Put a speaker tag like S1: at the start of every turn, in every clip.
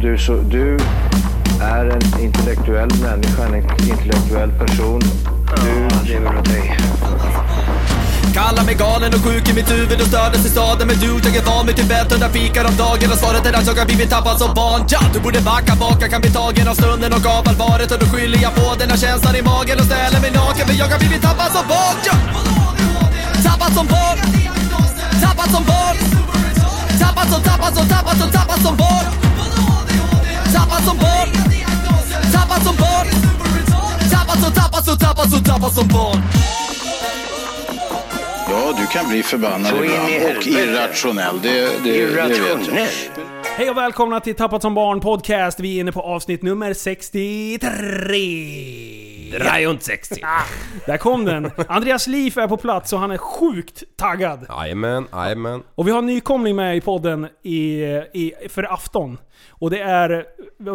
S1: du, så, du är en intellektuell människa, en intellektuell person. Du lever av dig.
S2: Kallar mig galen och sjuk i mitt huvud och stördes i staden Men du, jag är van vid Tibet, hundra fikar om dagen Och svaret är att jag har blivit tappad som barn ja! Du borde backa bak, jag kan bli tagen av stunden och av allvaret Och då skyller jag på den här känslan i magen och ställer mig naken För jag har blivit tappad som barn ja! Tappad som barn Tappad som barn Tappad som, tappad som, tappad som, tappad som barn Tappad som barn Tappad som barn Tappad som, tappad som, tappad som, tappad som barn
S3: Ja, du kan bli förbannad
S1: Så in i
S3: ibland och
S1: helvete.
S3: irrationell. Det, det, det vet jag.
S1: Irrationell.
S4: Hej och välkomna till Tappat som barn podcast. Vi är inne på avsnitt nummer 63.
S5: Rajon 60.
S4: Ah. Där kom den. Andreas Lief är på plats och han är sjukt taggad.
S5: Jajamän, jajamän.
S4: Och vi har en nykomling med i podden i, i, för afton. Och det är...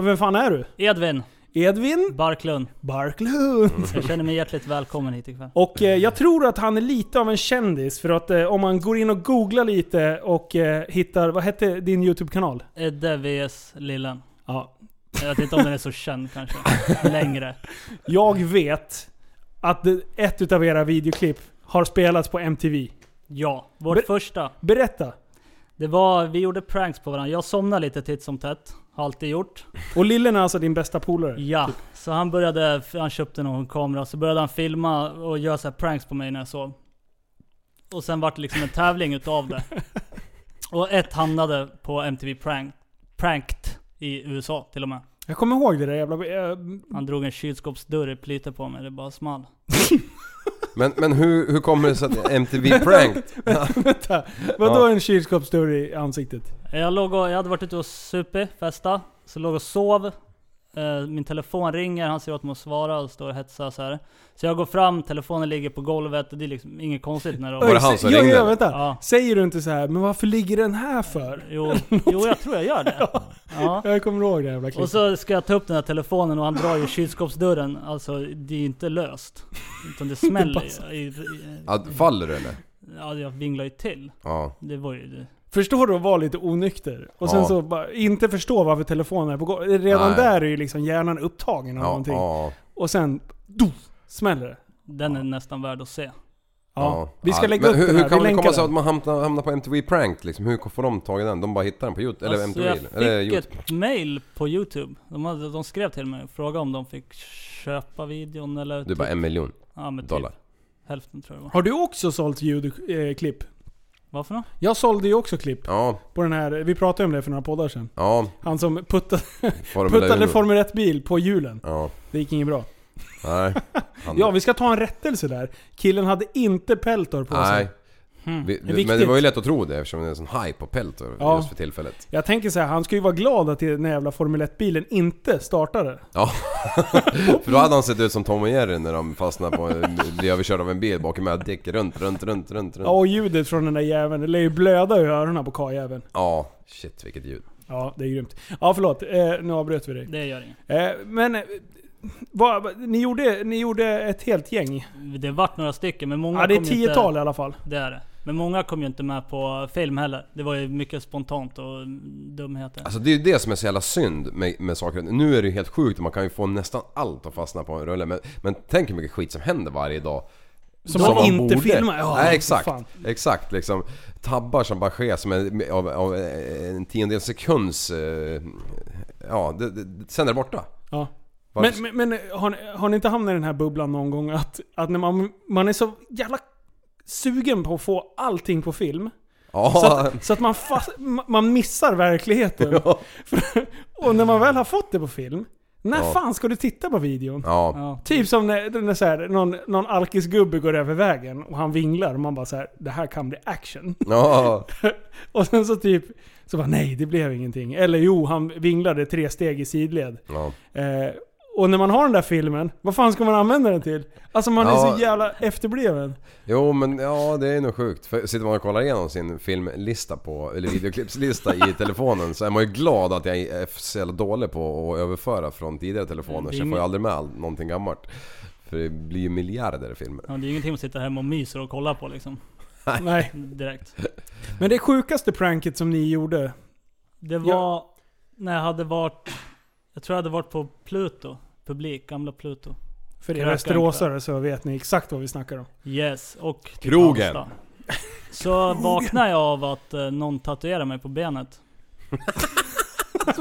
S4: Vem fan är du?
S6: Edvin
S4: Edvin
S6: Barklund.
S4: Barklund.
S6: Jag känner mig hjärtligt välkommen hit ikväll.
S4: Och eh, jag tror att han är lite av en kändis för att eh, om man går in och googlar lite och eh, hittar... Vad hette din YouTube-kanal?
S6: Edde vs Lillen.
S4: Ja.
S6: Jag vet inte om den är så känd kanske. Längre.
S4: Jag vet att det- ett utav era videoklipp har spelats på MTV.
S6: Ja, vårt
S4: Men-
S6: första.
S4: Berätta.
S6: Det var, vi gjorde pranks på varandra. Jag somnade lite titt som tätt. Har alltid gjort.
S4: Och Lillen är alltså din bästa polare?
S6: Ja. Så han började, han köpte någon kamera. Så började han filma och göra så här pranks på mig när jag sov. Och sen vart det liksom en tävling utav det. Och ett hamnade på MTV prank, Pranked i USA till och med.
S4: Jag kommer ihåg det där jävla... eh,
S6: Han drog en kylskåpsdörr i plyte på mig. Det bara small.
S5: Men, men hur, hur kommer det sig att MTV Pranked?
S4: Vänta. Vadå
S5: Ja.
S4: en kylskåpsdörr i ansiktet?
S6: Jag, låg och, jag hade varit ute och supit, festa, så låg och sov. Eh, Min telefon ringer, han säger åt mig att svara och står och hetsar så här. Så jag går fram, telefonen ligger på golvet och det är liksom inget konstigt när
S5: Var
S4: Oj,
S5: det
S6: de...
S5: han
S4: se-
S5: som
S4: jo,
S5: ringde,
S4: Jo,
S5: eller?
S4: vänta.
S6: Ja.
S4: Säger du inte så här, men varför ligger den här för?
S6: Jo, jo, jag tror jag gör det. Ja.
S4: Jag kommer ihåg det jävla
S6: Och
S4: klippet.
S6: så ska jag ta upp den här telefonen och han drar ju kylskåpsdörren. Alltså det är ju inte löst. Utan det smäller ju. I- i-
S5: Ja, faller du eller?
S6: Ja, jag vinglar ju till.
S5: Ja.
S6: Det var ju det.
S4: Förstår du att vara lite onykter? Och sen
S5: Ja.
S4: så bara, inte förstå varför telefonen är på gång. Redan
S5: Nej.
S4: där är ju liksom hjärnan upptagen av
S5: Ja,
S4: någonting.
S5: ja,
S4: Och sen, do, smäller det.
S6: Den är nästan värd att se.
S4: Ja.
S5: ja.
S4: Vi ska
S5: Ja,
S4: lägga
S5: men
S4: upp
S5: hur,
S4: den här,
S5: hur kan
S4: vi
S5: det
S4: länkar
S5: komma sig
S4: den.
S5: att man hamnar, hamnar på MTV Pranked liksom? Hur får de tag i den? De bara hittar den på Youtube? Eller
S6: Alltså,
S5: MTV?
S6: jag fick
S5: eller Youtube?
S6: ett mail på Youtube. De, hade, de skrev till mig och frågade om de fick köpa videon eller... typ-
S5: Du bara
S4: typ.
S5: en miljon
S6: ja, men
S5: dollar.
S6: Typ, hälften tror jag det var.
S4: Har du också sålt ljudklipp?
S6: Varför då?
S4: Jag sålde ju också klipp
S5: Ja,
S4: på den här, vi pratade om det för några poddar sedan.
S5: ja.
S4: Han som puttade,
S5: Formula
S4: puttade
S5: Uno.
S4: Formel 1-bil på hjulen.
S5: Ja,
S4: Det gick inget bra.
S5: nej. Han-
S4: Ja, vi ska ta en rättelse där. Killen hade inte Peltor på sig.
S5: Nej. Vi,
S4: Hmm. är
S5: men det
S4: viktigt.
S5: var ju lätt att tro det eftersom det är en sån hype på Peltor
S4: Ja.
S5: just för tillfället.
S4: Jag tänker så här, han ska ju vara glad att den här jävla Formel 1-bilen inte startade.
S5: Ja. för då hade han sett ut som Tom och Jerry när de fastnade på, blev överkörda av en bil bakom med däck runt, runt, runt, runt, runt.
S4: Ja, och ljudet från den där jäveln, det lär ju blöda i öronen på karljäveln.
S5: Ja, shit vilket ljud.
S4: Ja, det är grymt. Ja, förlåt. Eh, nu avbröt vi dig.
S6: Det gör inget.
S4: Eh, men... Eh, vad, vad- ni, gjorde, ni gjorde ett helt gäng?
S6: Det vart några stycken men många
S4: Ja, det är
S6: kom ju
S4: tiotal
S6: Inte,
S4: i alla fall.
S6: det är det. Men många kom ju inte med på film heller. Det var ju mycket spontant och dumheter.
S5: Alltså det är ju det som är så jävla synd med, med saker. Nu är det ju helt sjukt man kan ju få nästan allt att fastna på en rulle. Men, men tänk hur mycket skit som händer varje dag.
S4: Som man inte filmar. Ja,
S5: Nej
S4: för
S5: exakt.
S4: fan.
S5: Exakt liksom. Tabbar som bara sker som en, av, av eh, en tiondels sekunds... eh, Ja, det, det, sen är det borta.
S4: Ja. Men,
S5: Varför-
S4: men, men har, ni, har ni inte hamnat i den här bubblan någon gång att, att när man, man är så jävla sugen på att få allting på film.
S5: ja,
S4: Så att, så att man, fast, ma- man missar verkligheten. För, och när man väl har fått det på film, när
S5: Ja.
S4: fan ska du titta på videon?
S5: ja.
S6: Ja.
S4: Typ som när, när så här, någon, någon alkisgubbe går över vägen och han vinglar och man bara så här, det här kan bli action.
S5: Ja,
S4: Och sen så typ, så bara nej det blev ingenting. Eller jo, han vinglade tre steg i sidled.
S5: ja.
S4: Eh, och när man har den där filmen, vad fan ska man använda den till? Alltså man är
S5: Ja.
S4: så jävla efterbliven.
S5: Jo men ja det är nog sjukt. För sitter man och kollar igenom sin filmlista på, eller videoklippslista i telefonen så är man ju glad att jag är så jävla dålig på att överföra från tidigare telefoner så jag får ju aldrig med all- någonting gammalt. För det blir ju miljarder filmer.
S6: Ja, det är ju ingenting man sitter hemma och myser och kollar på liksom.
S4: Nej.
S6: Direkt.
S4: Men det sjukaste pranket som ni gjorde,
S6: Det var...
S4: Ja.
S6: när jag hade varit... Jag tror jag hade varit på Pluto. Publik, gamla Pluto.
S4: För er
S6: Krökan,
S4: västeråsare så vet ni exakt vad vi snackar om.
S6: Yes, och typ
S5: Krogen.
S6: Halmstad. Så vaknade jag av att eh, någon tatuerade mig på benet.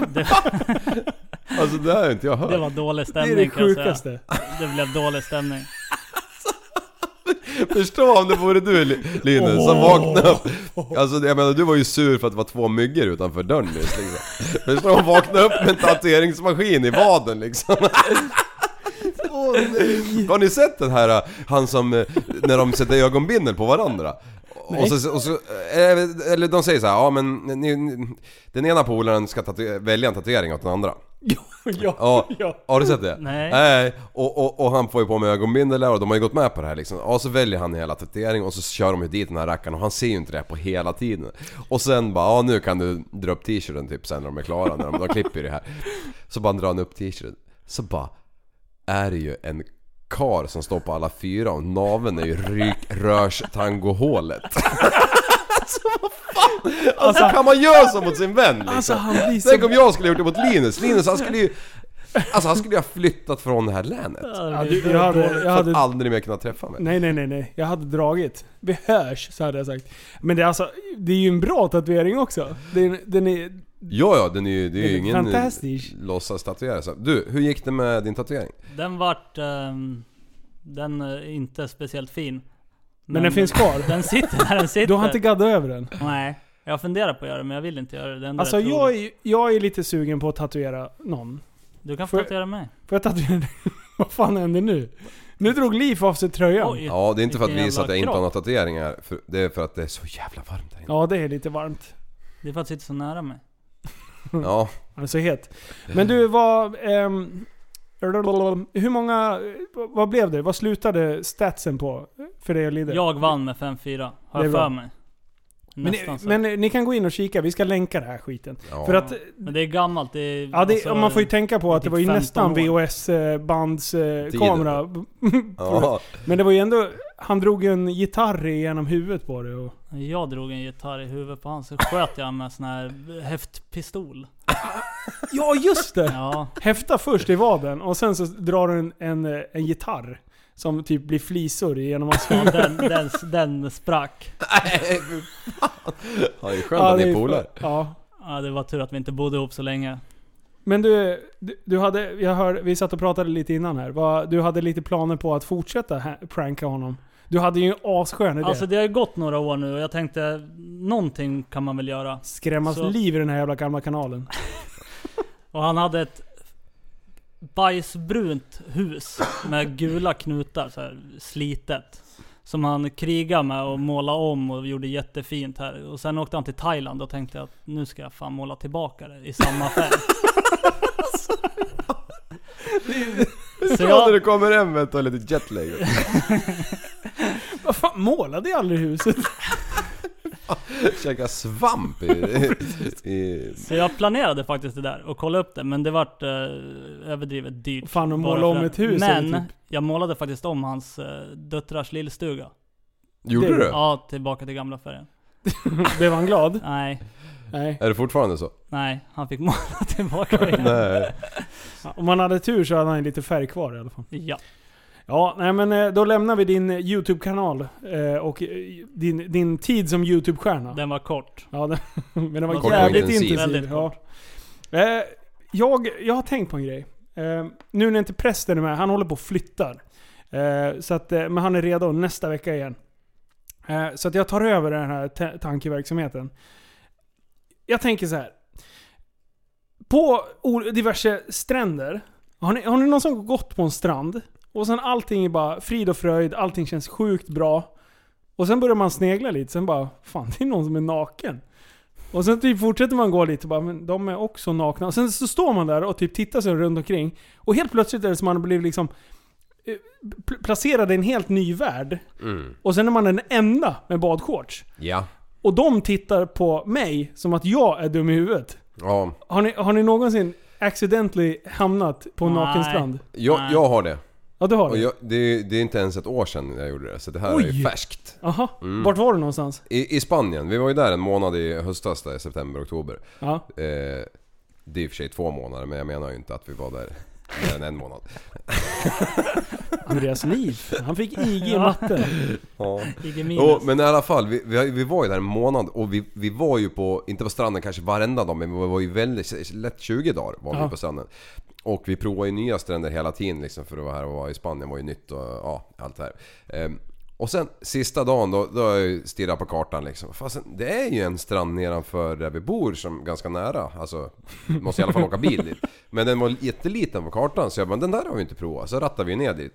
S6: det,
S5: Alltså det här har inte jag hört.
S6: det var dålig
S4: det är
S6: stämning
S4: det
S6: kan jag säga.
S4: sjukaste.
S6: Det blev dålig stämning.
S5: Förstå om det vore du Li- Linus som vaknade upp. Alltså jag menar du var ju sur för att det var två myggor utanför dörren nyss liksom. Förstå om vakna upp med en tatueringsmaskin i vaden liksom. Har ni sett den här, eh, han som, eh, när de sätter ögonbindel på varandra? Och så, och så, eh, eller de säger så här, ja men ni, ni, den ena polaren ska tatu- välja en tatuering åt den andra. Ja,
S4: Ja.
S5: har du sett det?
S6: Nej.
S5: Och, och, och han får ju på med ögonbindel där och de har ju gått med på det här liksom. Och så väljer han hela tatueringen och så kör de ju dit den här rackaren och han ser ju inte det här på hela tiden. Och sen bara, ja nu kan du dra upp t-shirten typ sen när de är klara, när de, de klipper ju det här. Så bara drar han upp t-shirten. Så bara, är det ju en kar som står på alla fyra och naveln är ju rykrörstangohålet. alltså vad Alltså, fan! Alltså, kan man göra så mot sin vän liksom?
S4: Alltså han blir
S5: Tänk
S4: så...
S5: om jag skulle ha gjort det mot Linus. Linus han skulle ju... Alltså han skulle ju ha flyttat från det här länet.
S4: Ja, du, jag hade, jag
S5: Jag hade
S4: hade,
S5: aldrig mer kunnat träffa mig.
S4: nej, nej, nej, nej. Jag hade dragit. Vi hörs, så hade jag sagt. Men det är alltså, det är ju en bra tatuering också. Den, den är...
S5: Ja, ja, den är ju, det är
S4: Det
S5: ju
S4: är
S5: ingen
S4: fantastisk.
S5: låtsas-tatuerare. Så, Du, hur gick det med din tatuering?
S6: Den vart... ehm, den är inte speciellt fin.
S4: Men den finns kvar.
S6: Den sitter där den sitter.
S4: Du har inte gaddat över den?
S6: Nej. Jag funderar på att göra det men jag vill inte göra det. det. enda
S4: Alltså
S6: jag tror-
S4: jag är, ju- jag är lite sugen på att tatuera någon.
S6: Du kan få
S4: får jag-
S6: tatuera mig.
S4: Får jag tatuera dig? Vad fan händer nu? Nu drog Liv av sig tröjan.
S6: Oj,
S5: Ja, det är inte för att
S6: vilken
S5: visa att
S6: jävla
S5: jag inte
S6: kropp.
S5: har några tatueringar. För, det är för att det är så jävla varmt här inne.
S4: Ja, det är lite varmt.
S6: Det är för att sitta så nära mig.
S5: Ja.
S4: Han är så het. Men du, vad... ehm, hur många... Vad blev det? Vad slutade statsen på? För dig och Lider?
S6: Jag vann med 5-4. Har
S4: Det
S6: jag
S4: är bra.
S6: för mig.
S4: men,
S6: Nästan
S4: ni,
S6: så.
S4: men ni kan gå in och kika, vi ska länka den här skiten.
S5: ja.
S4: För att...
S6: Men det är gammalt. Det är,
S4: Ja, det,
S6: alltså-
S4: man får ju tänka på att det
S6: typ
S4: var ju
S6: 15
S4: nästan
S6: år.
S5: Tiden.
S4: VHS-bandskamera.
S5: ja.
S4: eh, Men det var ju ändå... Han drog en gitarr genom huvudet på det och...
S6: Jag drog en gitarr i huvudet på honom, så sköt jag med sån här häftpistol.
S4: Ja, just det!
S6: Ja,
S4: Häfta först i vaden och sen så drar du en, en, eh, en gitarr. Som typ blir flisor genom hans
S6: ja den, den, den sprack.
S5: Nej, fy fan. Ja, det är skönt att ni är polare.
S4: Ja.
S6: Ja, det var tur att vi inte bodde ihop så länge.
S4: Men du, du, du hade, jag hör, vi satt och pratade lite innan här. Vad- Du hade lite planer på att fortsätta ha, pranka honom. Du hade ju en asskön idé.
S6: Alltså det har ju gått några år nu och jag tänkte, någonting kan man väl göra.
S4: Skrämmas
S6: så-
S4: liv i den här jävla gamla kanalen.
S6: Och han hade ett bajsbrunt hus med gula knutar, så här, slitet. Som han krigade med och målade om och gjorde jättefint här. Och sen åkte han till Thailand och tänkte att nu ska jag fan måla tillbaka det i samma färg.
S5: Så
S6: Så
S5: när
S6: jag-
S5: du kommer hem vet du, har lite jetlag.
S4: Vad fan, målade jag aldrig huset?
S5: Käka svamp i... i
S6: Så jag planerade faktiskt det där och kollade upp det, men det vart eh, överdrivet dyrt.
S4: Fan, att
S6: Bara
S4: måla om
S6: för-
S4: ett hus är
S6: Men
S4: det typ-
S6: jag målade faktiskt om hans eh, döttrars lillstuga.
S5: gjorde
S4: Det-
S5: du?
S6: Ja, tillbaka till gamla färgen.
S4: typ- Blev han glad?
S6: Nej,
S4: Nej.
S5: Är det fortfarande så?
S6: nej, han fick måla tillbaka igen.
S5: Nej.
S4: Om man hade tur så hade han ju lite färg kvar i alla fall.
S6: ja.
S4: Ja, nej men eh, då lämnar vi din eh, YouTube-kanal eh, och eh, din, din tid som YouTube-stjärna.
S6: Den var kort.
S4: Ja, den, men den var
S6: Kort och
S4: jävligt
S5: intensiv.
S4: intensiv.
S6: Väldigt
S4: ja. eh, jag, jag har tänkt på en grej. Eh, nu när inte prästen är med, han håller på och flyttar. Eh, så att, eh, men han är redo nästa vecka igen. Eh, så att jag tar över den här ta- tankeverksamheten. Jag tänker så här. På o- diverse stränder. Har ni, har ni någon som gått på en strand? Och sen allting är bara frid och fröjd, allting känns sjukt bra. Och sen börjar man snegla lite, sen bara Fan det är någon som är naken. Och sen typ fortsätter man gå lite och bara Men de är också nakna. Och sen så står man där och typ tittar sig runt omkring. Och helt plötsligt är det som man har blivit liksom eh, pl- placerad i en helt ny värld.
S5: Mm.
S4: Och sen är man den enda med badshorts.
S5: Ja.
S4: Och de tittar på mig som att jag är dum i huvudet.
S5: Ja.
S4: Har ni, har ni någonsin accidentally hamnat på en naken
S6: Nej.
S4: strand?
S5: Jag,
S6: Nej.
S5: jag har det.
S4: Ja det har
S5: Och
S4: ni.
S5: jag, det, är, det är inte ens ett år sedan jag gjorde det, så det här är
S4: Oj.
S5: ju färskt.
S4: Jaha,
S5: Mm.
S4: vart var du någonstans?
S5: I, I Spanien, vi var ju där en månad i höstas där, i september, oktober.
S4: Ja.
S5: Eh, Det är i och för sig två månader men jag menar ju inte att vi var där mer än en månad.
S4: Andreas Liv. Han fick IG i
S6: Ja.
S4: matte.
S5: Ja.
S6: IG minus.
S5: Jo, men i alla fall, vi, vi, har- vi var ju där en månad och vi, vi var ju på, inte på stranden kanske varenda dag men vi var ju väldigt, lätt 20 dagar var vi
S4: Ja.
S5: på stranden. Och vi provar ju nya stränder hela tiden liksom för att vara här och vara i Spanien var ju nytt och ja, allt det här. Ehm, och sen sista dagen då, då har jag ju stirrat på kartan liksom. Fasen, det är ju en strand nedanför där vi bor som ganska nära. Alltså, måste i alla fall åka bil dit. Men den var jätteliten på kartan så jag bara, den där har vi inte provat. Så rattade vi ner dit.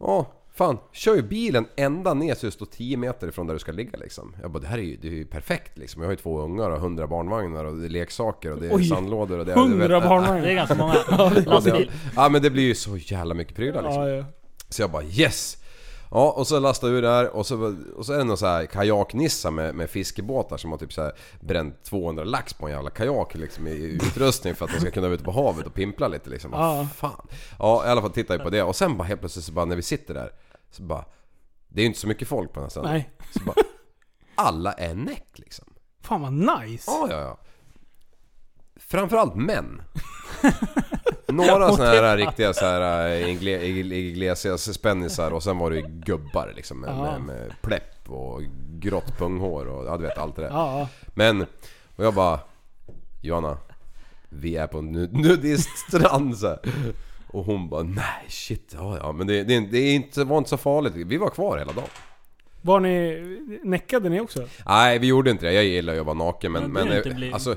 S5: Ja, fan. Kör ju bilen ända ner så du står 10 meter ifrån där du ska ligga liksom. Jag bara, det här är ju, det är ju perfekt liksom. Jag har ju två ungar och 100 barnvagnar och det är leksaker och det är
S4: Oj,
S5: sandlådor och det är... du vet,
S4: Hundra
S5: äh,
S6: Det är
S4: barnvagnar.
S6: ganska många.
S5: Ja, det,
S6: Lastbil.
S5: ja men det blir ju så jävla mycket prylar liksom.
S4: Ja, ja.
S5: Så jag bara yes! Ja och så lastade jag ur där och så, och så är det någon så här kajaknissa med, med fiskebåtar som har typ så här bränt 200 lax på en jävla kajak liksom i i utrustning för att de ska kunna vara ute på havet och pimpla lite liksom.
S4: Ja.
S5: Vad fan. Ja i alla fall tittade jag på det och sen bara helt plötsligt så bara när vi sitter där så bara Det är ju inte så mycket folk på den här stranden.
S4: Nej.
S5: Så bara Alla är näck liksom.
S4: Fan vad nice.
S5: Ja ja ja. Framförallt män. Några såna här riktiga så här eh, ingle- igle- Iglesias-spännisar och sen var det ju gubbar liksom med,
S4: Ja.
S5: med, med pläpp och grått punghår och ja, du vet allt det där.
S4: Ja.
S5: Men, och jag bara Johanna, vi är på en nu- nudiststrand så här. Och hon bara nej shit, ja ja men det, det, det är inte, var inte så farligt. Vi var kvar hela dagen.
S4: Var ni... Näckade ni också?
S5: Nej vi gjorde inte det, jag gillar ju att vara naken men...
S6: Men
S5: men
S6: du är inte blyg.
S5: alltså,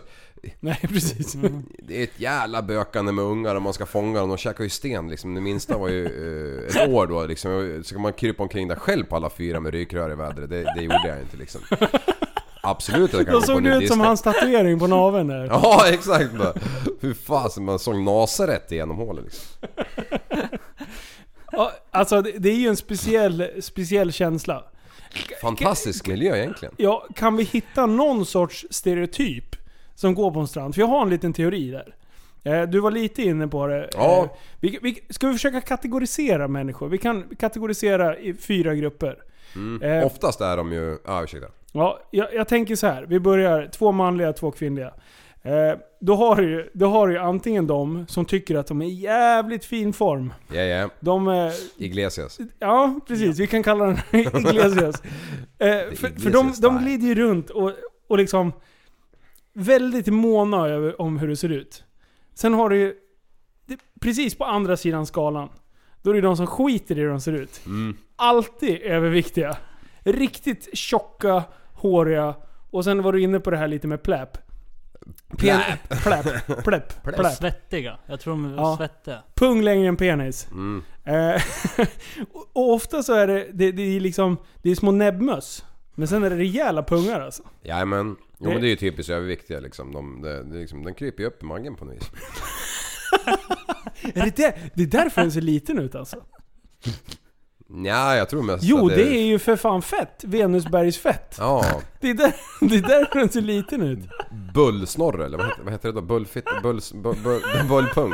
S4: Nej, precis.
S5: Mm, Det är ett jävla bökande med ungar och man ska fånga dem. De käkar ju sten liksom. Det minsta var ju eh, ett år då liksom. Så kan man krypa omkring där själv på alla fyra med rykrör i vädret. Det, det gjorde jag inte liksom. Absolut att jag kan
S4: Då
S5: gå på
S4: såg du ut som
S5: nudisten.
S4: hans tatuering på naveln där.
S5: Ja exakt! Bara. Hur fasen man såg Nasaret genom hålet liksom.
S4: Ja, Alltså det det är ju en speciell, speciell känsla.
S5: Fantastisk miljö egentligen.
S4: Ja, kan vi hitta någon sorts stereotyp som går på en strand? För jag har en liten teori där. Eh, Du var lite inne på det.
S5: Ja.
S4: Eh, Vi, vi, ska vi försöka kategorisera människor? Vi kan kategorisera i fyra grupper.
S5: Mm.
S4: Eh,
S5: Oftast är de ju... Ja ah, ursäkta.
S4: Ja, jag, jag tänker så här. Vi börjar två manliga, två kvinnliga. Eh, då, har du, ju- då har du ju antingen de som tycker att de är i jävligt fin form.
S5: Ja ja.
S4: De, eh,
S5: Iglesias.
S4: ja precis, vi kan kalla den Iglesias. Eh, för för de,
S5: Iglesias
S4: de
S5: style.
S4: glider ju runt och, och liksom väldigt måna över, om hur det ser ut. Sen har du ju, det, precis på andra sidan skalan, då är det ju de som skiter i hur de ser ut
S5: Mm.
S4: alltid överviktiga. Riktigt tjocka, håriga. Och sen var du inne på det här lite med pläp. Pläp. Pläp. Pläp. pläp.
S6: Svettiga. Jag tror de
S4: Ja.
S6: var svettiga.
S4: Pung längre än penis.
S5: Mm.
S4: Eh, och- och ofta så är det, det, det är liksom, det är små näbbmöss. Men sen är det rejäla pungar alltså.
S5: Jajamän. Jo men det är ju typiskt överviktiga liksom. De, de, de, liksom. Den kryper ju upp i magen på något vis.
S4: Är det, där, det är därför den ser liten ut alltså.
S5: Nja, jag tror mest
S4: Jo,
S5: att
S4: det är ju för fan fett. Venusbergsfett.
S5: Ja,
S4: Det är, där, det är därför den ser liten ut.
S5: bullsnorre eller vad heter, vad heter det då? Bullfitt... Bulls, bu, bu, bullpung?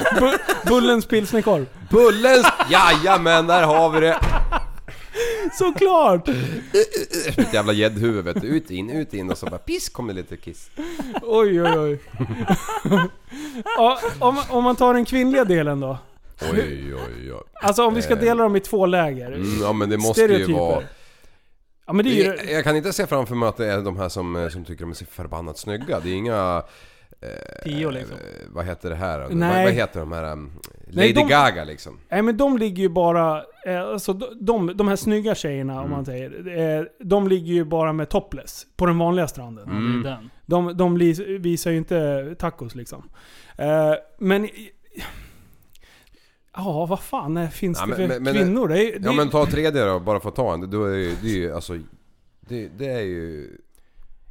S4: Bu- Bullens pilsnerkorv.
S5: Bullens... Jajamän, där har vi det!
S4: Såklart!
S5: Ett jävla gäddhuvud vet du. Ut, in, ut, in och så bara piss kommer lite kiss.
S4: Oj, oj, oj. ja, om, om man tar den kvinnliga delen då.
S5: Oj, oj, oj.
S4: Alltså om vi ska
S5: Eh.
S4: dela dem i två läger.
S5: Mm, ja men det måste ju vara...
S4: Ja men det är
S5: Jag,
S4: ju...
S5: jag kan inte se framför mig att det är de här som, eh, som tycker de är så förbannat snygga. Det är inga...
S6: Tio liksom.
S5: eh, Vad heter det här? Vad,
S4: Nej.
S5: vad heter de här? um, Lady
S4: Nej, de-
S5: Gaga liksom.
S4: Nej men de ligger ju bara... eh, Alltså de, de här snygga tjejerna
S5: Mm.
S4: om man säger. eh, De ligger ju bara med topless. På den vanliga stranden.
S5: Mm.
S6: Ja, det är den.
S4: De, de li- visar ju inte tacos liksom. Eh, Men... Ja, vad fan eh, finns
S5: Ja,
S4: det
S5: men-
S4: för
S5: men- men-
S4: kvinnor? Det, är- det,
S5: Ja
S4: är-
S5: men ta tredje då, bara för att ta en. Då är det ju, det är ju alltså... Det, det är ju...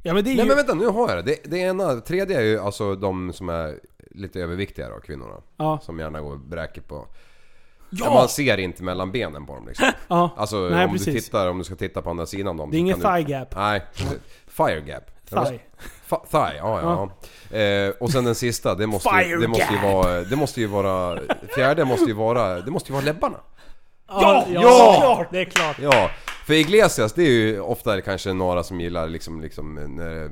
S4: ja, men det är
S5: Nej
S4: ju...
S5: men vänta, nu har jag det. det. Det ena, tredje är ju alltså de som är lite överviktiga då, kvinnorna.
S4: Ja.
S5: Som gärna går och bräker på...
S4: Ja!
S5: Ja! Man ser inte mellan benen på dem liksom.
S4: ja.
S5: Alltså
S4: Nej,
S5: om du
S4: precis.
S5: tittar, om du ska titta på andra sidan dem.
S4: Det är
S5: så
S4: ingen
S5: kan
S4: thigh gap.
S5: Du... Nej, precis. Fire gap.
S4: Thigh.
S5: Fa- thigh, ja ja. Eh, och sen den sista, det måste, ju,
S4: Fire
S5: det måste ju
S4: gap.
S5: vara... Det måste ju vara... Fjärde måste ju vara... Det måste ju vara läpparna.
S4: Ja!
S5: Ja!
S6: Det är klart.
S5: Ja! För Iglesias, det är ju ofta kanske några som gillar liksom, liksom när, eh,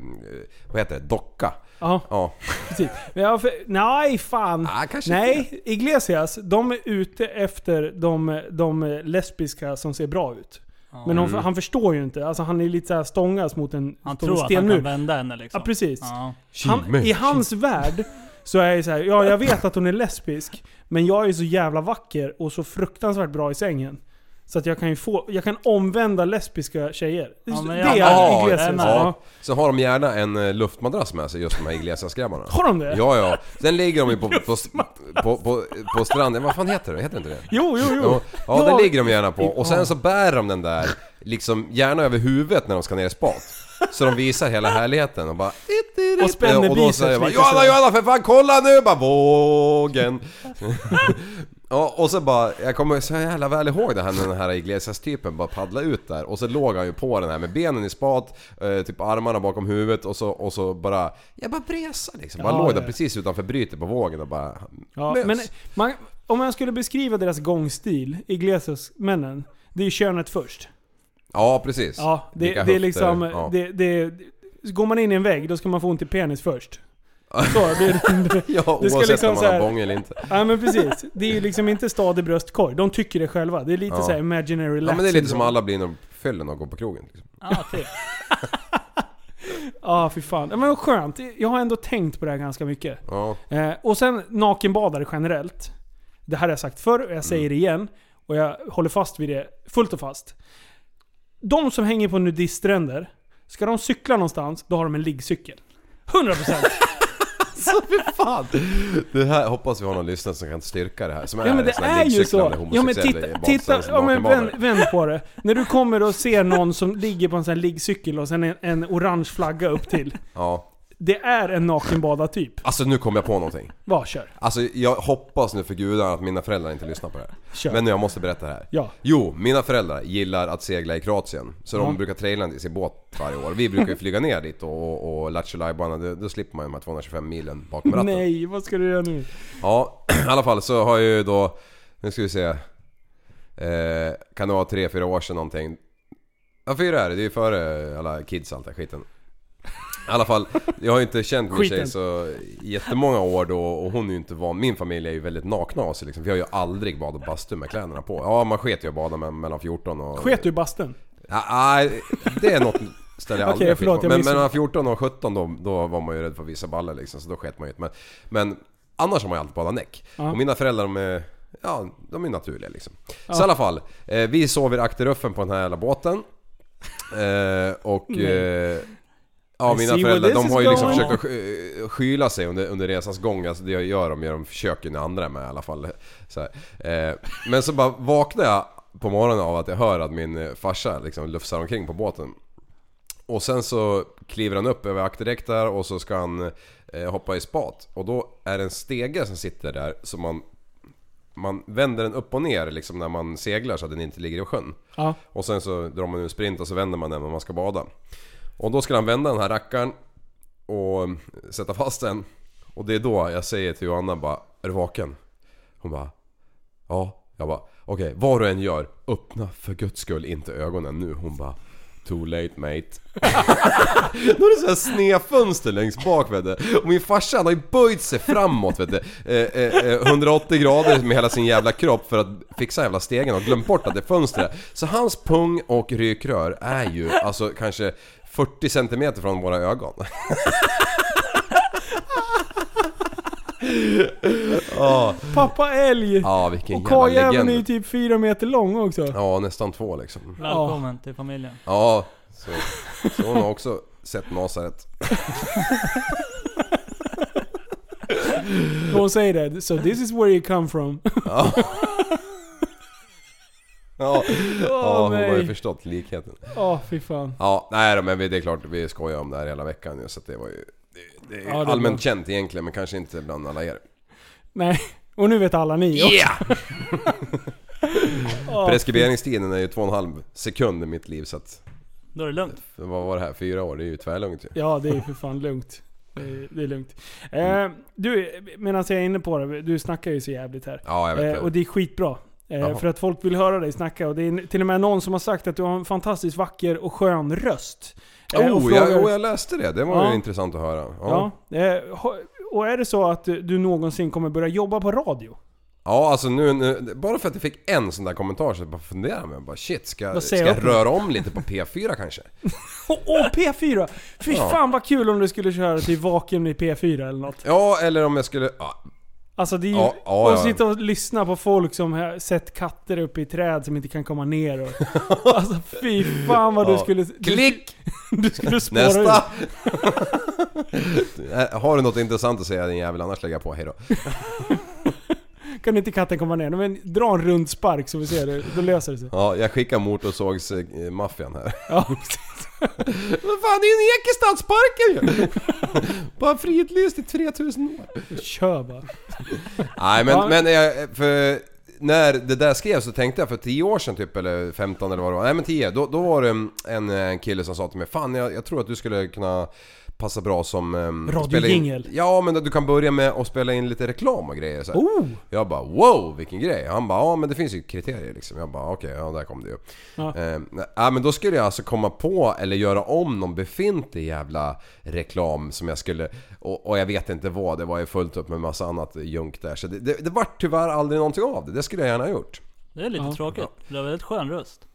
S5: vad heter det, docka.
S4: Ja,
S5: Ja.
S4: precis. Ja, för, nej, fan.
S5: Ah, kanske inte.
S4: Nej, Iglesias, de är ute efter de, de lesbiska som ser bra ut. Men hon,
S5: Mm.
S4: han förstår ju inte. Alltså han är lite såhär stångas mot en,
S6: Han
S4: mot en
S6: tror att han kan
S4: stenmur.
S6: vända henne liksom.
S4: Ja, precis.
S6: Ja.
S4: Han,
S5: Kimmy.
S4: I hans värld så är jag så här, ja jag vet att hon är lesbisk, men jag är så jävla vacker och så fruktansvärt bra i sängen. Så att jag kan ju få, jag kan omvända lesbiska tjejer.
S6: Ja, men
S4: det
S6: jag-
S4: är
S6: Ja,
S4: Iglesias.
S6: jag med.
S4: Ja.
S5: Ja. Så har de gärna en eh, luftmadrass med sig, just de här Iglesias-grabbarna.
S4: Har de det?
S5: Ja, ja. Sen ligger de ju på, på, på, på, på stranden, vad fan heter det? Heter inte det?
S4: Jo, jo, jo.
S5: Ja, ja,
S4: Ja.
S5: den ligger de gärna på. Och sen så bär de den där, liksom gärna över huvudet när de ska ner i spat. Så de visar hela härligheten och bara...
S4: Och spänner
S5: och då
S4: biceps
S5: säger jag bara
S4: lite så
S5: Johanna,
S4: här.
S5: Johanna för fan kolla nu! Bara vågen! ja, och så bara, jag kommer så jävla väl ihåg det här när den här Iglesias-typen bara paddlade ut där och så låg han ju på den här med benen i spat, eh, typ armarna bakom huvudet och så, och så bara... Jag bara bresade liksom. Han
S4: Ja,
S5: låg där
S4: ja.
S5: precis utanför brytet på vågen och bara...
S4: Ja,
S5: mös.
S4: men man, om jag skulle beskriva deras gångstil, Iglesias-männen, det är ju könet först.
S5: ja precis.
S4: Ja, det,
S5: Vilka
S4: det är
S5: höfter,
S4: liksom...
S5: ja.
S4: Det, det, så går man in i en vägg, då ska man få ont i penis först. Så, det, det,
S5: Ja,
S4: Det ska
S5: oavsett
S4: liksom
S5: om
S4: så
S5: man
S4: här-
S5: har bång eller inte.
S4: ja men precis. Det är ju liksom inte stadig bröstkorg. De tycker det själva. Det är lite
S5: Ja.
S4: såhär imaginary
S5: Ja,
S4: lax
S5: men det är lite som
S4: syndrome.
S5: alla blir när de fyller och går på krogen. Liksom.
S6: Ja, typ.
S4: Ja, fy fan. Ja, Men skönt. Jag har ändå tänkt på det här ganska mycket.
S5: Ja.
S4: Eh, och sen nakenbadare generellt. Det här har jag sagt förr och jag säger det igen. Och jag håller fast vid det fullt och fast. De som hänger på nudiststränder, ska de cykla någonstans, då har de en liggcykel. 100%!
S5: Fan! Det här hoppas vi har någon lyssnare som kan styrka det här. Som
S4: Ja men
S5: en
S4: det
S5: sån här
S4: är ju
S5: liggcyklande
S4: så. Ja men
S5: homosexuell
S4: titta,
S5: i
S4: titta
S5: badstrand som
S4: ja, men vänd,
S5: nakenbadare.
S4: vänd på det. När du kommer och ser någon som ligger på en sån här liggcykel och sen en, en orange flagga upp till.
S5: Ja.
S4: Det är en nakenbadartyp.
S5: Alltså nu kom jag på någonting.
S4: Var, kör.
S5: Alltså jag hoppas nu för gudarna att mina föräldrar inte lyssnar på det här.
S4: Kör.
S5: Men nu, jag måste berätta det här.
S4: Ja.
S5: Jo, mina föräldrar gillar att segla i Kroatien. Så
S4: Mm.
S5: de brukar traila i sin båt varje år. Vi brukar ju flyga ner dit och, och, och lattjo lajbana. Då, då slipper man ju de här 225 milen bakom ratten.
S4: Nej, vad ska du göra nu?
S5: Ja, i alla fall så har jag ju då... Nu ska vi se. Eh, kan det vara tre, fyra år sedan någonting? Ja, fyra är det. Det är ju före alla kids och allt det här skiten. I alla fall, jag har ju inte känt min tjej
S4: Skiten.
S5: så jättemånga år då och hon är ju inte van. Min familj är ju väldigt nakna av sig liksom. Vi har ju aldrig bad och bastu med kläderna på. Ja, man sket ju att bada med, mellan 14 och...
S4: Sket du i bastun?
S5: Ja, Nej, det är något ställe jag
S4: Okej,
S5: aldrig har
S4: förlåt,
S5: skit på.
S4: jag
S5: Men
S4: missade.
S5: mellan 14 och 17 då, då var man ju rädd för vissa baller liksom, så då sket man ju inte. Men, men annars har man ju alltid badat näck. Och mina föräldrar de är, ja, de är naturliga liksom. Så i alla fall, eh, vi sov i akteruffen på den här jävla båten. Eh, och... Eh, Ja,
S4: I see
S5: mina
S4: where
S5: föräldrar
S4: this
S5: de
S4: is
S5: har ju liksom
S4: going.
S5: försökt att sky- skyla sig under, under resans gång. Alltså det gör de ju, de försöker ju när andra är med i alla fall. Så här. Eh, men så bara vaknar jag på morgonen av att jag hör att min eh, farsa liksom lufsar omkring på båten. Och sen så kliver han upp över akterdäck där och så ska han eh, hoppa i spat. Och då är det en stege som sitter där som man... Man vänder den upp och ner liksom när man seglar så att den inte ligger i sjön.
S4: Ja.
S5: Och sen så drar man ur sprint och så vänder man den när man ska bada. Och då skulle han vända den här rackaren och sätta fast den. Och det är då jag säger till Johanna bara, är du vaken? Hon bara, ja. Jag bara, okej vad du än gör, öppna för guds skull inte ögonen nu. Hon bara, too late mate. Då är det så här snedfönster längst bak vet du. Och min farsa han har ju böjt sig framåt vet du. Eh, eh, eh, 180 grader med hela sin jävla kropp för att fixa jävla stegen och glömt bort att det är fönster där. Så hans pung och rykrör är ju alltså kanske 40 cm från våra ögon.
S4: Pappa älg!
S5: Ja vilken
S4: Och
S5: jävla
S4: karljäveln är ju
S5: legend.
S4: typ fyra meter lång också.
S5: Ja nästan två liksom.
S6: Välkommen till familjen.
S5: Ja, så, så hon har också sett Nasaret.
S4: Och hon säger det. So this is where you come from.
S5: Ja, ja hon har
S4: nej.
S5: ju förstått likheten.
S4: Ja, fy fan.
S5: Ja, nej då, men vi- det är klart vi skojar om det här hela veckan ju, så att det var ju... Det, det
S4: Ja,
S5: är
S4: det är bra.
S5: allmänt känt egentligen men kanske inte bland alla er.
S4: Nej. Och nu vet alla ni också.
S5: Yeah! Preskriberingstiden är ju två och en halv sekund i mitt liv så att...
S6: Då är det lugnt.
S5: Vad var det här? Fyra år? Det är ju tvärlugnt ju.
S4: Ja, det är ju för fan lugnt. Det är, det är lugnt. Eh, du, medan jag är inne på det. Du snackar ju så jävligt här.
S5: Ja, jag vet
S4: Eh, och
S5: det.
S4: det är skitbra. Eh,
S5: Jaha.
S4: för att folk vill höra dig snacka och det är till och med någon som har sagt att du har en fantastiskt vacker och skön röst. Eh, och
S5: Oh,
S4: frågar-
S5: jag, oh, jag läste det. Det var
S4: Ja.
S5: ju intressant att höra. Ja.
S4: Ja. eh, ha- Och är det så att du någonsin kommer börja jobba på radio?
S5: ja, alltså nu, nu... Bara för att jag fick en sån där kommentar så jag bara funderade med bara shit, ska, jag-
S4: Vad
S5: ska
S4: säger jag
S5: jag
S4: upp mig?
S5: röra om lite på P4 kanske?
S4: Åh, åh, P4! Fy
S5: Ja.
S4: fan vad kul om du skulle köra till Vaken i P4 eller något.
S5: Ja, eller om jag skulle... Ja,
S4: Alltså det är ju...
S5: Ja, ja,
S4: och
S5: ja.
S4: sitta och lyssna på folk som har sett katter uppe i träd som inte kan komma ner och... Alltså fy fan vad du
S5: Ja.
S4: skulle... du-
S5: Klick!
S4: Du skulle spåra
S5: Nästa! Äh,
S4: ut.
S5: Har du något intressant att säga din jävel annars lägger jag på, hejdå.
S4: Kan inte katten komma ner? Men dra en rund spark så vi ser det. Då löser det sig.
S5: Ja, jag skickar motorsågsmaffian eh, här.
S4: Ja.
S5: Vad fan, det är en ek i stadsparken ju! Bara fridlyst i 3000 år.
S4: Kör bara.
S5: Nej men,
S4: Ja.
S5: men jag, för när det där skrevs så tänkte jag för 10 år sedan typ, eller 15 eller vad det var. Nej men 10, då, då var det en, en eh, kille som sa till mig Fan jag, jag tror att du skulle kunna passa bra som... ehm, spela in-
S4: Radiojingel.
S5: Ja men du kan börja med att spela in lite reklam och grejer så här.
S4: Oh!
S5: Jag bara wow vilken grej! Han bara ja men det finns ju kriterier liksom. Jag bara okej, ja där kom det ju.
S4: Ja.
S5: Eh, ja, men då skulle jag alltså komma på eller göra om någon befintlig jävla reklam som jag skulle... Och, och jag vet inte vad, det var ju fullt upp med massa annat junk där. Så det, det, det vart tyvärr aldrig någonting av det. Det skulle jag gärna ha gjort.
S6: Det är lite
S4: Ja.
S6: tråkigt. Du har väldigt skön röst.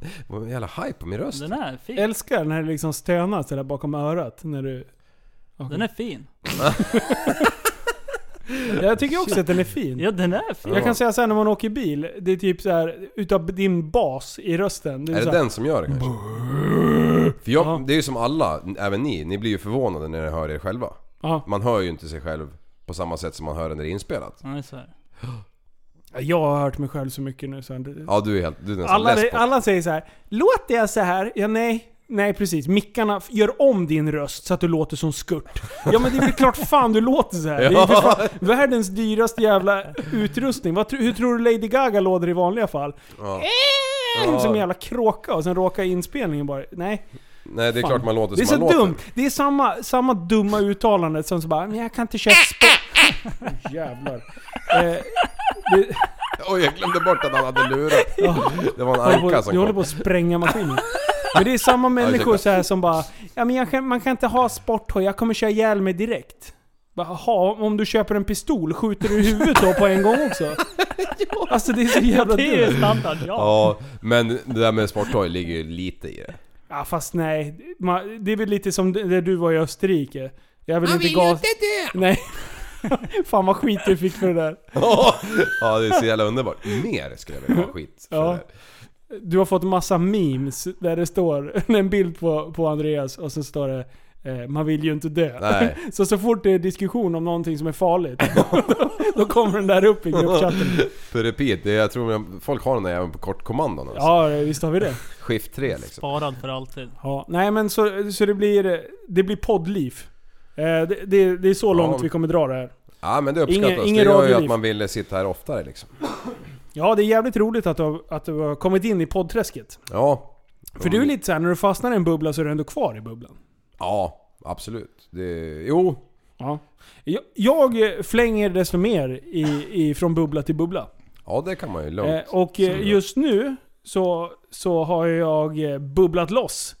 S5: Det var en jävla hype på min röst.
S6: Den är fin.
S4: Älskar när det liksom stönas sådär bakom örat när du...
S6: Den är fin.
S4: Jag tycker också att den är fin.
S6: Ja den är fin.
S4: Jag kan säga såhär när man åker bil, det är typ såhär utav din bas i rösten. Det är
S5: Är det
S4: såhär,
S5: den som gör det kanske? För
S4: Ja.
S5: jag, det är ju som alla, även ni, ni blir ju förvånade när ni hör er själva.
S4: Ja.
S5: Man hör ju inte sig själv på samma sätt som man hör när det är inspelat.
S6: Ja, så här.
S4: Jag har hört mig själv så mycket nu så här.
S5: Ja alltså, du är helt, du är nästan
S4: alla,
S5: less på
S4: alla säger så här. låter jag så här? Ja nej. Nej precis, mickarna f- gör om din röst så att du låter som Skurt. Ja men det är väl klart fan du låter så här. Det är ju för fan världens dyraste jävla utrustning. Vad, tr- hur tror du Lady Gaga låter i vanliga fall? Eh,
S5: Ja.
S4: Som en
S5: Ja.
S4: jävla kråka och sen råkar inspelningen bara... Nej.
S5: Nej det är
S4: Fan.
S5: klart man låter
S4: Det är
S5: som
S4: så
S5: man låter.
S4: dumt. Det är samma, samma dumma uttalande som så bara "Men jag kan inte köra sport. Jävlar. Eh, det,
S5: Oj, jag glömde bort att han hade lurat.
S4: ja,
S5: Det var en
S4: jag håller
S5: anka
S4: på,
S5: som
S4: jag håller
S5: kom.
S4: på att spränga maskinen. Men det är samma människor så här som bara ja, men jag kan, Man kan inte ha sporthoj, jag kommer köra ihjäl mig direkt. Bara, Jaha, om du köper en pistol, skjuter du i huvudet då på en gång också? Alltså det är så jävla
S6: Det är ju
S4: dumt.
S6: standard, ja.
S5: Ja, men det där med sporttoy ligger ju lite i det.
S4: Ja, fast nej. Man, det är väl lite som det det du var i Österrike. Jag vill inte gas... Nej. Fan vad skit du fick för det där.
S5: Ja, det är så jävla underbart. Mer skulle jag vilja ha skit för
S4: Ja.
S5: det.
S4: Du har fått massa memes där det står en bild på, på Andreas och så står det eh, man vill ju inte dö.
S5: Nej.
S4: Så så fort det är diskussion om någonting som är farligt, då, då kommer den där upp i gruppchatten.
S5: För repeat, det är, jag tror att folk har den där även på kortkommandon. Alltså.
S4: Ja, visst har vi det.
S5: Skift 3 liksom.
S6: Sparad för alltid.
S4: Ja. Nej men så, så det blir, det blir poddliv. Eh, det, det, det är så långt vi kommer dra det här.
S5: Ja men det
S4: Ingen-
S5: uppskattas.
S4: ingen
S5: det gör ju
S4: radioliv.
S5: att man vill sitta här oftare liksom.
S4: Ja, det är jävligt roligt att du, har- att du har kommit in i poddträsket.
S5: Ja.
S4: För du är lite såhär, när du fastnar i en bubbla så är du ändå kvar i bubblan.
S5: Ja, absolut. Det, jo.
S4: Ja. Jag, jag flänger desto mer i, i, från bubbla till bubbla.
S5: Ja det kan man ju lugnt.
S4: Eh, och eh, just nu så, så har jag eh, bubblat loss.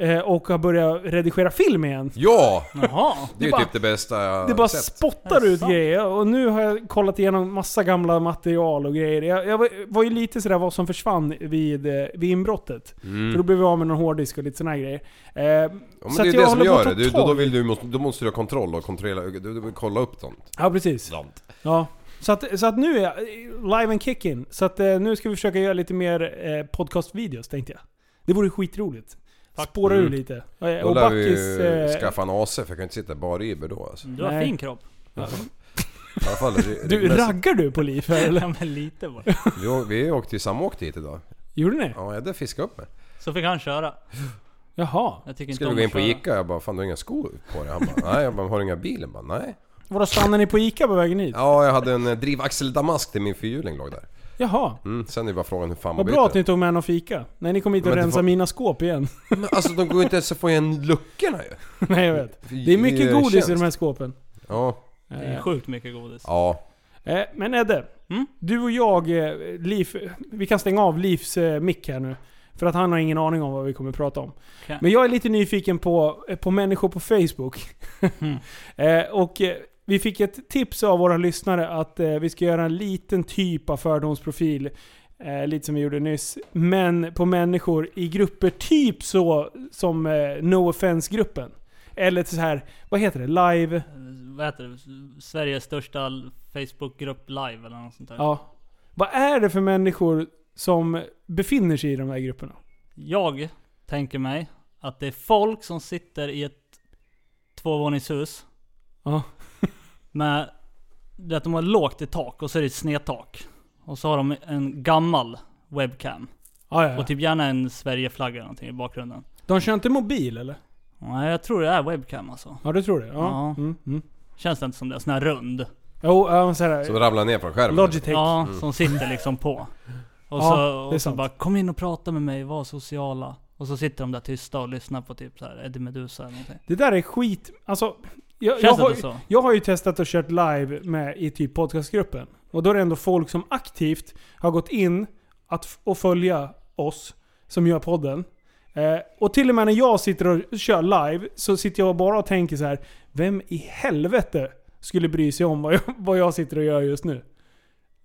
S4: Eh, och har börjat redigera film igen.
S5: Ja!
S6: Jaha.
S5: Det är ju
S4: bara-
S5: typ det bästa jag
S4: Det bara
S5: har sett.
S6: Är
S4: spottar
S6: det
S4: ut
S6: sant?
S4: grejer. Och nu har jag kollat igenom massa gamla material och grejer. Jag, jag var, var ju lite sådär vad som försvann vid, eh, vid inbrottet. För då blev vi av med någon hårddisk och lite sådana grejer. Eh,
S5: Mm. Ja, men
S4: Så
S5: det är
S4: att jag
S5: ju det som
S4: håller på
S5: gör
S4: att ta
S5: det. Du, då, då,
S4: tag
S5: vill du, måste- då måste du ha kontroll och kontrollera, du, du, du, kolla upp sånt.
S4: ja, precis.
S5: sånt.
S4: Ja. Så, att, så att nu är jag live and kicking. Så att eh, nu ska vi försöka göra lite mer eh, podcastvideos tänkte jag. Det vore skitroligt. Spåra ur
S5: Mm.
S4: lite. Eh,
S5: Då
S4: Och
S5: lär vi
S4: Backis...
S5: ju
S4: Eh,
S5: skaffa en AC för jag kan inte sitta bara i Uber då alltså.
S6: Du har
S4: Nej.
S6: fin kropp.
S5: I alla fall, det- det-
S4: du,
S5: det-
S4: raggar du på liv här eller?
S6: Ja men lite bara.
S5: vi, vi åkte ju samåkt hit idag.
S4: Gjorde ni?
S5: Ja, jag hade fiskat upp mig.
S6: Så fick han köra.
S4: Jaha.
S6: Jag tycker inte
S5: Skulle
S6: om
S5: vi gå
S6: att
S5: in på
S6: köra.
S5: Ica jag bara 'Fan du har inga skor på dig' Han bara 'Nej' jag bara 'Har du inga bilen?' Jag bara 'Nej'
S4: Vadå, stannade ni på Ica på vägen hit?
S5: Ja, jag hade en eh, drivaxeldamask till min fyrhjuling låg där.
S4: Jaha.
S5: Mm, sen är det bara frågan hur fan man
S4: Vad
S5: byter.
S4: bra att ni tog med någon fika. Nej, ni kom hit och
S5: Men det
S4: rensade
S5: var-
S4: mina skåp igen.
S5: Men alltså de går ju inte ens att få igen luckorna ju.
S4: Nej, jag vet. Det är mycket godis i de här skåpen.
S5: Ja,
S6: Det är sjukt mycket godis.
S5: ja.
S4: Eh, men Edde,
S6: Mm.
S4: Du och jag, eh, Liv, vi kan stänga av Livs eh, mick här nu. För att han har ingen aning om vad vi kommer prata om.
S6: Okej.
S4: Men jag är lite nyfiken på, eh, på människor på Facebook.
S6: Mm.
S4: eh, och eh, vi fick ett tips av våra lyssnare att eh, vi ska göra en liten typ av fördomsprofil. Eh, lite som vi gjorde nyss. Men på människor i grupper, typ så som eh, No Offense-gruppen. Eller så här, vad heter det? Live?
S6: Eh, Vad heter det? Sveriges största l- Facebookgrupp live eller något sånt där.
S4: Ja. Vad är det för människor som befinner sig i de här grupperna?
S6: Jag tänker mig att det är folk som sitter i ett tvåvåningshus
S4: Ja.
S6: med... Du vet, de har lågt i tak och så är det ett snedtak. Och så har de en gammal webcam.
S4: Ah, ja, ja.
S6: Och typ gärna en Sverigeflagga eller någonting i bakgrunden.
S4: De kör inte mobil eller?
S6: Nej, jag tror det är webcam alltså.
S4: Ja, du tror det? Ja.
S6: Ja.
S4: Mm, mm.
S6: Känns det inte som det? Sån här rund.
S4: Jo, ja, så här,
S5: Som ramlar ner från skärmen.
S4: Logitech.
S6: Ja, som sitter liksom på. Och
S4: Mm. Ja,
S6: så,
S4: det är
S6: och så
S4: sant.
S6: bara 'Kom in och prata med mig, var sociala' Och så sitter de där tysta och lyssnar på typ så här Eddie Meduza eller någonting.
S4: Det där är skit. Alltså, jag, jag,
S6: Känns
S4: har,
S6: det så?
S4: jag har ju testat och kört live med, i typ podcastgruppen. Och då är det ändå folk som aktivt har gått in att f- och följa oss som gör podden. Eh, och till och med när jag sitter och kör live så sitter jag bara och tänker så här. Vem i helvete skulle bry sig om vad jag, vad jag sitter och gör just nu?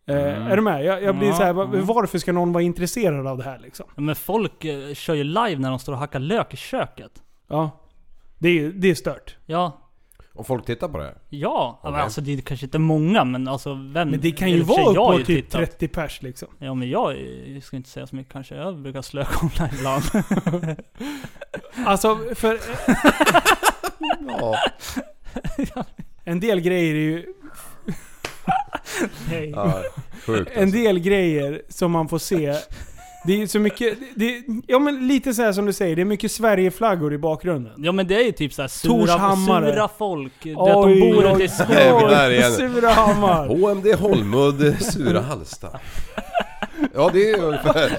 S4: Eh,
S6: Mm.
S4: Är du med? Jag, jag blir
S6: Ja,
S4: så här, va-
S6: ja.
S4: varför ska någon vara intresserad av det här liksom?
S6: Ja, Men folk eh, kör ju live när de står och hackar lök i köket.
S4: Ja. Det är, det är stört.
S6: Ja,
S5: Och folk tittar på det här.
S6: ja. ja men
S5: Okej.
S6: alltså det är kanske inte många men alltså
S5: Mm.
S6: vem...
S4: Men det kan
S6: i
S4: ju
S6: och för sig,
S4: vara upp
S6: jag har
S4: på
S6: ju
S4: typ
S6: tittat.
S4: 30 pers liksom.
S6: Ja men jag, eh, ska inte säga så mycket kanske. Jag brukar slöka online ibland.
S4: Alltså, för
S5: Ja.
S4: en del grejer är ju...
S6: Nej.
S5: Sjukt alltså.
S4: En del grejer som man får se. Det är ju så mycket... Det, ja men lite så här som du säger, det är mycket Sverigeflaggor i bakgrunden.
S6: Ja men det är ju typ såhär sura,
S4: Torshammare.
S6: sura folk. Du vet, de bor ute i skogen.
S5: där igen.
S4: Sura hammar.
S5: HMD Holmud, Sura Hallsta. Ja det är ju ungefär...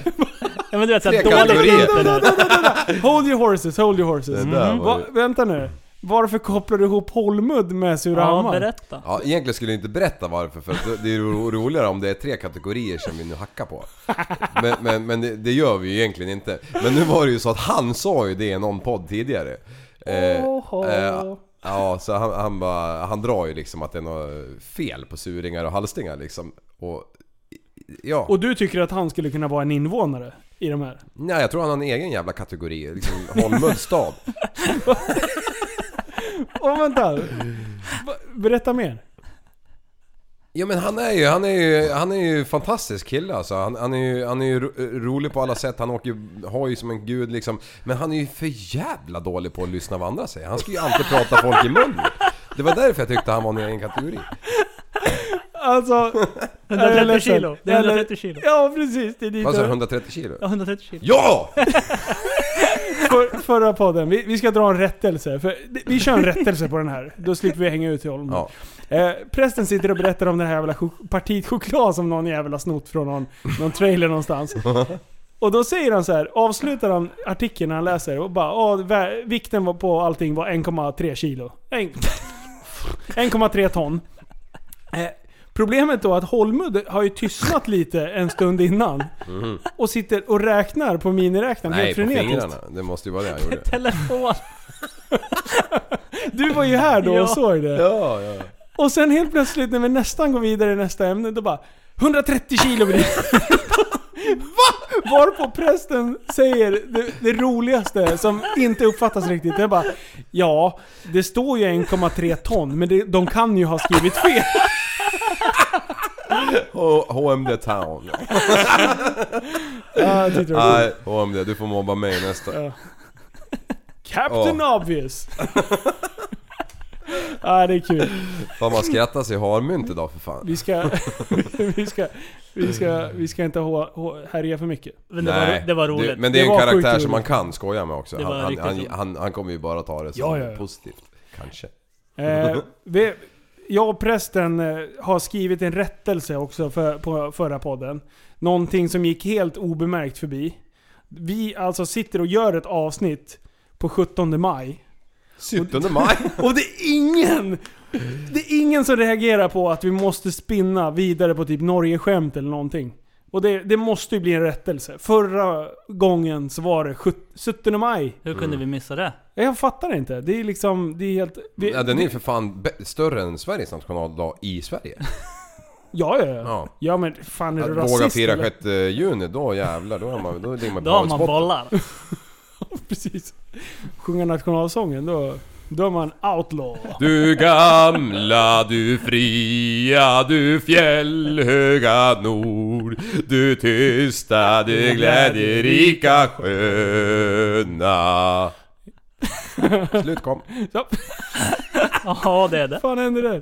S6: Ja men du vet såhär
S5: Tre kategorier.
S6: dåligt internet.
S4: Hold your horses, hold your horses. Mm.
S5: Det där var
S4: Va,
S5: ju-
S4: vänta nu. Varför kopplar du ihop Holmud med
S6: Ja,
S4: Surahammar?
S6: berätta.
S5: Ja, egentligen skulle jag inte berätta varför för att det är ro- roligare om det är tre kategorier som vi nu hackar på. Men, men, men det, det gör vi ju egentligen inte. Men nu var det ju så att han sa ju det i någon podd tidigare. Eh,
S4: Oho.
S5: eh, ja, så han, han, bara, han drar ju liksom att det är något fel på suringar och halstingar liksom. Och, ja.
S4: Och du tycker att han skulle kunna vara en invånare i de här?
S5: Nej, jag tror han har en egen jävla kategori. Liksom Holmud stad.
S4: Åh vänta. Va- Berätta mer.
S5: Ja men han är ju, han är ju, han är ju fantastisk kille alltså. Han, han är ju, han är ju ro- rolig på alla sätt, han åker ju hoj som en gud liksom. Men han är ju för jävla dålig på att lyssna vad andra säger. Han ska ju alltid prata folk i mun. Det var därför jag tyckte han var en egen kategori.
S4: Alltså... jag är
S6: 130
S4: ledsen.
S6: kilo. Det är
S4: Jag är
S6: 130 kilo.
S4: Ja precis, det är dit
S5: Vad sa du,
S4: jag-
S5: 130 kilo?
S6: Ja, 130 kilo.
S5: Ja!
S4: För, förra podden, vi, vi ska dra en rättelse. För, vi kör en rättelse på den här, då slipper vi hänga ut i Holmen.
S5: Ja.
S4: Eh, prästen sitter och berättar om den här jävla chok- partiet choklad som någon jävel har snott från någon, någon trailer någonstans. Och då säger han så här, avslutar han artikeln han läser och bara "Ja, vä- vikten var på allting var 1,3 kilo. En- 1,3 ton. Eh, problemet då är att Holmud har ju tystnat lite en stund innan. Och sitter och räknar på miniräknaren
S5: Mm. Nej,
S4: helt
S5: på
S4: frenetiskt.
S5: fingrarna. Det måste ju vara det han gjorde.
S6: Telefon.
S4: Du var ju här då
S6: Ja.
S4: och såg det.
S5: Ja, ja.
S4: Och sen helt plötsligt när vi nästan går vidare i nästa ämne, då bara 130 kilo blir det. Va? Varpå prästen säger det, det roligaste som inte uppfattas riktigt. Jag bara Ja, det står ju 1,3 ton, men det, de kan ju ha skrivit fel.
S5: H- HMD Town.
S4: Ja, jag tyckte det var roligt.
S5: Nej, HMD, du får mobba mig nästa.
S4: Captain Obvious. Ja, det är kul.
S5: Fan man skrattar sig i harmynt idag för fan.
S4: Vi ska, vi ska, vi ska, vi ska inte ha- ha- härja för mycket.
S6: Men det var, det var roligt.
S5: Det, men det är
S4: Det
S5: en
S4: var sjukt
S5: karaktär
S4: roligt.
S5: som man kan skoja med också.
S6: Det var
S5: Han, han,
S6: riktigt
S5: han,
S6: roligt.
S5: han, han kommer ju bara ta det som
S4: Ja, ja, ja.
S5: positivt. Kanske.
S4: Eh, vi, jag och prästen eh, har skrivit en rättelse också för, på förra podden. Någonting som gick helt obemärkt förbi. Vi alltså sitter och gör ett avsnitt på 17 maj.
S5: 17 maj.
S4: Och det är ingen! Det är ingen som reagerar på att vi måste spinna vidare på typ Norge-skämt eller någonting. Och det, det måste ju bli en rättelse. Förra gången så var det 17 maj.
S6: Hur
S5: Mm.
S6: kunde vi missa det?
S4: Jag fattar inte. Det är liksom, det är helt... Vi,
S5: Ja, den är ju för fan bä- större än Sveriges nationaldag i Sverige.
S4: ja, ja, ja.
S5: Ja.
S4: Ja men fan är
S5: Att
S4: du
S5: våga
S4: rasist
S5: fira
S4: eller?
S5: 6 juni, då jävlar. Då är man, då ligger man på
S6: Då har man
S5: havsbotten.
S6: bollar.
S4: Precis. Sjunga nationalsången, då, då är man outlaw.
S5: Du gamla, du fria, du fjällhöga nord Du tysta, du glädjerika sköna Slut kom.
S4: Så,
S6: Ja, det är det.
S4: fan hände där?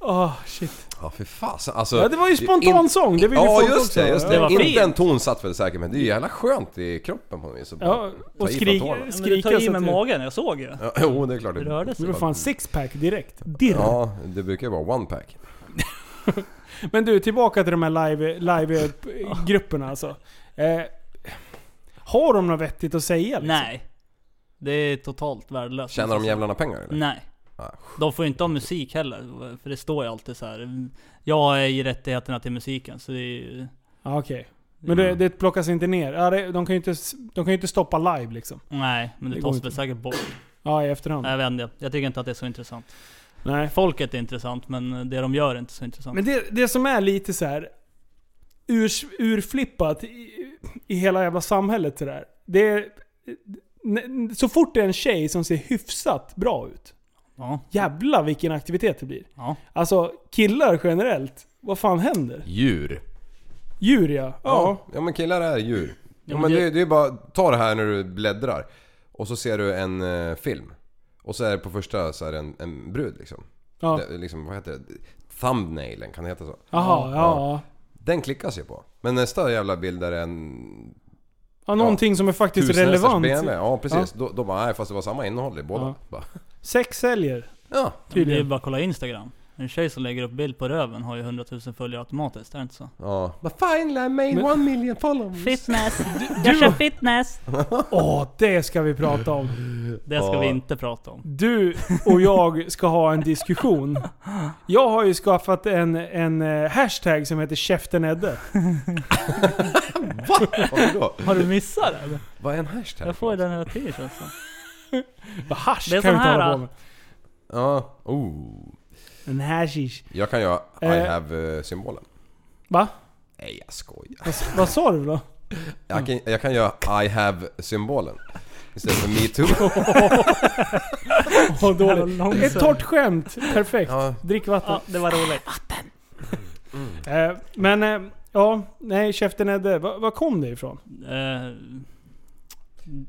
S4: Åh, shit.
S5: Ja för fasen alltså...
S4: Ja, det var ju spontansång. Det vill ju
S5: Ja
S4: folk
S5: just
S4: också.
S5: det, just det.
S6: Det var
S5: Inte
S6: fint.
S5: en ton satt väl säkert men det är ju jävla skönt i kroppen på något vis. att bara
S4: Ja,
S5: ta
S4: och
S5: i från
S4: skrik,
S5: tårna.
S6: Men du
S4: skrika
S6: tar
S4: så
S6: i
S4: typ.
S6: med
S4: att det-
S6: magen, jag såg ju.
S5: Ja, liksom. jo det är klart.
S6: Det rörde sig.
S4: Det var fan sixpack direkt. Dirr.
S5: Ja, det brukar ju vara one pack.
S4: Men du, tillbaka till de här live- live-grupperna alltså. Eh, har de något vettigt att säga liksom?
S6: Nej. Det är totalt värdelöst.
S5: Tjänar de jävlarna pengar eller?
S6: Nej.
S5: Ah.
S6: De får ju inte ha musik heller, för det står ju alltid så här. Jag är i rättigheterna till musiken, så det är ju...
S4: Ja, Ah, Okej. Men
S5: Mm.
S4: det, det plockas inte ner? Ja, det, de, kan ju inte, s- de kan ju inte stoppa live liksom.
S6: Nej, men
S4: Det
S6: det
S4: går
S6: tas
S4: inte. Mm.
S6: väl säkert bort.
S4: Ja, i efterhand.
S6: Jag vet inte, jag tycker inte att det är så intressant.
S4: Nej.
S6: Folket är intressant, men det de gör är inte så intressant.
S4: Men det, det som är lite så här urs, urflippat i, i hela jävla samhället så där. Det är, n- så fort det är en tjej som ser hyfsat bra ut.
S6: Ja.
S4: Jävla vilken aktivitet det blir.
S6: ja.
S4: Alltså killar generellt. Vad fan händer?
S5: Djur.
S4: Djur ja.
S5: Ja.
S4: Ja.
S5: ja, men killar är djur. Ja,
S6: men
S5: men
S6: det-
S5: det, det är bara, ta det här när du bläddrar. Och så ser du en eh, film. Och så är det på första så är det en, en brud liksom.
S4: Ja.
S5: Det, liksom. Vad heter det? Thumbnailen, kan det heta så?
S4: Jaha, ja. ja.
S5: Den klickas ju på. Men nästa jävla bild är en
S4: någonting som är faktiskt
S5: tusenhästars
S4: relevant.
S5: BMW. Ja precis. Då, då bara, nej fast det var samma innehåll i båda.
S4: Ja.
S5: Ja.
S4: Sex säljer.
S5: ja.
S6: Det är ju
S4: Tydligen.
S6: bara att kolla Instagram. En tjej som lägger upp bild på röven har ju 100 000 följare automatiskt, är det inte så?
S5: ja. But finally I made
S4: Men-
S5: one million followers.
S7: Fitness. Jag kör fitness.
S4: Åh, det ska vi prata om.
S6: Det ska
S5: Ja.
S6: vi inte prata om.
S4: Du och jag ska ha en diskussion. Jag har ju skaffat en, en eh, hashtag som heter Käften Edde.
S5: Vadå?
S6: Har du missat det?
S5: Vad är en hashtag?
S6: Jag får ju den hela tiden känns det som.
S4: Vad hasch
S6: Det är
S4: kan vi inte
S6: sån här,
S4: hålla på
S6: då.
S4: med.
S5: Ja. Oh.
S4: eh, En hashish.
S5: Jag kan göra I
S4: Eh.
S5: have symbolen.
S4: Va?
S5: Nej jag skojar.
S4: Vad, vad sa du då?
S5: Jag kan, jag kan göra I have symbolen. Istället för me too.
S4: Vad dåligt.
S6: Jävla långsam.
S4: Ett torrt skämt. Perfekt.
S5: Ja.
S4: Drick vatten.
S6: Ja, det var roligt.
S4: Eh, men, eh, ja. Nej, Käften Edde. Va- Var kom det ifrån?
S6: Eh,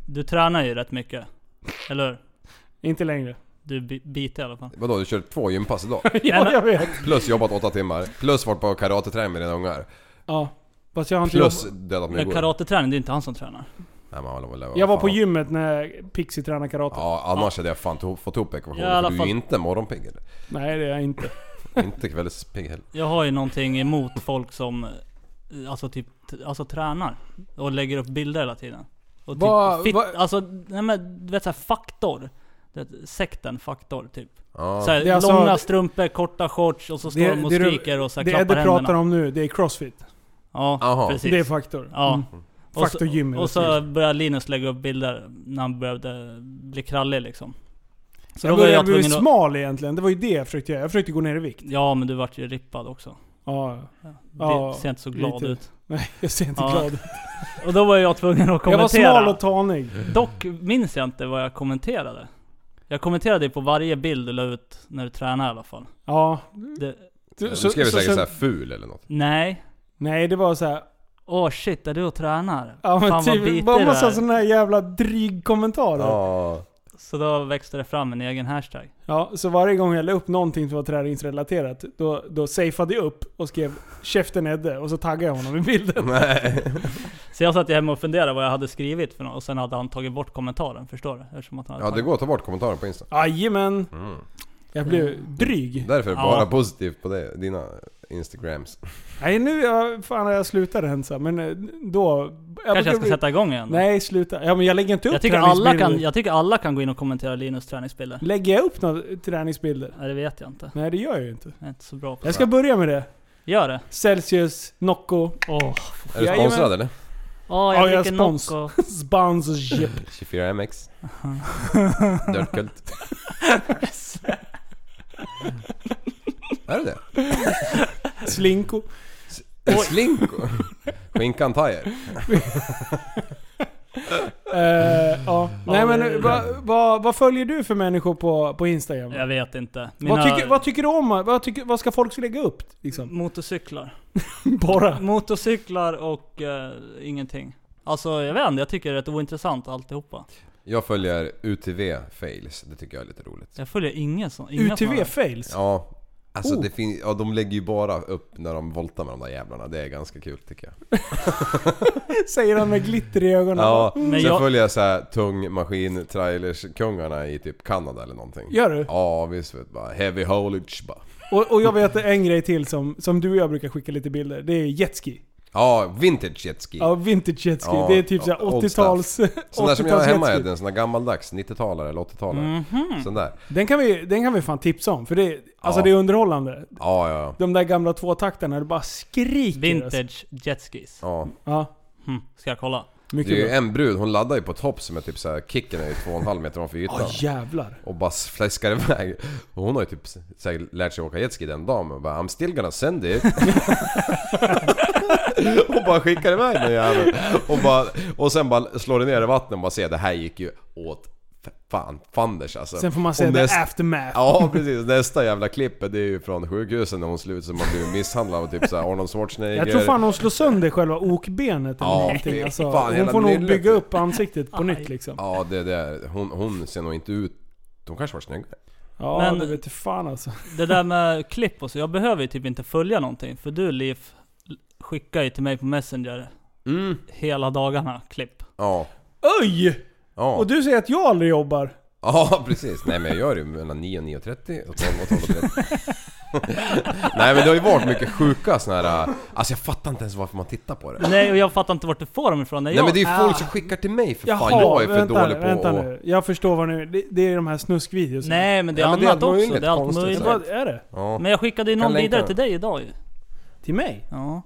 S6: du tränar ju rätt mycket. Eller hur?
S4: Inte längre.
S6: Du är bi- bitig i alla fall.
S5: Vadå du körde två gympass idag?
S4: Ja, jag vet.
S5: Plus jobbat åtta timmar. Plus varit på karateträning med dina ungar.
S4: Ja. Fast jag har inte
S5: Plus dödat min
S6: Men
S5: bror.
S6: karateträning, det är inte han som tränar.
S5: Nej, men hallå, hallå,
S4: Jag var på
S5: fan.
S4: gymmet när Pixie tränade karate.
S5: Ja annars hade jag fan to- fått ihop ekvationen.
S6: Ja, i alla
S5: för du är
S6: fall.
S5: ju inte morgonpigg eller?
S4: Nej det är jag inte.
S5: Inte kvällspigg heller.
S6: Jag har ju någonting emot folk som eh, alltså typ t- alltså tränar och lägger upp bilder hela tiden. Och typ
S5: Va-
S6: fit,
S5: va-
S6: alltså nej men du vet såhär faktor. Du vet, Sekten faktor typ.
S5: Ja.
S6: Såhär,
S4: Det är alltså-
S6: långa strumpor, korta shorts och så står de och
S4: du-
S6: skriker och såhär
S4: det
S6: klappar
S4: Edde pratar
S6: händerna.
S4: om nu, det är crossfit.
S6: Ja,
S5: Aha.
S6: precis.
S4: Det är faktor.
S6: Ja.
S4: Mm.
S6: Och
S4: Faktor gym är
S6: så, och
S4: det.
S6: så började Linus lägga upp bilder när han började bli krallig liksom. Så
S4: jag
S6: då var
S4: började
S6: jag
S4: bli
S6: tvungen att...
S4: smal egentligen, det var ju det jag försökte göra. Jag försökte gå ner i vikt.
S6: Ja men du vart ju rippad också.
S4: Ja,
S6: Det
S4: Ja,
S6: ser inte så glad
S4: lite.
S6: ut.
S4: nej jag ser inte
S6: Ja,
S4: glad ut.
S6: Och då var jag tvungen att
S4: Jag var
S6: kommentera.
S4: smal och tanig.
S6: Dock minns jag inte vad jag kommenterade. Jag kommenterade ju på varje bild du la ut när du tränade i alla fall.
S4: Ja.
S6: Det,
S5: Du skrev säkert
S4: sen-
S5: såhär ful eller något.
S6: nej.
S4: Nej det var såhär,
S6: Åh shit, är du och tränar?
S4: ja men
S6: Fan vad
S4: typ,
S6: bitig
S4: bara
S6: du
S4: massa
S6: är.
S4: sådana här jävla drygkommentarer. Ja.
S5: Ja.
S6: Så då växte det fram en egen hashtag.
S4: ja, så varje gång jag la upp någonting som var träningsrelaterat, då, då safeade jag upp och skrev 'Käften Edde' och så taggade jag honom i bilden.
S5: Nej.
S6: Så jag satt ju hemma och funderade vad jag hade skrivit för något och sen hade han tagit bort kommentaren, förstår du? Eftersom att han hade
S5: Ja det
S6: tagit-
S5: går att ta bort kommentaren på Insta.
S4: Jajamän.
S5: Mm.
S4: Jag blev dryg.
S5: Därför
S6: Ja.
S5: bara positivt på det, dina Instagrams.
S4: Nej nu, jag, fan jag slutar rensa. Men eh, då... Jag
S6: Kanske jag ska
S4: brukar-
S6: sätta igång igen då.
S4: Nej sluta. Ja men jag lägger inte upp
S6: jag, tycker alla
S4: träningsbilder.
S6: kan, jag tycker alla kan gå in och kommentera Linus träningsbilder.
S4: Lägger jag upp några träningsbilder?
S6: Nej det vet jag inte.
S4: Nej det gör jag ju inte.
S6: Jag är inte så bra på
S4: Jag ska börja med det.
S6: Gör det.
S4: Celsius, Nocco,
S6: Åh,
S5: Är du
S4: Jajamän.
S5: sponsrad eller?
S6: Åh,
S4: Ja,
S6: jag
S4: jag är
S6: dricker
S4: spons.
S6: Nocco.
S4: sponsorship.
S5: 24MX. Dirtkult. Är det det?
S4: Slinko.
S5: En slinko? Skinkan Tire?
S4: Eh, ja. Nej men vad vad- vad följer du för människor på, på Instagram?
S6: Jag vet inte. Mina
S4: Vad tycker, vad tycker du om? Vad, tycker, vad ska folk lägga upp? Liksom?
S6: motorcyklar.
S4: Bara.
S6: Motorcyklar och eh, ingenting. Alltså jag vet inte, jag tycker det är rätt ointressant alltihopa.
S5: Jag följer UTV fails, det tycker jag är lite roligt.
S6: Jag följer ingen sån. Inga
S4: UTV
S6: såna-
S4: fails?
S5: Ja, alltså
S4: Oh.
S5: det fin- ja, de lägger ju bara upp när de voltar med de där jävlarna. Det är ganska kul tycker jag.
S4: Säger han med glitter i ögonen.
S5: Ja,
S6: Men
S5: sen
S6: jag-
S5: följer jag så här tung maskin trailers kungarna i typ Kanada eller någonting.
S4: Gör du?
S5: Ja visst vet du, bara heavy haulage bara.
S4: Och, och jag vet en grej till som, som du och jag brukar skicka lite bilder. Det är jetski.
S5: Ja, vintage jetski.
S4: Ja, vintage jetski.
S5: Ja,
S4: det är typ
S5: ja,
S4: såhär
S5: old
S4: 80-tals...
S5: Sån där som jag har
S4: 80-tals
S5: hemma
S4: jetski.
S5: är en sån där gammaldags 90-talare eller 80-talare.
S4: Mhm.
S5: Sån där.
S4: Den kan, vi, den kan vi fan tipsa om, för det, alltså
S5: Ja.
S4: det är underhållande.
S5: Ja, ja,
S4: De där gamla tvåtakterna, det bara skriker. alltså.
S6: Vintage jetskis.
S5: ja.
S4: Ja,
S6: Hm, ska jag kolla?
S5: Det är ju
S4: mycket bra.
S5: en brud, hon laddar ju på topp som är typ såhär, kicken är ju 2,5 meter ovanför
S4: Åh
S5: ytan.
S4: jävlar.
S5: Och bara fläskar iväg. Och hon har ju typ så här, lärt sig åka jetski den dagen och bara I'm still gonna send it. och bara skickar iväg den jäveln. Och, bara, och sen bara slår det ner i vattnet och bara ser det här gick ju åt f- fan fanders alltså.
S4: Sen får man se
S5: Och
S4: the
S5: näst-
S4: aftermath.
S5: Ja precis, nästa jävla klippet det är ju från sjukhuset när hon slutar som har blivit misshandlad av typ såhär Arnold Schwarzenegger.
S4: Jag tror fan hon slår sönder själva okbenet eller
S5: Ja,
S4: någonting.
S5: fy
S4: Alltså,
S5: fan,
S4: hon
S5: hela
S4: får nog
S5: nyllet.
S4: bygga upp ansiktet på nytt liksom.
S5: Ja det där, hon, hon ser nog inte ut... Hon kanske var snyggare.
S4: Ja,
S6: Men-
S4: det vet du fan alltså.
S6: Det där med klipp och så, jag behöver ju typ inte följa någonting. För du Liv, skickar ju till mig på Messenger
S5: Mm.
S6: hela dagarna klipp.
S5: Ja.
S4: Oj!
S5: Ja.
S4: Och du säger att jag aldrig jobbar.
S5: Ja precis, nej men jag gör det ju mellan 9 och 9.30 och 12 och 12.30 Nej men det har ju varit mycket sjuka såna här... Alltså jag fattar inte ens varför man tittar på det
S6: Nej och jag fattar inte vart du får dem ifrån. När
S5: Nej
S6: jag,
S5: men det är ju folk som skickar till mig för fan,
S4: Jaha,
S5: jag är för
S4: vänta,
S5: dålig på
S4: vänta
S5: att...
S4: nu. Jag förstår vad nu. Det, det är de här snuskvideos.
S6: Nej, men det är
S5: Nej, men det är allt
S6: annat också.
S5: möjligt
S6: det är allt
S5: konstigt,
S6: möjligt.
S5: så här.
S4: Vad är det?
S5: Ja.
S6: Men jag skickade ju
S5: Kan
S6: någon
S5: länka
S6: vidare
S5: den.
S6: till dig idag ju.
S4: Till mig?
S6: Ja.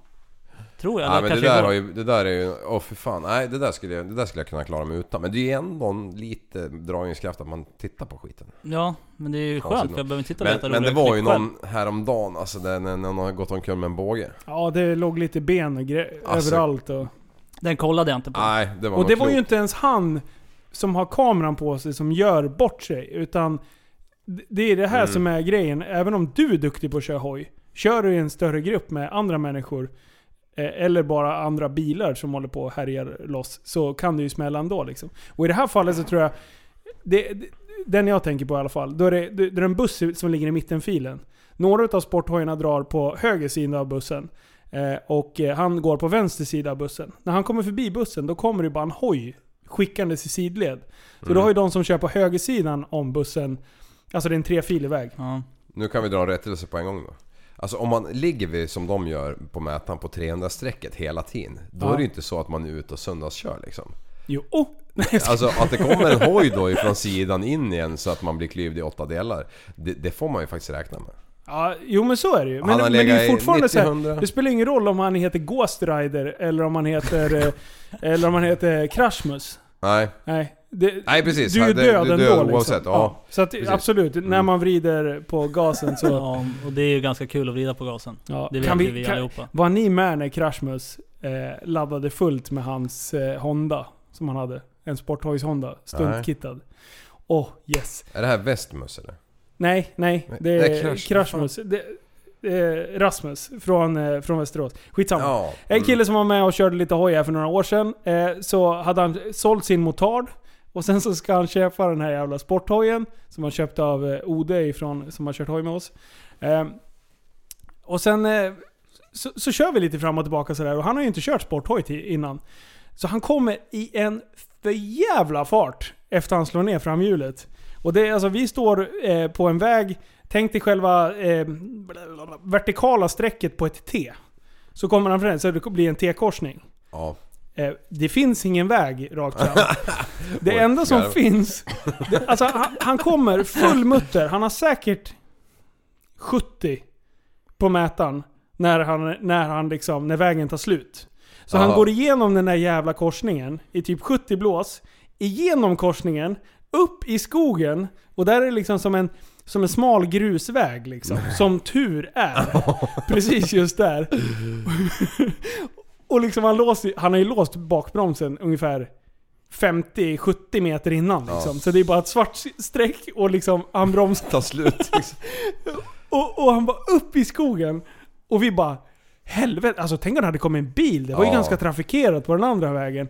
S6: Tror jag.
S5: Nej
S6: eller
S5: men det
S6: kanske
S5: där,
S6: igår.
S5: har ju, det där är ju, åh för fan, nej det där, skulle jag, det där skulle jag kunna klara mig utan. Men det är ju ändå en lite dragningskraft att man tittar på skiten.
S6: Ja, men det är ju skönt
S5: Konstigt
S6: för jag behöver inte titta och
S5: Men,
S6: leta
S5: men det
S6: roliga
S5: var ju
S6: klipp själv.
S5: någon häromdagen, alltså där när någon har gått omkull med en båge.
S4: Ja, det låg lite ben och gre-
S5: Alltså.
S4: överallt. Och,
S6: Den kollade jag inte på.
S5: Nej, det var
S4: och
S5: något
S4: det var ju
S5: klokt.
S4: inte ens han som har kameran på sig som gör bort sig. Utan d- det är det här
S5: Mm.
S4: som är grejen. Även om du är duktig på att köra hoj. Kör du i en större grupp med andra människor. eh, Eller bara andra bilar som håller på och härjar loss. Så kan det ju smälla ändå liksom. Och i det här fallet så tror jag... Det, det- den jag tänker på i alla fall. Då är det, det det är en buss som ligger i mittenfilen. Några av sporthojarna drar på höger sida av bussen. Eh, och eh, han går på vänster sida av bussen. När han kommer förbi bussen då kommer det bara en hoj skickandes i sidled. Så
S5: Mm.
S4: då har ju de som kör på högersidan om bussen, alltså det är en trefilig väg.
S6: Ja.
S5: Nu kan vi dra en rättelse på en gång då. Alltså om man ligger vid, som de gör på mätaren på 300-strecket hela tiden. Då
S4: Ja.
S5: är det ju inte så att man är ute och söndagskör liksom.
S4: Jo, oh. Nej, jag ska-
S5: Alltså att det kommer en hoj då ifrån sidan in igen så att man blir klyvd i åtta delar. Det, det får man ju faktiskt räkna med.
S4: ja, jo men så är det ju. Men,
S5: Han har
S4: men det är ju
S5: legat i
S4: fortfarande så här,
S5: 90-100.
S4: det spelar ingen roll om han heter Ghost Rider eller om han heter, eh, eller om han heter Crashmus.
S5: Nej,
S4: Nej. Det,
S5: nej precis.
S4: Du är ju
S5: Det-
S4: död
S5: du är
S4: ändå liksom.
S5: oavsett. Ja.
S4: Så att,
S5: precis. Mm.
S4: absolut, när man vrider på gasen så...
S6: ja, och det är ju ganska kul att vrida på gasen.
S4: Ja,
S6: Det vet
S4: kan
S6: vi,
S4: vi,
S6: ju vi
S4: kan,
S6: allihopa.
S4: var ni med när Crashmus eh, laddade fullt med hans eh, Honda som han hade? En Sporthojs Honda, stuntkittad. Åh, yes.
S5: Är det här Westmus eller?
S4: Nej, nej.
S5: Nej,
S4: Det är,
S5: det är Crash-
S4: Crashmus. Det, eh, Rasmus från, eh, från Västerås. Skitsamma.
S5: Ja.
S4: En kille som var med och körde lite hoj här för några år sedan. Eh, så hade han sålt sin motard. Och sen så ska han köpa den här jävla sporthojen. Som han köpte av eh, Ode ifrån, som har kört hoj med oss. Eh, och sen eh, så, så kör vi lite fram och tillbaka sådär. Och han har ju inte kört sporthoj till, innan. Så han kommer i en för jävla fart efter han slår ner framhjulet. Och det, är alltså, vi står eh, på en väg, tänk dig själva eh, vertikala strecket på ett T. Så kommer han fram, så det blir en T-korsning.
S5: Mm. Ja.
S4: Eh, det finns ingen väg rakt fram. Det enda som
S5: garv.
S4: finns... Det, alltså, han, han kommer full mutter. Han har säkert 70 på mätaren när, han, när, han liksom, när vägen tar slut. Så han
S5: Aha.
S4: går igenom den där jävla korsningen i typ 70 blås. Igenom korsningen, upp i skogen. Och där är det liksom som en, som en smal grusväg liksom. Som tur är. Precis just där. Och liksom han, låser, han har ju låst bakbromsen ungefär 50-70 meter innan. Liksom. Så det är bara ett svart streck och liksom han bromsar.
S5: Ta slut. liksom.
S4: Och, och han var upp i skogen. Och vi bara helvete. Alltså tänk om det hade kommit en bil. Det var ju
S5: Ja.
S4: ganska trafikerat på den andra vägen.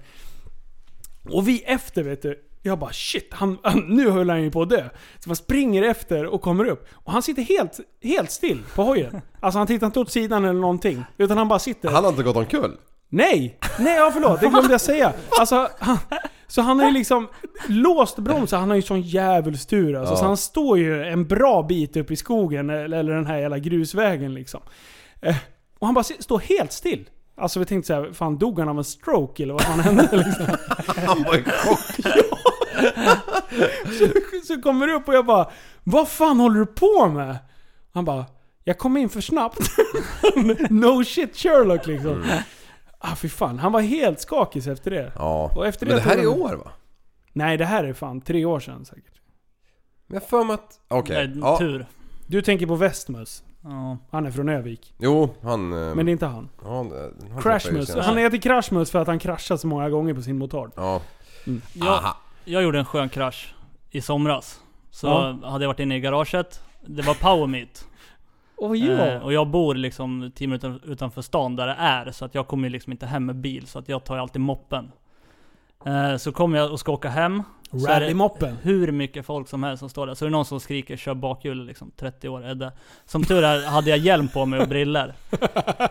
S4: Och vi efter vet du. Jag bara shit, han, han, nu höll han ju på att dö. Så man springer efter och kommer upp. Och han sitter helt, helt still på hojen. Alltså han tittar inte åt sidan eller någonting. Utan han bara sitter.
S5: Han har inte gått omkull.
S4: Nej! Nej, ja förlåt. Det glömde jag säga. Alltså, han, så han har ju liksom låst bromsen. Han har ju sån djävulstur alltså.
S5: Ja.
S4: Så han står ju en bra bit upp i skogen, eller, eller den här jävla grusvägen liksom. Eh, och han bara si- står helt still. Alltså vi tänkte såhär, fan dog han av en stroke eller vad fan hände liksom?
S5: Han var i chock.
S4: Så kommer det upp och jag bara, vad fan håller du på med? Han bara, jag kom in för snabbt. no shit Sherlock liksom. Ah fy fan, han var helt skakig efter det.
S5: Mm. Ja.
S4: Och efter det
S5: Men det här
S4: tog
S5: är
S4: han-
S5: i år va?
S4: Nej, det här är fan tre år sedan säkert.
S5: Men jag har för mig att... Okej.
S6: Nej,
S5: Ja.
S6: Tur.
S4: Du tänker på Westmus.
S6: Ja.
S4: Han är från Övik.
S5: Jo, han... eh,
S4: Men det är inte han.
S5: han, han, han
S4: Crashmus. Han heter Crashmus för att han kraschat så många gånger på sin motard.
S5: Ja.
S4: Mm.
S6: Jag, jag gjorde en skön krasch i somras. Så
S4: Ja.
S6: hade jag varit inne i garaget. Det var power meet.
S4: Åh ja!
S6: Eh, och jag bor liksom 10 minuter utanför stan där det är. Så att jag kommer ju liksom inte hem med bil. Så att jag tar ju alltid moppen. Eh, så kommer jag och ska åka hem. Så är det-
S4: Eh, Rallymoppen.
S6: hur mycket folk som helst som står där. Så är det någon som skriker 'Kör bakhjulet' liksom, 30 år Edde. Som tur är hade jag hjälm på mig och briller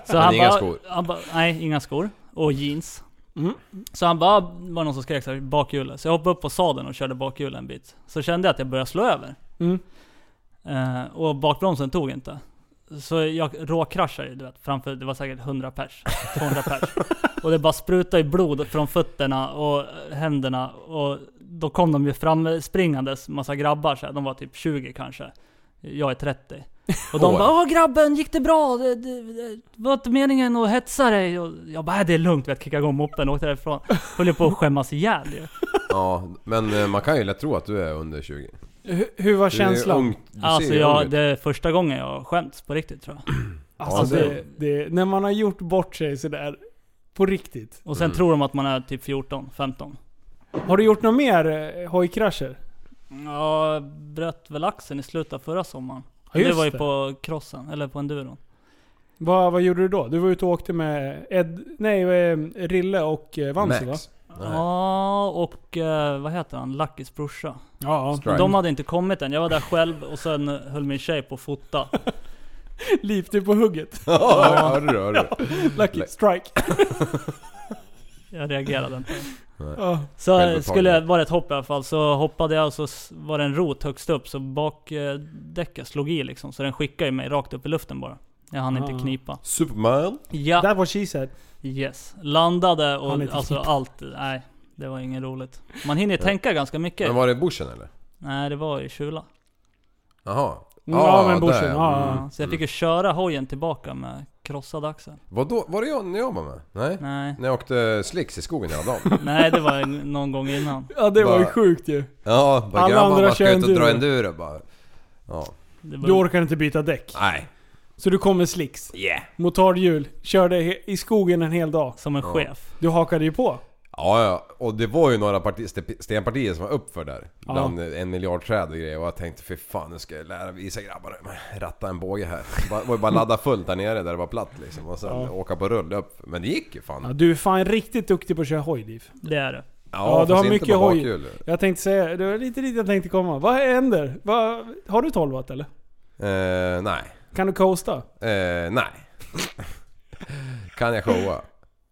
S6: Så
S5: Men
S6: han
S5: inga
S6: bara-
S5: skor.
S6: Han bara, nej inga skor. Och jeans.
S4: Mm.
S6: Så han bara, var någon som skrek så här, bakhjulet. Så jag hoppade upp på sadeln och körde bakhjulet en bit. Så kände jag att jag började slå över.
S4: Mm.
S6: Eh, och bakbromsen tog inte. Så jag råkraschade ju, du vet, framför, det var säkert 100 pers, 200 pers. Och det bara sprutade i blod från fötterna och händerna. Och då kom de ju fram springandes, massa grabbar så här. De var typ 20 kanske. Jag är 30. Och de
S5: Oj.
S6: bara Åh grabben, gick det bra? Det, det, det var inte meningen att hetsa dig? Och jag bara "Äh, det är lugnt, vet, kickade igång moppen och åkte därifrån. Höll ju på att skämmas ihjäl ju.
S5: Ja, men eh, man kan ju lätt tro att du är under 20.
S4: Hur, hur var
S5: Du är
S4: känslan?
S5: ung- du ser
S6: Alltså
S5: ju ung
S6: jag,
S5: ut.
S6: det är första gången jag har skämts på riktigt tror jag.
S4: Alltså,
S5: Ja, det-
S4: det, det, när man har gjort bort sig sådär. På riktigt.
S6: Och sen tror de att man är typ 14, 15.
S4: Har du gjort några mer eh, hojkrascher?
S6: Ja, bröt väl axeln i slutet av förra sommaren.
S4: Ja, just
S6: det var ju
S4: det.
S6: på crossen, eller på enduron.
S4: Vad, vad gjorde du då? Du var ute och åkte med Ed, nej, eh, Rille och eh, Vansi va?
S5: Max. Nej.
S6: Ja, och eh, vad heter han? Luckys brorsa.
S4: Ja.
S5: Strike.
S6: De hade inte kommit än. Jag var där själv och sen höll min tjej på att fota.
S4: Liv, du är på hugget.
S5: Ja, hörde du? Hörde du?
S4: Lucky strike.
S6: Jag reagerade inte.
S4: Ja.
S6: Så eh,
S5: Självupptagen.
S6: skulle det vara ett hopp i alla fall, så hoppade jag och så s- var det en rot högst upp, så bakdäcket slog i liksom. Så den skickade ju mig rakt upp i luften bara. Jag hann
S4: Ah.
S6: inte knipa.
S5: Superman.
S6: Ja,
S4: That was she said.
S6: yes. Landade och
S4: Hann inte
S6: alltså
S4: knipa.
S6: allt. Nej, det var inget roligt. Man hinner tänka ganska mycket.
S5: Men var det bushen eller?
S6: Nej, det var i Kjula.
S5: Jaha.
S4: Ja,
S5: Ah,
S4: men
S5: där,
S4: Bushen.
S5: ja.
S4: Ja.
S6: Så jag fick ju köra hojen tillbaka med krossad axel.
S5: Vadå? Var det jag när jag var med? Nej?
S6: Nej,
S5: När jag åkte slicks i skogen hela dagen?
S6: nej det var en- någon gång innan.
S4: ja, det var ju
S5: Bara-
S4: sjukt ju.
S5: Ja, bara
S4: Alla
S5: grabbar
S4: andra
S5: bara ska
S4: kör
S5: ut och dra
S4: enduro."
S5: enduro bara. Ja.
S6: Det
S4: Du
S6: var,
S4: orkar inte byta däck.
S5: Nej.
S4: Så du kom med slicks.
S5: Yeah.
S4: Motardhjul. Körde he- i skogen en hel dag.
S6: som en chef.
S4: Du hakade ju på.
S5: Ja, ja. Och det var ju några parti, ste- stenpartier som var uppför där. Bland en miljard träd och grejer. Och jag tänkte fy fan nu ska jag lära visa grabbarna ratta en båge här. Det var ju bara ladda fullt där nere där det var platt liksom. Och sen
S4: Ja.
S5: åka på rull upp. Men det gick ju
S4: Ja,
S5: fan.
S4: du är fan riktigt duktig på att köra hoj Liv.
S6: Det är det.
S4: Ja, du
S5: fast
S4: har
S5: inte
S4: mycket
S5: på
S4: hoj.
S5: bakhjul.
S4: Jag tänkte säga, det var lite dit jag tänkte komma. Vad händer? Vad, har du 12 watt eller?
S5: Eh, nej.
S4: Kan du coasta?
S5: Eh, nej. kan jag showa?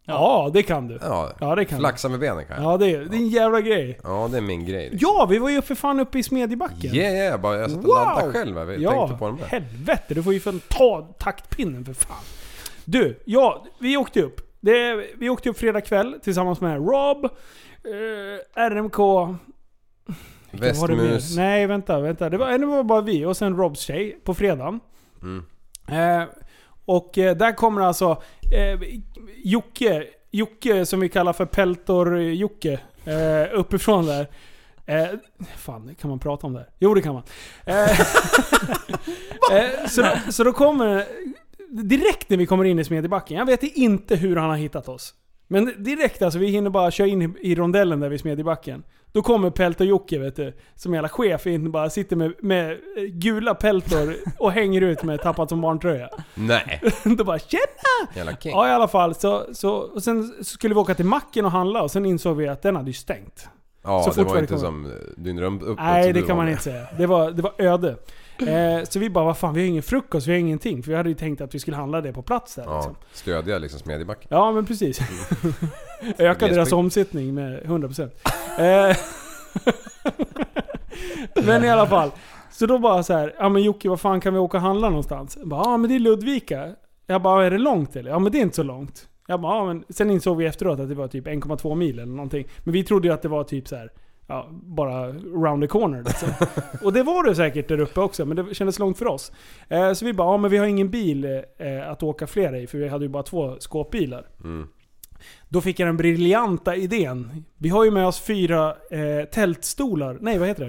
S4: Ja, det kan du.
S5: Ja,
S4: Ja, det kan du.
S5: flaxa med benen kan jag.
S4: Ja, det är, det är en jävla grej.
S5: Ja, det är min grej. liksom.
S4: Ja, vi var ju för fan uppe i Smedjebacken.
S5: Yeah, yeah, bara jag satt och
S4: Wow!
S5: laddade själv. här. Jag tänkte på den där.
S4: helvete. Du får ju fan ta taktpinnen för fan. Du, ja, vi åkte upp. Det, vi åkte upp fredag kväll tillsammans med Rob, eh, RMK... vad var det mer?
S5: Västmus.
S4: Nej, vänta, vänta. Det var, nej, det var bara vi och sen Robs tjej på fredagen.
S5: Mm.
S4: Eh, och eh, där kommer alltså eh, Jocke, Jocke som vi kallar för Peltor-Jocke, eh, uppifrån där. Eh, fan, kan man prata om det här? Jo, det kan man. Eh, eh, så, då- så då kommer... Direkt när vi kommer in i Smedjebacken, jag vet inte hur han har hittat oss. Men direkt alltså, vi hinner bara köra in i- i rondellen där vid Smedjebacken. Då kommer Peltor Jocke vet du, som jävla chef in och bara sitter med, med gula peltor och hänger ut med tappat som barntröja.
S5: Nej,
S4: Då bara tjena!
S5: jävla king.
S4: Ja i alla fall, så, så, och sen skulle vi åka till macken och handla och sen insåg vi att den hade ju stängt.
S5: Ja,
S4: så
S5: det
S4: fort
S5: var
S4: var det
S5: inte
S4: kom-
S5: som din dröm uppåt
S4: Nej,
S5: som
S4: det
S5: du
S4: kan
S5: var
S4: man
S5: med.
S4: inte säga. Det var, det var öde. Eh, så vi bara, vad fan, vi har ingen frukost, vi har ingenting. För vi hade ju tänkt att vi skulle handla det på plats där.
S5: Ja,
S4: Liksom.
S5: stödja liksom Smedjebacken.
S4: Ja, men precis. Öka deras
S5: Glesbygd.
S4: omsättning med 100%. Eh, men i alla fall. Så då bara så här, ja men Jocke, vad fan kan vi åka och handla någonstans? Jag bara, ja men det är Ludvika. Jag bara, är det långt eller? Ja men det är inte så långt. Jag bara, ja, men sen insåg vi efteråt att det var typ 1,2 mil eller någonting. Men vi trodde ju att det var typ så här, ja, bara round the corner liksom. Och det var det säkert där uppe också, men det kändes långt för oss. Eh, så vi bara, ja men vi har ingen bil eh, att åka flera i, för vi hade ju bara två skåpbilar.
S5: Mm.
S4: Då fick jag den briljanta idén. Vi har ju med oss fyra eh, tältstolar. Nej, vad heter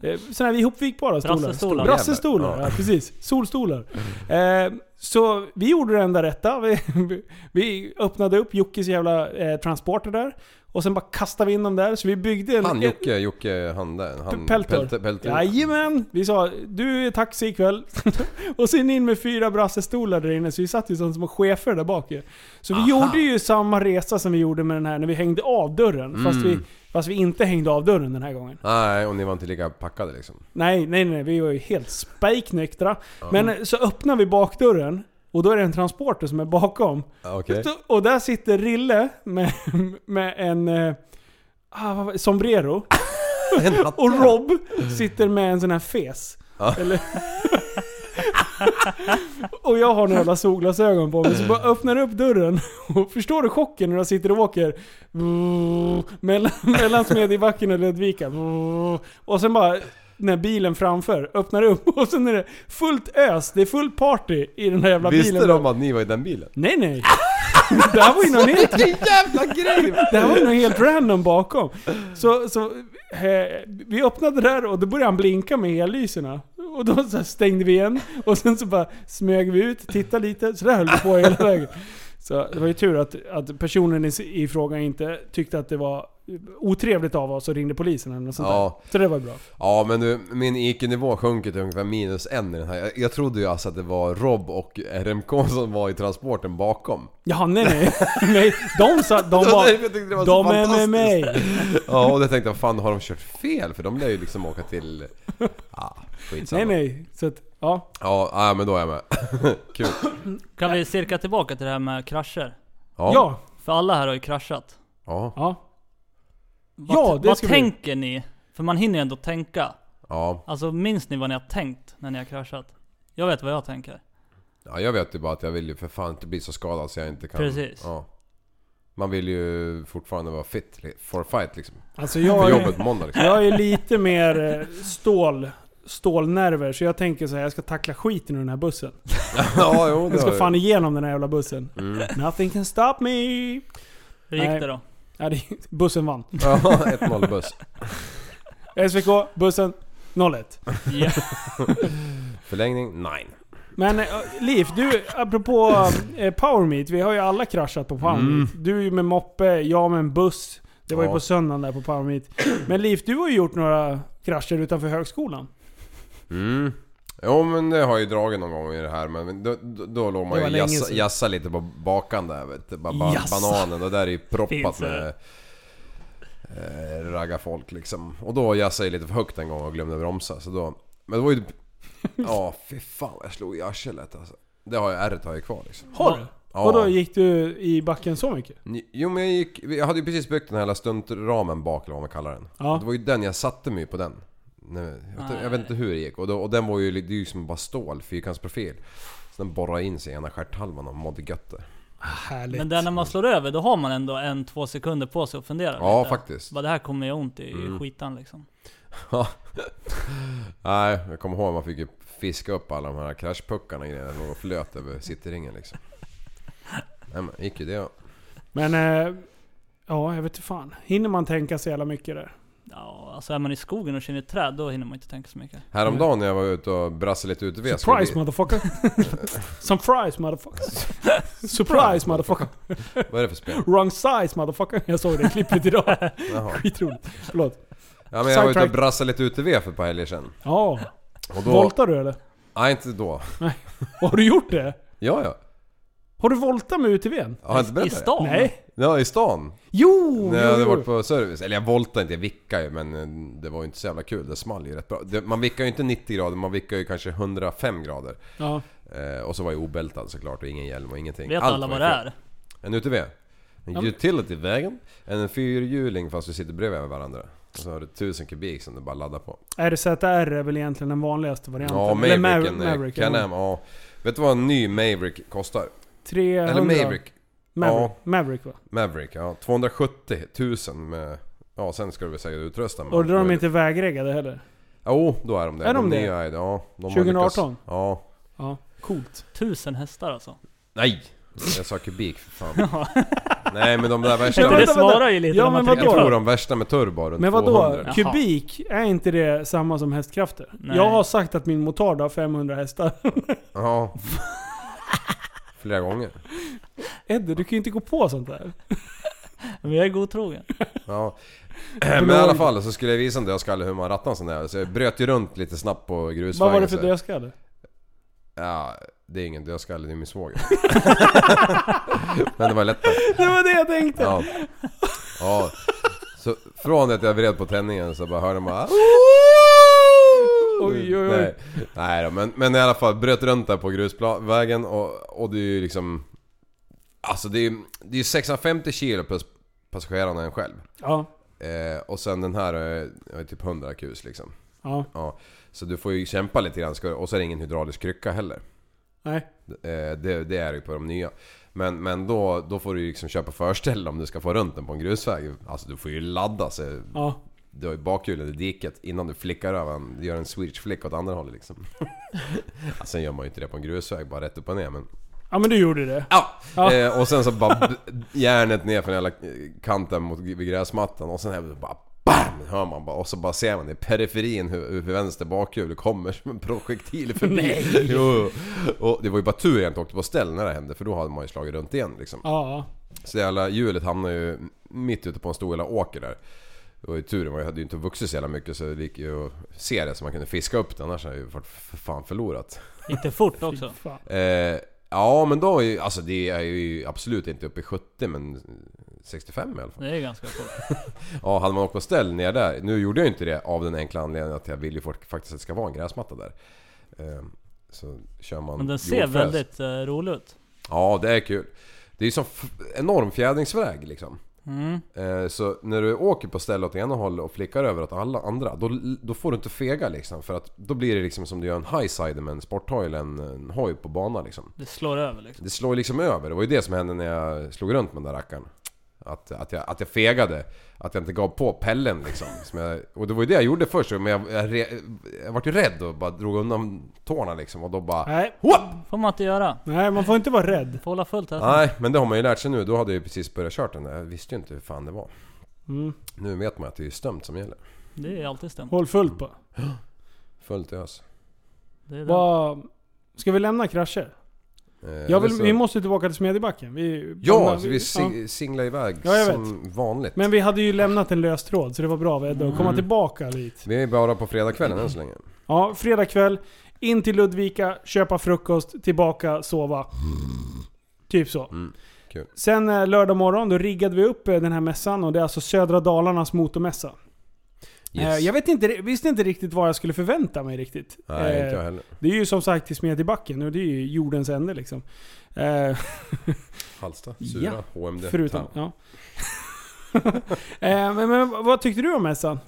S4: det? Eh, Sådana här ihopvikbara stolar.
S6: Brassestolar.
S4: Brassestolar, ja.
S5: Ja.
S4: precis. Solstolar. Eh, så vi gjorde det enda rätta. Vi, vi öppnade upp Jockes jävla eh, transporter där. Och sen bara kastade vi in dem där. Så vi byggde en...
S5: Han Jocke, Jocke Hande. Han,
S4: Peltor.
S5: Pelte, Pelte.
S4: Jajamän! Vi sa du är taxi ikväll. och sen in med fyra brassestolar där inne, så vi satt ju som små chefer där bak ju. Så vi gjorde ju samma resa som vi gjorde med den här när vi hängde av dörren. Fast,
S5: Mm.
S4: vi, fast vi inte hängde av dörren den här gången.
S5: Nej, och ni var inte lika packade liksom.
S4: Nej, nej, nej. Vi var ju helt spiknyktra. Men eh, så öppnar vi bakdörren. Och då är det en transporter som är bakom.
S5: Ja, Okej.
S4: Så- Och där sitter Rille med, med en... eh, Ah, vad var det? sombrero.
S5: En hatt.
S4: Och Rob sitter med en sån här fes.
S5: Ja.
S4: Eller... och jag har några jävla solglasögon på mig, så bara öppnar jag upp dörren. Och förstår du chocken när jag sitter och åker mellan, mellan Smedjebacken och Ludvika. Och sen bara, när bilen framför öppnar upp och sen är det fullt ös, det är fullt party i den här jävla
S5: Visste
S4: bilen.
S5: de att ni var i den bilen?
S4: Nej nej! Det här var ju någon helt...
S5: jävla grej!
S4: Det här var ju något helt random bakom. Så, så eh, vi öppnade där och då började han blinka med ellyserna. Och då så här stängde vi igen och sen så bara smög vi ut, tittade lite. Så där höll vi på hela vägen. Så det var ju tur att, att personen i, i fråga inte tyckte att det var otrevligt av oss och ringde polisen eller något sånt
S5: Ja.
S4: där. Så det var bra.
S5: Ja men du, min IQ-nivå sjunker till ungefär minus en i den här. Jag, jag trodde ju alltså att det var Rob och RMK som var i transporten bakom.
S4: Ja, nej nej. nej de sa, de
S5: Det var
S4: var,
S5: därför jag tyckte det var så
S4: de är med
S5: fantastiskt."
S4: mig.
S5: Ja och då tänkte jag fan har de kört fel? För de lär ju liksom åka till... Ah, skitsamma.
S4: Nej nej. Så att, ja.
S5: Ja, ah, men då är jag med. Kul.
S6: Kan vi cirka tillbaka till det här med krascher?
S5: Ja.
S4: Ja.
S6: För alla här har ju kraschat.
S5: Ja.
S4: ja.
S6: Vad,
S4: Ja, det
S6: vad
S4: ska vi-
S6: tänker ni? För man hinner ju ändå tänka.
S5: ja.
S6: Alltså minns ni vad ni har tänkt när ni har kraschat? Jag vet vad jag tänker.
S5: Ja, jag vet ju bara att jag vill ju för fan inte bli så skadad så jag inte kan...
S6: Precis.
S5: Ja. Man vill ju fortfarande vara fit li- for fight liksom.
S4: Alltså
S5: För
S4: jag...
S5: jobbet på måndag liksom.
S4: Jag är lite mer eh, stål, stålnerver, så jag tänker så här, jag ska tackla skiten ur den här bussen.
S5: ja, jo det
S4: Jag ska
S5: har
S4: fan
S5: jag.
S4: igenom den här jävla bussen.
S5: Mm.
S4: Nothing can stop me!
S6: Hur gick
S4: Nej.
S6: det då?
S4: Ja, det, bussen vann.
S5: Ja, 1-0 buss.
S4: SVK, bussen, 01.
S6: Ja.
S5: Förlängning? Nej.
S4: Men eh, Liv, du, apropå eh, Power Meet, vi har ju alla kraschat på Power
S5: Mm.
S4: Meet. Du är ju med moppe, jag med en buss. Det var ju
S5: Ja.
S4: på söndagen där på Power Meet. Men Liv, du har ju gjort några krascher utanför högskolan.
S5: Mm. Jo men det har jag ju dragit någon gång i det här men då, då, då låg
S4: Det
S5: man
S4: var
S5: ju
S4: länge
S5: jassa,
S4: sedan.
S5: jassa lite på bakan där vet du. Bara ba,
S6: Jassa.
S5: bananen och där är ju proppat
S6: Finns det?
S5: med eh, ragga folk liksom. Och då jassade jag lite för högt en gång och glömde bromsa så då... Men det var ju... typ- Ja fy fan vad jag slog i arslet alltså. Det har jag, ärret har jag ju kvar liksom.
S4: Har du?
S5: Ja.
S4: Och då gick du i backen så mycket?
S5: Jo men jag gick, jag hade ju precis byggt den här lilla stuntramen bak eller vad man kallar den.
S4: Ja.
S5: Det var ju den, jag satte mig på den. Nej, jag, vet, jag vet inte hur det gick och, då, och den var ju, det är ju som bara stål, fyrkantsprofil. Så den borrade in sig i ena stjärthalvan och mådde gött där.
S4: Härligt.
S6: Men där när man slår över, då har man ändå en, två sekunder på sig att fundera
S5: Ja
S6: lite.
S5: faktiskt. Mm.
S6: Bara det här kommer jag ont i, i skitan liksom.
S5: Ja. Nej, jag kommer ihåg man fick ju fiska upp alla de här kraschpuckarna och grejerna som låg och flöt över cityringen liksom. Nej men gick ju det då.
S4: Men, eh, ja jag vet inte fan. Hinner man tänka så jävla mycket där?
S6: Ja, alltså är man i skogen och känner träd, då hinner man inte tänka så mycket.
S5: Häromdagen när jag var ute och brassade lite uteväs.
S4: Surprise motherfucker! Surprise motherfucker! Surprise motherfucker!
S5: Vad är det för spel?
S4: Wrong size motherfucker! Jag såg det klippet idag.
S5: Jaha.
S4: Skitroligt. Förlåt.
S5: Ja men jag var ute och
S4: Sidetrack.
S5: brassade lite utev för ett par helger sedan.
S4: Ja,
S5: Och då...
S4: voltar du eller?
S5: Nej inte då.
S4: Har du gjort det?
S5: Ja ja.
S4: Har du voltat med UTVn?
S5: Jag har inte
S6: I
S5: berättat det?
S6: stan?
S4: Nej?
S5: Ja i stan.
S4: Jo!
S5: När jag
S4: jo,
S5: hade
S4: jo.
S5: varit på service. Eller jag voltade inte, jag vickade ju men eh, det var ju inte så jävla kul. Det small ju rätt bra. Det, man vickar ju inte 90 grader, man vickar ju kanske 105 grader.
S4: Ja.
S5: Eh, och så var jag obältad såklart och ingen hjälm och ingenting.
S6: Vet
S5: Allt
S6: alla
S5: var
S6: vad
S5: ju
S6: det
S5: fel.
S6: är?
S5: En UTV. En utility-vägen. En fyrhjuling fast du sitter bredvid varandra. Och så har du 1000 kubik som du bara laddar på.
S4: RZR är väl egentligen den vanligaste varianten.
S5: Ja,
S4: Eller
S5: Mavericken.
S4: Maver-
S5: Maverick, eh,
S4: ja.
S5: Can-Am, ja. Vet du vad en ny Maverick kostar?
S4: 300.
S5: Eller Maverick.
S4: Maverick,
S5: Ja.
S4: Maverick va?
S5: Maverick, ja. 270 000 med... Ja, sen ska du väl säkert utrusta med...
S4: Och då är de inte vägreggade heller.
S5: Jo, då är de det.
S4: Är de det?
S5: nya är det, ja. De har
S4: 2018?
S5: lyckats- Ja.
S4: Ja, coolt.
S6: Tusen hästar alltså.
S5: Nej! Jag sa kubik för fan. Nej men de där värsta...
S4: Vänta,
S6: Det
S4: vänta, vänta.
S6: svarar ju lite
S4: Ja,
S6: när man
S4: men
S6: tänker
S5: Jag
S4: vadå?
S5: tror
S6: efter.
S5: de värsta med turbo runt
S4: Men vad då?
S5: 200.
S6: Jaha.
S4: Kubik, är inte det samma som hästkrafter?
S6: Nej.
S4: Jag har sagt att min motard har 500 hästar.
S5: Ja. Flera gånger.
S4: Edde, du kan ju inte gå på sånt där.
S6: Men jag är godtrogen.
S5: Ja. Men i alla fall så skulle jag visa en dödskalle hur man rattar en sån där. Så jag bröt ju runt lite snabbt på grusvägen.
S4: Vad var det för
S5: så-
S4: dödskalle?
S5: Ja, det är ingen dödskalle, det är min svåger. Men det var lättare.
S4: Det var det jag tänkte!
S5: Ja. ja. Så från att jag vred på tändningen så bara hörde man bara...
S4: Oj, oj, oj.
S5: Nej, nej då, men, men i alla fall bröt runt där på grusvägen och, och det är ju liksom... Alltså det är ju det är 650 kilo plus passagerarna och en själv.
S4: Ja.
S5: Eh, och sen den här eh, är typ 100 kus liksom.
S4: Ja.
S5: Ja, så du får ju kämpa lite grann. Ska- Och så är det ingen hydraulisk krycka heller.
S4: Nej.
S5: Eh, det, det är det ju på de nya. Men, men då, då får du ju liksom köpa förställ om du ska få runt den på en grusväg. Alltså du får ju ladda så
S4: Ja.
S5: du har ju bakhjulen i diket innan du flickar över en, gör en switch flick åt andra hållet liksom. ja, sen gör man ju inte det på en grusväg, bara rätt upp och ner men...
S4: Ja men du gjorde det.
S5: Ja!
S4: Ja.
S5: Eh, och sen så bara b- järnet ner från hela eh, kanten mot vid gräsmattan och sen här bara BAM! Hör man bara och så bara ser man i periferin hur, hur vänster bakhjul kommer som en projektil förbi. Nej. Jo, och det var ju bara tur jag inte åkte på ställ när det hände för då hade man ju slagit runt igen liksom.
S4: Ja.
S5: Så det jävla hjulet hamnade ju mitt ute på en stor jävla åker där. Det var ju turen, jag hade ju inte vuxit så jävla mycket så det gick ju att se det så man kunde fiska upp det annars hade jag ju varit för fan förlorat.
S6: Gick det fort också?
S4: Fan.
S5: Eh, ja men då är ju, alltså det är ju absolut inte uppe i 70 men 65 i alla fall.
S6: Det är ganska fort.
S5: Ja, hade man åkt på ställ ner där. Nu gjorde jag ju inte det av den enkla anledningen att jag vill ju fort- faktiskt att det ska vara en gräsmatta där. Eh, så kör man
S6: Men den ser
S5: jordfräs.
S6: väldigt eh, rolig ut.
S5: Ja, det är kul. Det är ju som f- enorm fjädringsväg liksom.
S6: Mm.
S5: Eh, Så när du åker på ställe åt ena hållet och flickar över åt alla andra, då, då får du inte fega liksom. För att då blir det liksom som du gör en highside med en sporthoj eller en, en hoj på banan liksom.
S6: Det slår över liksom.
S5: Det slår liksom över, det var ju det som hände när jag slog runt med den där rackaren. Att, att, jag, att jag fegade, att jag inte gav på pellen liksom. Som jag, och det var ju det jag gjorde först, men jag, jag, re, jag vart ju rädd och bara drog undan tårna liksom. Och då bara...
S4: Nej.
S5: Whoop!
S6: får man inte göra.
S4: Nej, man får inte vara rädd.
S6: Får hålla fullt här.
S5: Nej,
S4: Mm.
S5: men det har man ju lärt sig nu. Då hade jag ju precis börjat kört den där. Jag visste ju inte hur fan det var.
S4: Mm.
S5: Nu vet man att det är stömt som gäller.
S6: Det är alltid stämt.
S4: Håll fullt
S6: Mm.
S4: på.
S5: Fullt ös.
S6: Det är det.
S4: Vad... Ska vi lämna krascher?
S5: Eh,
S4: Jag
S5: eller
S4: vill,
S5: så-
S4: vi måste tillbaka till Smedjebacken. Vi,
S5: Ja, så vi
S4: ja.
S5: si- singlar iväg
S4: Ja, jag
S5: som vanligt.
S4: Men vi hade ju lämnat en lös tråd, så det var bra av Edde att komma
S6: Mm.
S4: tillbaka dit.
S5: Vi är bara på fredagskvällen än så länge.
S4: Ja, fredag kväll, in till Ludvika, köpa frukost, tillbaka, sova. Typ så.
S5: Mm, kul.
S4: Sen eh, lördag morgon, då riggade vi upp eh, den här mässan och det är alltså södra Dalarnas motormässa.
S5: Yes.
S4: Eh, Jag vet inte, visste inte riktigt vad jag skulle förvänta mig riktigt.
S5: Nej,
S4: Eh,
S5: inte jag heller.
S4: det är ju som sagt till Smedjebacken och det är ju jordens ände liksom. Eh,
S5: Halsta, Sura,
S4: ja,
S5: HMD.
S4: förutom...
S5: Ja.
S4: Ja. eh, men, men vad tyckte du om mässan?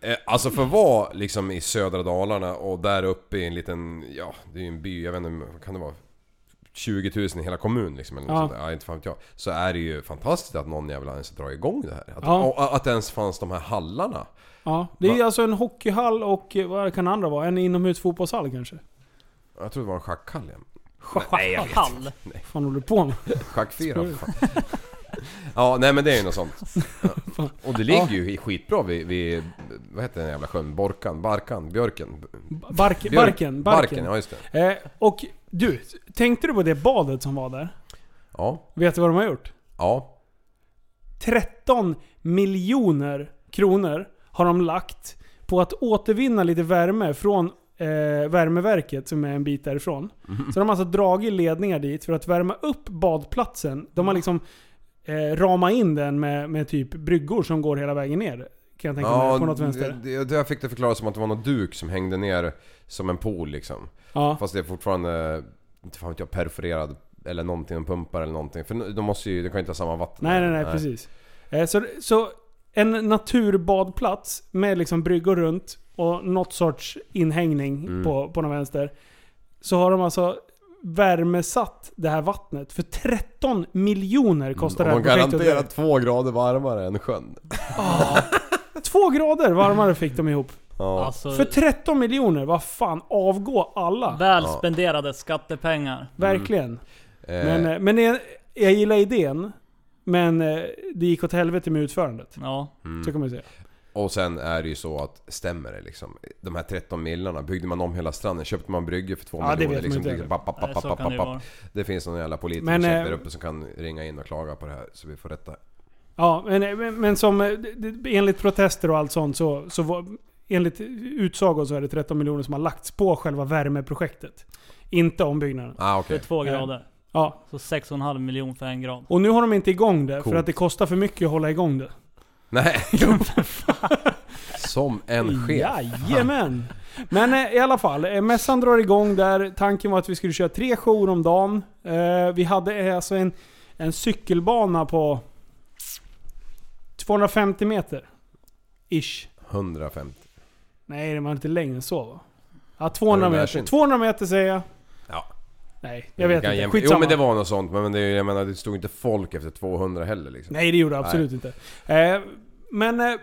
S5: Eh, Alltså för att vara liksom i södra Dalarna och där uppe i en liten, ja det är ju en by, jag vet inte, vad kan det vara? 20 000 i hela kommunen liksom eller något
S4: Ja.
S5: sånt där. Ja, inte fan vet jag. Så är det ju fantastiskt att någon jävla ens drar igång det här. Att,
S4: Ja.
S5: och, att det ens fanns de här hallarna.
S4: Ja, det är ju
S5: Va-
S4: alltså en hockeyhall och eh, vad kan det andra vara? En inomhusfotbollshall kanske?
S5: Jag tror det var en schackhall igen.
S6: Nej, jag vet.
S4: Vad fan håller du på med?
S5: Schackfyra.
S4: Skojar
S5: fan. Ja, nej men det är ju något sånt. Ja. Och det ligger ju skitbra vid, vid vad heter den jävla sjön? Borkan? Barkan? Björken?
S4: Bark, barken,
S5: Björk-
S4: barken.
S5: Barken, ja just det.
S4: Eh, och du, tänkte du på det badet som var där?
S5: Ja,
S4: Vet du vad de har gjort?
S5: ja.
S4: 13 miljoner kronor har de lagt på att återvinna lite värme från eh, värmeverket som är en bit därifrån.
S5: Mhm.
S4: Så de har alltså dragit ledningar dit för att värma upp badplatsen. De har liksom eh, ramat in den med, med typ bryggor som går hela vägen ner. Kan jag tänka mig. På något vänster.
S5: det, det, jag fick det förklarat som att det var någon duk som hängde ner som en pool liksom.
S4: Ja.
S5: Fast det är fortfarande, inte fan vet jag, perforerad eller någonting, en pumpar eller någonting. För de måste ju, de kan ju inte ha samma vatten.
S4: Nej, nej, nej, precis. Eh, Så, så en naturbadplats med liksom bryggor runt och något sorts inhängning
S5: Mm.
S4: på, på den vänster. Så har de alltså värmesatt det här vattnet. För 13 miljoner kostar
S5: Och de
S4: det här projektet.
S5: garanterar två grader varmare än sjön.
S4: Två grader varmare fick de ihop.
S5: Ja.
S6: Alltså,
S4: För 13 miljoner, vad fan, avgå alla.
S6: väl
S5: Ja.
S6: spenderade skattepengar.
S4: Verkligen.
S5: Eh,
S4: Men, eh, men jag, jag gillar idén. Men eh, det gick åt helvete med utförandet.
S6: Ja.
S5: Mm.
S4: Så kan man ju säga.
S5: Och sen är det ju så att, stämmer det liksom? De här 13 millarna, byggde man om hela stranden? Köpte man brygger för 2
S4: Ja, det
S5: miljoner?
S4: vet man
S5: liksom,
S4: inte
S5: liksom, papp, papp,
S6: Nej,
S5: papp,
S6: så
S5: papp,
S6: kan det ju
S5: papp.
S6: vara.
S5: det finns någon jävla politiker
S4: Men,
S5: som sitter
S4: eh,
S5: där uppe som kan ringa in och klaga på det här så vi får rätta.
S4: Ja, men, men, men som, eh, det- det- enligt protester och allt sånt så, så var, enligt utsago så är det 13 miljoner som har lagts på själva värmeprojektet. Inte ombyggnaden.
S5: Ah, okej.
S6: För två
S4: Ja.
S6: grader.
S4: Ja.
S6: Så 6,5 miljon för en grad.
S4: Och nu har de inte igång det för
S5: Coolt.
S4: att det kostar för mycket att hålla igång det.
S5: Nej! Som en chef.
S4: Jajamän! Men eh, i alla fall, eh, mässan drar igång där. Tanken var att vi skulle köra tre shower om dagen. Eh, vi hade eh, alltså en, en cykelbana på 250 meter. Ish.
S5: 150.
S4: Nej, det var inte längre än så va? Ja, 200
S5: Ja, det är
S4: meter.
S5: synd.
S4: 200 meter säger jag.
S5: Ja.
S4: Nej, jag vet
S5: Kan
S4: inte.
S5: jämf-
S4: Skitsamma.
S5: Jo men det var något sånt men det, är ju- jag menar, det stod inte folk efter 200 heller liksom.
S4: Nej, det gjorde det absolut inte. Eh, men eh,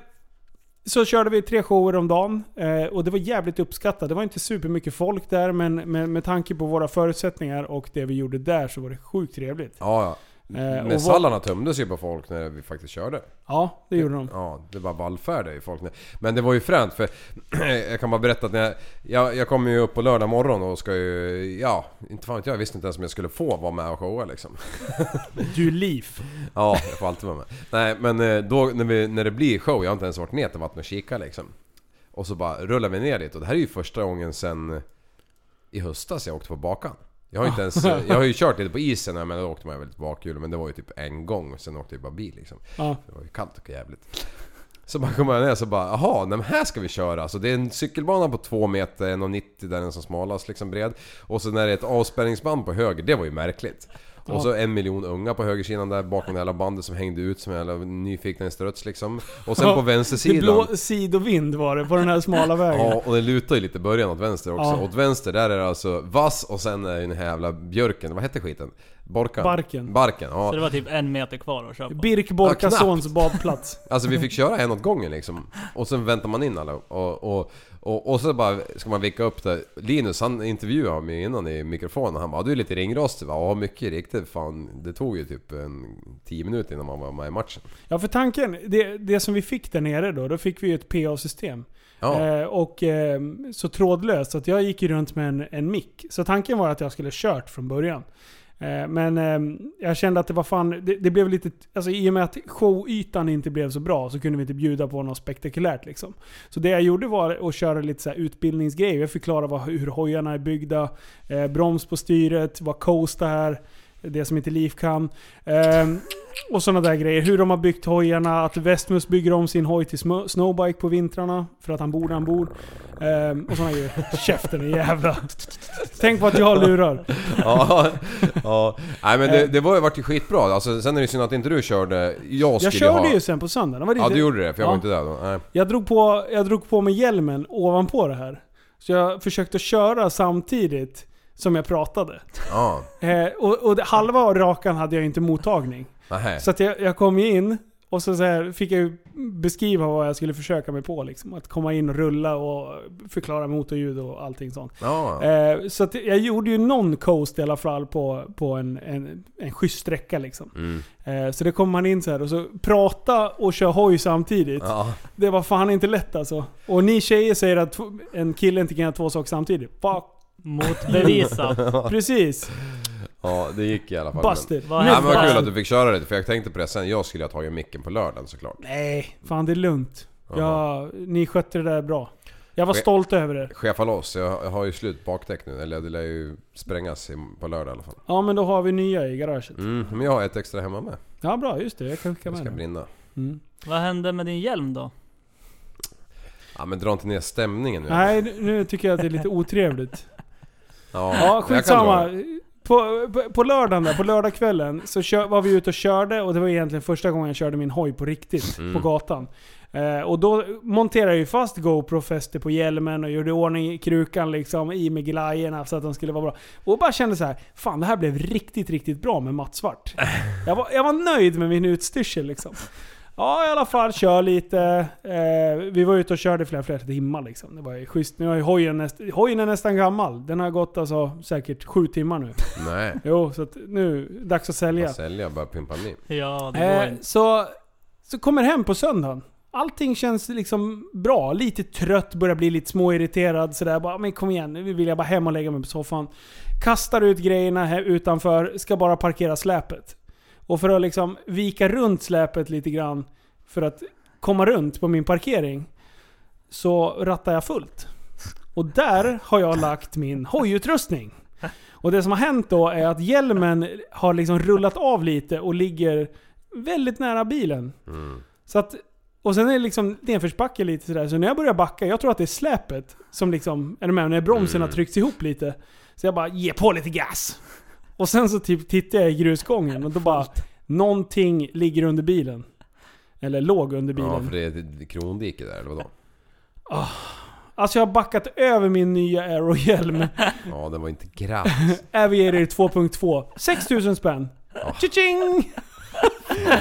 S4: så körde vi tre shower om dagen eh, och det var jävligt uppskattat. Det var inte supermycket folk där men med, med tanke på våra förutsättningar och det vi gjorde där så var det sjukt trevligt.
S5: Ja, ja.
S4: Eh, och
S5: Men
S4: vad-
S5: sallarna tömdes ju på folk när vi faktiskt körde.
S4: Ja, det gjorde de.
S5: Ja, det bara vallfärdade ju folk. Men det var ju fränt för jag kan bara berätta att när jag, jag, jag kommer ju upp på lördag morgon och ska ju, ja, inte fan vet jag, jag visste inte ens om jag skulle få vara med och showa liksom.
S4: Du liv.
S5: Ja, jag får alltid vara med. Nej men eh, då när, vi, när det blir show, jag har inte ens varit ner till vattnet och kika liksom. Och så bara rullar vi ner dit och det här är ju första gången sen i höstas jag åkte på bakan. Jag har, ju inte ens, jag har ju kört lite på isen, men då åkte man ju väl lite bakhjul men det var ju typ en gång, sen åkte jag bara bil liksom.
S4: Ja.
S5: Det var ju kallt och jävligt. Så bara kommer jag ner så bara, jaha, nej men här ska vi köra. Alltså det är en cykelbana på 2 meter, 1,90 där den som smalast liksom bred. Och sen är det ett avspärrningsband på höger, det var ju märkligt. Och så en miljon unga på högersidan där bakom det jävla bandet som hängde ut som en jävla nyfikna struts liksom. Och sen på
S4: Det blå
S5: vänstersidan...
S4: sidovind var det på den här smala vägen.
S5: Ja, och det lutar ju lite i början åt vänster också.
S4: Ja.
S5: Åt vänster där är det alltså vass och sen är det den här jävla björken, vad hette skiten? Borkan?
S4: Barken.
S5: Barken, ja.
S6: Så det var typ en meter kvar att köra på.
S4: Birk Borkasons badplats.
S5: Alltså vi fick köra en åt gången liksom. Och sen väntar man in alla. Och, och, och, och så bara ska man vicka upp det. Linus han intervjuade mig innan i mikrofonen. Han bara du är lite ringrostig va? Ja mycket riktigt. Fan det tog ju typ en 10 minuter innan man var med i matchen.
S4: Ja, för tanken, det, det som vi fick där nere då, då fick vi ju ett PA-system.
S5: Ja.
S4: Eh, och eh, så trådlöst, så att jag gick ju runt med en, en mick. Så tanken var att jag skulle kört från början. Eh, men eh, jag kände att det var fan, det, det blev lite, alltså i och med att showytan inte blev så bra så kunde vi inte bjuda på något spektakulärt liksom. Så det jag gjorde var att köra lite så här utbildningsgrejer. Jag förklarade vad, hur hojarna är byggda, eh, broms på styret, vad coast är. det som inte Liv kan. Ehm, och sådana där grejer. Hur de har byggt hojarna, att Westmus bygger om sin hoj till smo- snowbike på vintrarna för att han bor där han bor. Ehm, och sådana grejer. Käften är jävla. Tänk på att jag lurar.
S5: ja, ja. Nej men det, det var ju vart ju skitbra. Alltså, sen är det synd att inte du körde. Jag
S4: Jag
S5: skulle
S4: körde
S5: ha...
S4: ju sen på söndagen. Det var det-
S5: Ja du gjorde det, för jag
S4: Ja.
S5: var inte där då. Nej.
S4: Jag drog, på, jag drog på mig hjälmen ovanpå det här. Så jag försökte köra samtidigt som jag pratade.
S5: Ja.
S4: Eh, och, och det- halva rakan hade jag inte mottagning.
S5: Nej.
S4: Så att jag, jag kom ju in och så, så här fick jag ju beskriva vad jag skulle försöka mig på. Liksom. Att komma in och rulla och förklara motorljud och allting sånt.
S5: Ja.
S4: Eh, så att jag gjorde ju någon coast i alla fall på, på en, en, en schysst sträcka. Liksom.
S5: Mm.
S4: Eh, så det kom man in så här och så prata och köra hoj samtidigt.
S5: Ja.
S4: Det var fan inte lätt alltså. Och ni tjejer säger att tw- en kille inte kan göra två saker samtidigt. Fuck.
S6: Motbevisat.
S4: Precis.
S5: ja, det gick i alla fall.
S4: Busted.
S6: Vad
S4: Nu
S5: Nej, men vad
S4: fan.
S5: kul att du fick köra det, för jag tänkte på det sen. Jag skulle ha tagit micken på lördagen såklart.
S4: Nej, fan det är lugnt.
S5: Jaha.
S4: Ja, ni skötte det där bra. Jag var
S5: Ske-
S4: stolt över er.
S5: Chefa loss, jag jag har ju slut bakdäck nu. Eller det lär ju sprängas i- på lördag i alla fall.
S4: Ja men då har vi nya i garaget.
S5: Mm. Men jag har ett extra hemma med.
S4: Ja bra, just det. Jag kan skicka
S5: Det
S4: med
S5: ska
S4: den.
S5: brinna.
S4: Mm.
S6: Vad hände med din hjälm då?
S5: Ja men dra inte ner stämningen nu.
S4: Nej, nu- nu tycker jag att det är lite otrevligt.
S5: Ja,
S4: Ja,
S5: jag kan dra det.
S4: skitsamma. På, på, på lördagen där, på lördagskvällen, så kö- var vi ute och körde och det var egentligen första gången jag körde min hoj på riktigt,
S5: Mm.
S4: på gatan. Eh, och då monterade jag ju fast GoPro-fäste på hjälmen och gjorde i ordning i krukan liksom, i med glajjorna så att de skulle vara bra. Och bara kände så här, fan det här blev riktigt, riktigt bra med matt svart. Jag var, jag var nöjd med min utstyrsel liksom. Ja i alla fall, kör lite. Eh, vi var ute och körde flera, flera timmar liksom. Det var ju schysst. Nu har ju hojen, näst, hojen är nästan gammal. Den har gått alltså säkert sju timmar nu.
S5: Nej.
S4: Jo, så att nu, dags att sälja.
S5: Bara sälja, bara pimpa ny.
S6: Ja, det går
S4: Eh,
S6: inte.
S4: så, så kommer hem på söndagen. Allting känns liksom bra. Lite trött, börjar bli lite småirriterad sådär. Bara, men kom igen, nu vill jag bara hem och lägga mig på soffan. Kastar ut grejerna här utanför, ska bara parkera släpet. Och för att liksom vika runt släpet lite grann, för att komma runt på min parkering, så rattar jag fullt. Och där har jag lagt min hojutrustning. Och det som har hänt då är att hjälmen har liksom rullat av lite och ligger väldigt nära bilen.
S5: Mm.
S4: Så att, och sen är det liksom nedförsbacke lite sådär. Så när jag börjar backa, jag tror att det är släpet som liksom, är du med? När bromsen
S5: Mm.
S4: har tryckts ihop lite. Så jag bara, ge på lite gas! Och sen så typ tittar jag i grusgången och då bara, någonting ligger under bilen. Eller låg under bilen.
S5: Ja för det är ett krondike där eller vadå?
S4: Alltså jag har backat över min nya Aero-hjälm.
S5: Ja den var inte gratis.
S4: Aviator 2.2. 6000 spänn. Tjing!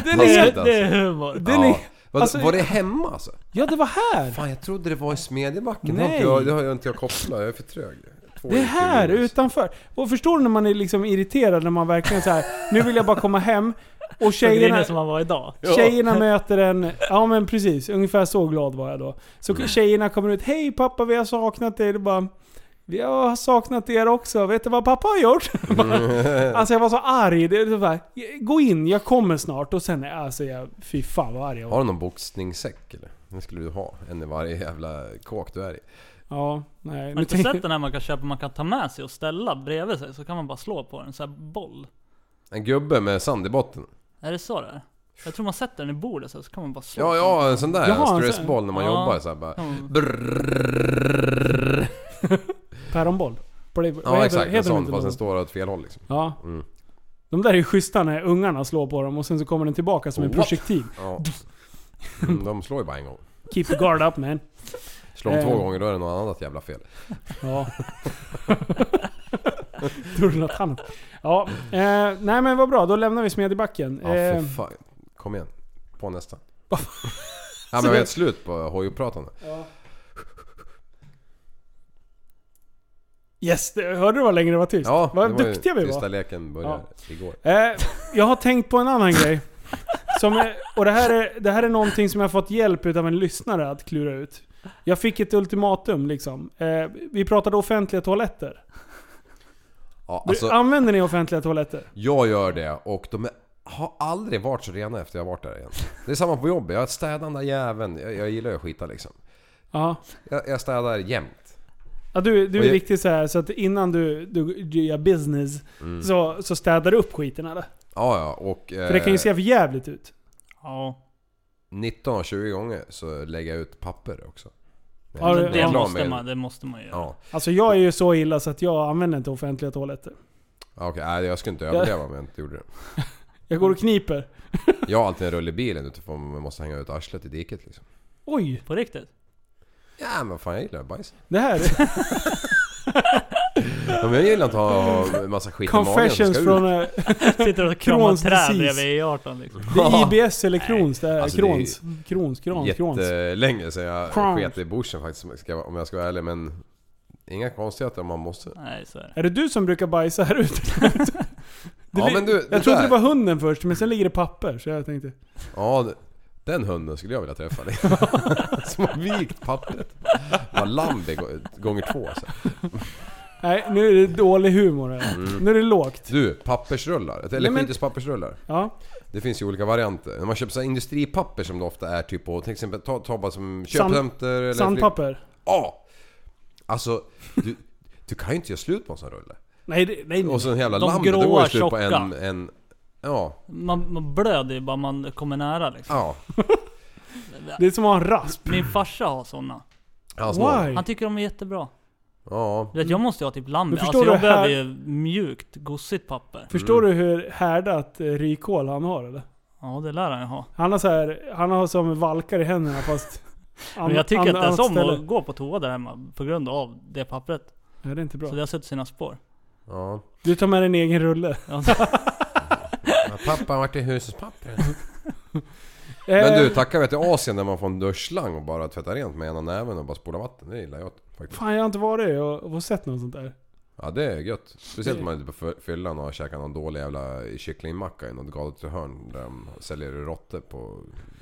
S4: Den
S5: Vad
S4: är,
S5: skönt,
S6: Det är humor.
S4: den
S5: Ja.
S4: är,
S5: Vad-
S4: alltså-
S5: var det hemma alltså?
S4: ja det var här.
S5: Fan jag trodde det var i Smedjebacken. Det har
S4: Nej.
S5: inte jag- Det har jag inte jag kopplat, jag är för trög. Två
S4: Det är
S5: i
S4: här
S5: kulor.
S4: utanför. Och förstår du när man är liksom irriterad när man verkligen så här. nu vill jag bara komma hem. Och
S6: Tjejerna... Det är
S4: tjejerna,
S6: det som han var idag.
S4: tjejerna möter en, ja men precis, ungefär så glad var jag då. Så
S6: Mm.
S4: tjejerna kommer ut, hej pappa vi har saknat dig. Det bara, vi har saknat er också, vet du vad pappa har gjort?
S6: Mm.
S4: alltså jag var så arg. Det är så här, gå in, jag kommer snart. Och sen, alltså jag, fy fan vad arg jag var.
S5: Har du någon boxningssäck eller? Den skulle du ha. En i varje jävla kåk du är i.
S4: Ja, nej.
S6: Har du
S4: Nu
S6: inte
S4: tänk,
S6: sett den här man kan köpa, man kan ta med sig och ställa bredvid sig? Så kan man bara slå på den, så här boll.
S5: En gubbe med sand i botten.
S6: Är det så det är? Jag tror man sätter den i bordet så, här, så kan man bara slå
S5: Ja,
S6: på
S5: ja en sån där
S4: Jaha, en sån-
S5: stressboll när man
S6: Ja.
S5: jobbar så här bara.
S6: den. Mm.
S5: Brrrr.
S4: päronboll. På det- vad
S5: Ja exakt,
S4: heter
S5: en
S4: de
S5: sån
S4: inte
S5: fast
S4: då?
S5: den står åt fel håll liksom.
S4: Ja.
S5: Mm.
S4: De där är ju schyssta när ungarna slår på dem och sen så kommer den tillbaka som en
S5: What?
S4: projektil.
S5: Ja. Mm, de slår ju bara en gång.
S4: Keep the guard up man.
S5: Slår de
S4: Eh.
S5: två gånger då är det något annat jävla fel.
S4: Ja. Tror du något annat? Ja. Eh, nej men vad bra, då lämnar vi Smedjebacken.
S5: Ja
S4: Eh,
S5: för fan. Kom igen. På nästa. Ja men jag är helt slut på hojpratande.
S4: yes, det- hörde du vad länge det var tyst?
S5: Ja,
S4: vad
S5: det var ju
S4: duktiga vi var.
S5: Tysta leken började igår.
S4: Eh, jag har tänkt på en annan grej. Som är, och det här, är, det här är någonting som jag fått hjälp av en lyssnare att klura ut. Jag fick ett ultimatum liksom. Eh, vi pratade offentliga toaletter.
S5: Ja,
S4: Du,
S5: alltså,
S4: Använder ni offentliga toaletter?
S5: jag gör det och de är, har aldrig varit så rena efter jag har varit där igen. Det är samma på jobbet. Jag städar den där jäveln. Jag, jag gillar ju att skita liksom.
S4: Ja.
S5: Jag, jag städar jämt.
S4: Ja, du, du
S5: Och
S4: är
S5: jag-
S4: riktigt så här så att innan du, du, du gör business
S5: Mm.
S4: så, så städar du upp skiten eller?
S5: Ja, ja. Och eh,
S4: För det kan ju se för jävligt ut.
S6: Ja.
S5: 19-20 gånger så lägger jag ut papper också. När
S4: Ja,
S5: jag
S4: det-
S5: är
S6: Det,
S5: klar
S6: måste
S5: med-
S6: man, det måste man göra.
S5: Ja,
S4: Alltså jag är ju så illa så att jag använder inte offentliga toaletter.
S5: Ja, okej. Nej, jag skulle inte överleva om jag inte gjorde det.
S4: Jag går och kniper.
S5: Jag har alltid en rulle i bilen utifrån man måste hänga ut arslet i diket liksom.
S4: Oj!
S6: På riktigt?
S5: Ja men fan jag gillar bajs.
S4: Det här är
S5: Ja, men jag gillar inte att ha massa skit i magen som
S4: confessions
S5: ska ut.
S4: från... eh,
S6: Sitter och kramar
S4: Crohn's
S6: träd
S4: disease.
S6: bredvid E18 liksom.
S4: Det är IBS eller Crohns. Det är
S5: Alltså, det är
S4: Crohns. Crohns, Crohns, Crohns.
S5: Jättelänge sedan jag
S4: Crunch.
S5: sket i bushen faktiskt ska jag- om jag ska vara ärlig men... Inga konstigheter om man måste.
S6: Nej, så är det.
S4: Är det du som brukar bajsa här ute? Det
S5: Ja
S4: li-
S5: men du, det
S4: jag trodde
S5: där.
S4: det var hunden först, men sen ligger det papper. Så jag tänkte...
S5: Ja, det- den hunden skulle jag vilja träffa. dig. Som har vikt pappret. Det var Lambi gå- gånger två. Så.
S4: Nej, nu är det dålig humor här.
S5: Mm.
S4: Nu är det lågt.
S5: Du, pappersrullar. Eller
S4: Nej, men-
S5: skitespappersrullar.
S4: Ja.
S5: Det finns ju olika varianter. När man köper så här industripapper som det ofta är typ på till exempel ta, ta bara som
S4: Sand-
S5: köpcenter eller...
S4: Sandpapper.
S5: Ja! Alltså, du, du kan ju inte göra slut på en sån rulle.
S4: Nej, det, nej, nej.
S5: Och så en jävla
S6: De
S5: Lambi, det går
S6: gråa,
S5: ju slut på en...
S6: tjocka.
S5: en ja,
S6: Man, man blöder ju bara man kommer nära liksom.
S5: ja.
S4: det är som att ha en rasp.
S6: Min farsa har såna.
S5: Hans mål.
S4: Why?
S6: Han tycker de är jättebra.
S5: Ja.
S6: Du vet, jag måste ju ha typ lambi.
S4: Men förstår
S6: Alltså jag
S4: du,
S6: behöver
S4: här-
S6: ju mjukt, gossigt papper.
S4: Förstår
S5: Mm.
S4: du hur härdat eh, rykhål han har eller?
S6: Ja, det lär han ju ha.
S4: Han har så här, han har som valkar i händerna fast... an-
S6: Men jag tycker
S4: an-
S6: inte ens
S4: annat
S6: om
S4: ställe.
S6: att gå på toa där hemma på grund av det pappret.
S4: Nej, det är inte bra.
S6: Så det har suttit sina spår.
S5: ja.
S4: Du tar med din egen rulle.
S6: Ja.
S5: Men Pappa har varit i hushållspapper.
S4: Eh,
S5: Men du, tacka vet till Asien där man får en duschslang och bara tvättar rent med ena näven och bara spolar vatten. Det gillar jag faktiskt.
S4: Fan jag har inte varit och, och sett något sånt där.
S5: Ja det är gött. Speciellt om man är ute på fy- fyllan och har käkat någon dålig jävla kycklingmacka i något galet hörn där de säljer råttor på...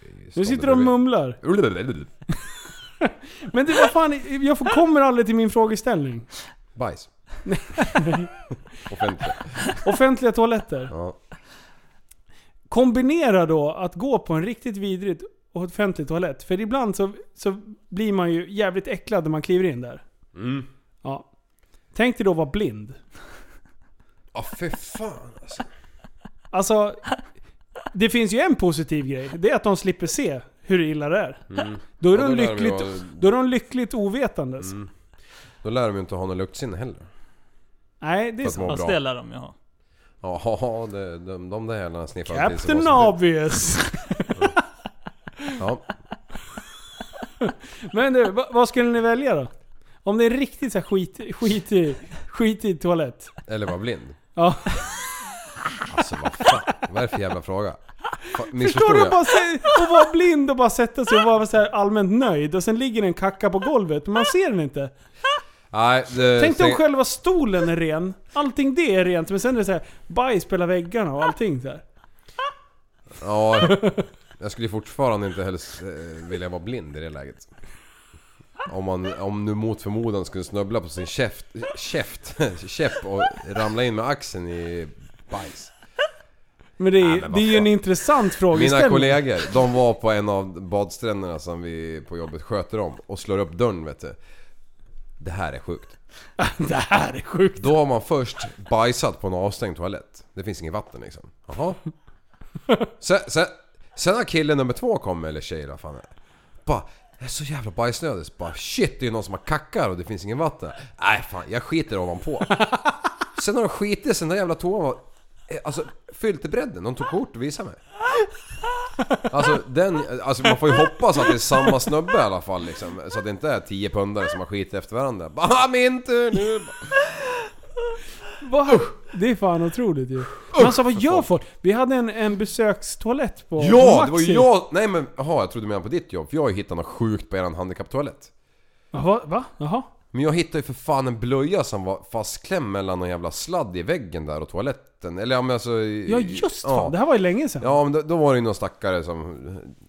S5: i
S4: Nu
S5: ståndet
S4: sitter de och
S5: bredvid.
S4: mumlar. Men det var fan, jag får, kommer aldrig till min frågeställning.
S5: Bajs. Offentligt.
S4: Offentliga toaletter.
S5: Ja.
S4: Kombinera då att gå på en riktigt vidrigt offentlig toalett. För ibland så, så blir man ju jävligt äcklad när man kliver in där.
S5: Mm.
S4: Ja. Tänk dig då vara blind.
S5: Ja för fan alltså.
S4: Alltså, det finns ju en positiv grej. Det är att de slipper se hur illa det är.
S5: Mm.
S4: Då är,
S5: Ja,
S4: de,
S5: lär ju
S4: lyckligt,
S5: vara-
S4: då är de lyckligt ovetandes.
S5: Mm. Då lär de ju inte ha något luktsinne heller.
S4: Nej, det är
S5: Fast
S4: sant.
S5: må-
S6: Fast
S5: bra.
S6: det lär de ju ha.
S5: Ja, det, de, de där jävlarna sniffar precis som
S4: Captain
S5: oss.
S4: Obvious.
S5: Ja.
S4: Men du, va- vad skulle ni välja då? Om det är riktigt så här skit, skitig, skitig toalett.
S5: Eller var blind.
S4: Ja.
S5: Alltså vad fan. Vad är det för jävla fråga? Fa-
S4: Förstår
S5: Missförstod
S4: du att
S5: jag?
S4: bara se, och vara blind och bara sätta sig och vara så här allmänt nöjd och sen ligger en kacka på golvet men man ser den inte.
S5: Nej, det,
S4: Tänk dig om
S5: stäng-
S4: själva stolen är ren. Allting det är rent men sen är det så här bajs på hela väggarna och allting så här.
S5: Ja, jag skulle fortfarande inte helst eh, vilja vara blind i det läget. Om man om nu mot förmodan skulle snubbla på sin käft, käft, käpp och ramla in med axeln i bajs.
S4: Men det
S5: Ja,
S4: är,
S5: men
S4: det
S5: vad
S4: är ju en
S5: fan.
S4: intressant
S5: Mina
S4: frågeställning.
S5: kollegor, de var på en av badstränderna som vi på jobbet sköter om och slår upp dörren vet du. Det här är sjukt.
S4: Det här är sjukt.
S5: Då har man först bajsat på en avstängd toalett. Det finns inget vatten liksom. Jaha. Sen, sen, sen har killen nummer två kommit, eller tjej vad fan det är. Bara, jag är så jävla bajsnödig. Så Bara shit, det är någon som har kackar och det finns ingen vatten. Nej fan, jag skiter ovanpå. Sen har de skitit sen den jävla toan var... eh, Alltså fyllt till bredden. De tog kort och visade mig. Alltså, den, alltså man får ju hoppas att det är samma snubbe i alla fall liksom. Så att det inte är tio pundare som har skitit efter varandra. Bara "Ah, min tur nu!
S4: Va? Det är fan otroligt ju. Men alltså vad gör folk? Vi hade en, en besökstoalett på
S5: Ja,
S4: på
S5: det var ju
S4: Maxi.
S5: jag! Nej men jaha, jag trodde du menade på ditt jobb. För jag har ju hittat något sjukt på eran handikapptoalett.
S4: Va? Va? Jaha?
S5: Men jag hittade ju för fan en blöja som var fastklämd mellan en jävla sladd i väggen där och toaletten. Manhattan. Eller ja men alltså... i-
S4: Ja just
S5: ja.
S4: fan, det här var ju länge sedan. Ja,
S5: Ja men då, då var det ju någon stackare som...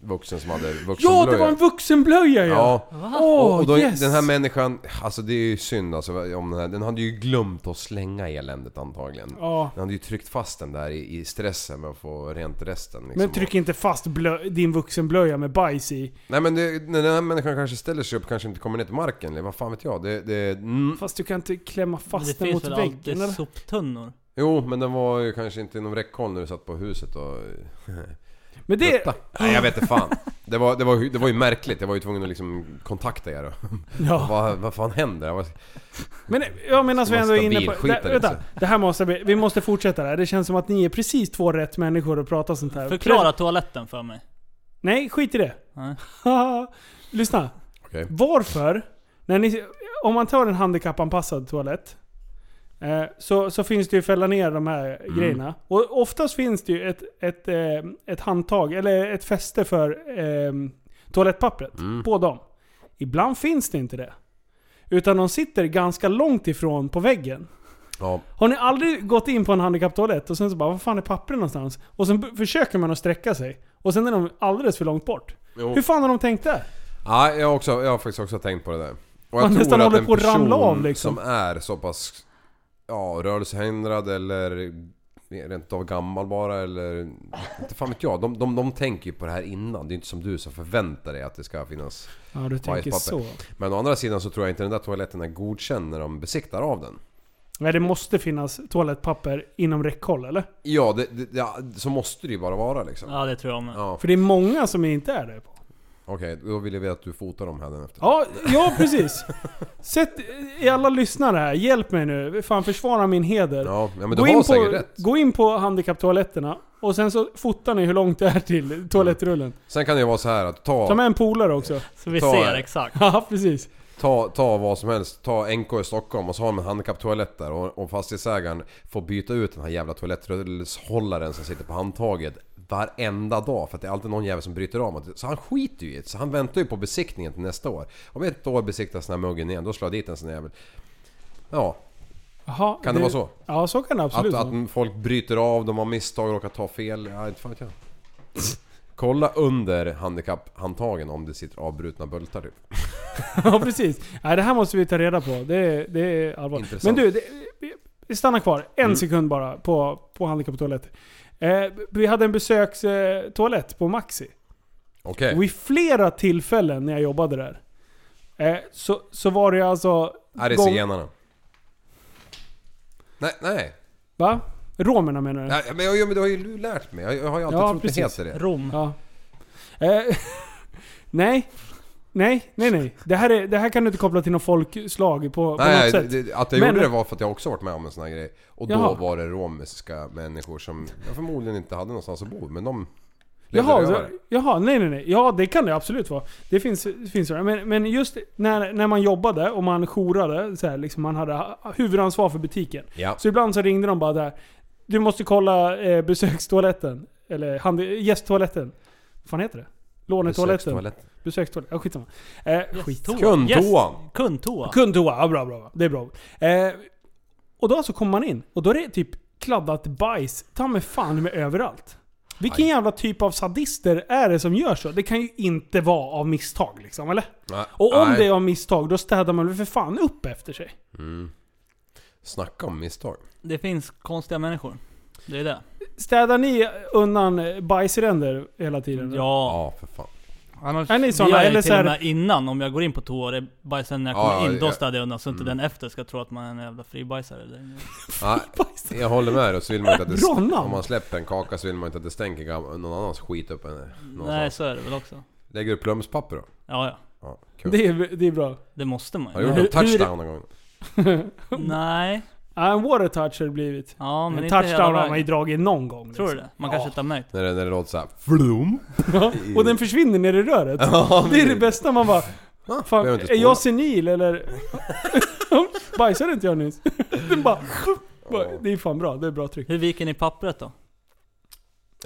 S5: Vuxen som hade vuxenblöja.
S4: ja det var en vuxenblöja ja!
S5: Ja.
S4: Åh oh,
S5: och då,
S4: yes!
S5: den här människan, alltså det är ju synd alltså, om den, här, den hade ju glömt att slänga eländet antagligen.
S4: Ja.
S5: Den hade ju tryckt fast den där i, i stressen med att få rent resten. Liksom.
S4: Men tryck inte fast blö- din vuxenblöja med bajs i.
S5: Nej men det, när den här människan kanske ställer sig upp kanske inte kommer ner till marken eller vad fan vet jag. Det, det, mm.
S4: Fast du kan inte klämma
S6: Men
S4: fast
S6: det
S4: den
S6: finns
S4: mot
S6: väl
S4: väggen
S6: alltid
S4: eller?
S6: soptunnor?
S5: Jo men den var ju kanske inte inom räckhåll när du satt på huset och...
S4: Men det...
S5: Detta. Nej jag vet inte fan. Det var, det, var, ju- det var ju märkligt, jag var ju tvungen att liksom kontakta er och...
S4: Ja.
S5: Vad, vad fan händer? Jag var,
S4: Men jag menar vi
S5: Som
S4: ändå är inne
S5: stabil
S4: på...
S5: skitare,
S4: Där, vänta,
S5: alltså.
S4: det här måste vi... Vi måste fortsätta där. Det känns som att ni är precis två rätt människor att prata sånt här.
S6: Förklara toaletten för mig.
S4: Nej, skit i det.
S6: Nej.
S4: Lyssna.
S5: Okej.
S4: Varför, när ni, om man tar en handikappanpassad toalett, eh, så, så finns det ju fälla ner de här grejerna. Och oftast finns det ju ett, ett, eh, ett handtag, eller ett fäste för eh, toalettpappret på dem. Ibland finns det inte det. Utan de sitter ganska långt ifrån på väggen.
S5: ja.
S4: Har ni aldrig gått in på en handikapptoalett och sen så bara vad fan är pappren någonstans? Och sen b- försöker man att sträcka sig. Och sen är de alldeles för långt bort.
S5: Jo.
S4: Hur fan har de tänkt där?
S5: Ja, jag, har också, jag har faktiskt också tänkt på det där. Och
S4: Man nästan håller
S5: en
S4: på att ramla
S5: person
S4: av, liksom.
S5: som är så pass ja, rörelsehindrad eller rent av gammal bara eller... Inte fan vet jag. De, de, de tänker ju på det här innan. Det är inte som du som förväntar dig att det ska finnas
S4: Ja du tänker så.
S5: bajspapper. Men å andra sidan så tror jag inte den där toaletten är godkänd när de besiktar av den.
S4: Nej det måste finnas toalettpapper inom räckhåll eller?
S5: Ja, det, det, ja så måste det ju bara vara liksom.
S6: Ja det tror jag med.
S5: Ja,
S4: För det är många som inte är det. På.
S5: Okej, då vill jag veta att du fotar dem här efter.
S4: Ja, ja precis. Sätt, eh, alla lyssnare här, hjälp mig nu. Fan försvara min heder.
S5: Ja, ja men du har säkert
S4: på,
S5: rätt.
S4: gå in på handikapptoaletterna och sen så fotar ni hur långt det är till toalettrullen.
S5: Sen kan det ju vara så här att ta...
S4: Ta med en polare också.
S6: Så vi
S5: Ta-
S6: ser exakt.
S4: Ja precis.
S5: Ta, ta vad som helst, ta NK i Stockholm och så har de en handikapptoalett där och, och fastighetsägaren får byta ut den här jävla toalettrullshållaren som sitter på handtaget varenda dag för att det är alltid någon jävel som bryter av mot det. Så han skiter ju i det, så han väntar ju på besiktningen till nästa år. Om ett år besiktas den här muggen igen, då slår jag dit en sån jävel. Ja,
S4: Jaha,
S5: Kan det vara så?
S4: Ja så kan det absolut
S5: att,
S4: vara.
S5: att folk bryter av, de har misstag, råkar ta fel, ja inte fan vet jag. Kolla under handikapphandtagen om det sitter avbrutna bultar typ.
S4: Ja precis. Nej, det här måste vi ta reda på. Det är, det är allvarligt.
S5: Intressant. Mm.
S4: Men du, det, vi- vi stannar kvar en sekund bara på, på handikapptoaletter. Eh, vi hade en besökstoalett eh, toalett på Maxi.
S5: Okej.
S4: Och vid flera tillfällen när jag jobbade där. Eh, så, så var det alltså...
S5: Här är
S4: gång-
S5: zigenarna. Nej, nej.
S4: Va? Romerna menar du?
S5: nej men, jag, men det har ju du lärt mig. Jag, jag har ju alltid
S4: Ja,
S5: trott
S4: precis.
S5: det heter det.
S6: Rom.
S4: Ja. Eh, nej. Nej, nej, nej. Det här, är, det här kan du inte koppla till något folkslag på, på något
S5: Nej, det,
S4: sätt.
S5: det, att jag
S4: Men-
S5: gjorde det var för att jag också varit med om en sån här grej. Och då
S4: Jaha.
S5: var det romerska människor som jag förmodligen inte hade någonstans att bo, men de levde
S4: Jaha, så,
S5: rövare.
S4: jaha, nej nej nej. Ja det kan det absolut vara. Det finns, det finns det. Men, men just när, när man jobbade och man jourade, så här, liksom, man hade ha- huvudansvar för butiken.
S5: Ja.
S4: Så ibland så ringde de bara där. Du måste kolla eh, besökstoaletten. Eller hand, gästtoaletten. Vad fan heter det? Lånetoaletten?
S5: Besökstoalett.
S4: Besökstoaletten. Ja, skitsamma. Eh, skit.
S6: Gästtoa.
S5: Kundtoan.
S6: Gäst- Kundtoa.
S4: Kundtoa. Ja, bra, bra, bra. Det är bra. Eh, och då så kommer man in och då är det typ kladdat bajs ta mig fan med överallt. Vilken jävla typ av sadister är det som gör så? Det kan ju inte vara av misstag liksom, eller?
S5: Nej,
S4: Och om
S5: nej.
S4: det är av misstag, då städar man väl för fan upp efter sig?
S5: Snacka om misstag.
S6: Det finns konstiga människor. Det är det.
S4: Städar ni undan bajsränder hela tiden? eller?
S6: Ja.
S5: Ja, för fan.
S6: Annars
S4: Är ni såna,
S6: gör jag ju
S4: eller
S6: till
S4: så
S6: och
S4: här-
S6: med innan, om jag går in på toa och det är bajsar när jag
S5: Ja, ja,
S6: kommer in, då
S5: ja. Mm.
S6: städar jag undan så inte den efter ska tro att man är en jävla fribajsare. Det är-
S5: Nej, jag håller med dig. Och så vill man inte att det,
S4: Bronna.
S5: om man släpper en kaka så vill man inte att det stänker gam- någon annans skit upp en,
S6: Nej,
S5: någonstans.
S6: så är det väl också.
S5: Lägger upp lumspapper då?
S6: Ja, ja.
S5: Ja, kul.
S4: Det är, det är bra.
S6: Det måste man
S5: Har
S6: ju.
S5: du gjort
S4: Hur-
S5: någon touchdown någon gång?
S6: Nej.
S4: Ja, en water touch har det blivit.
S6: Ja, men
S4: en
S6: inte hela
S4: touchdown har man ju
S6: vägen.
S4: dragit någon gång.
S6: Tror du
S4: liksom.
S6: det? Man kanske inte har märkt det.
S5: När det, när det låter såhär flum.
S4: Ja, och den försvinner ner i röret. det är det bästa man bara... Fan,
S5: behöver inte
S4: är
S5: spola.
S4: jag senil eller? Bajsade inte jag nyss? Den bara, bara... Det är fan bra, det är bra tryck.
S6: Hur viker ni pappret då?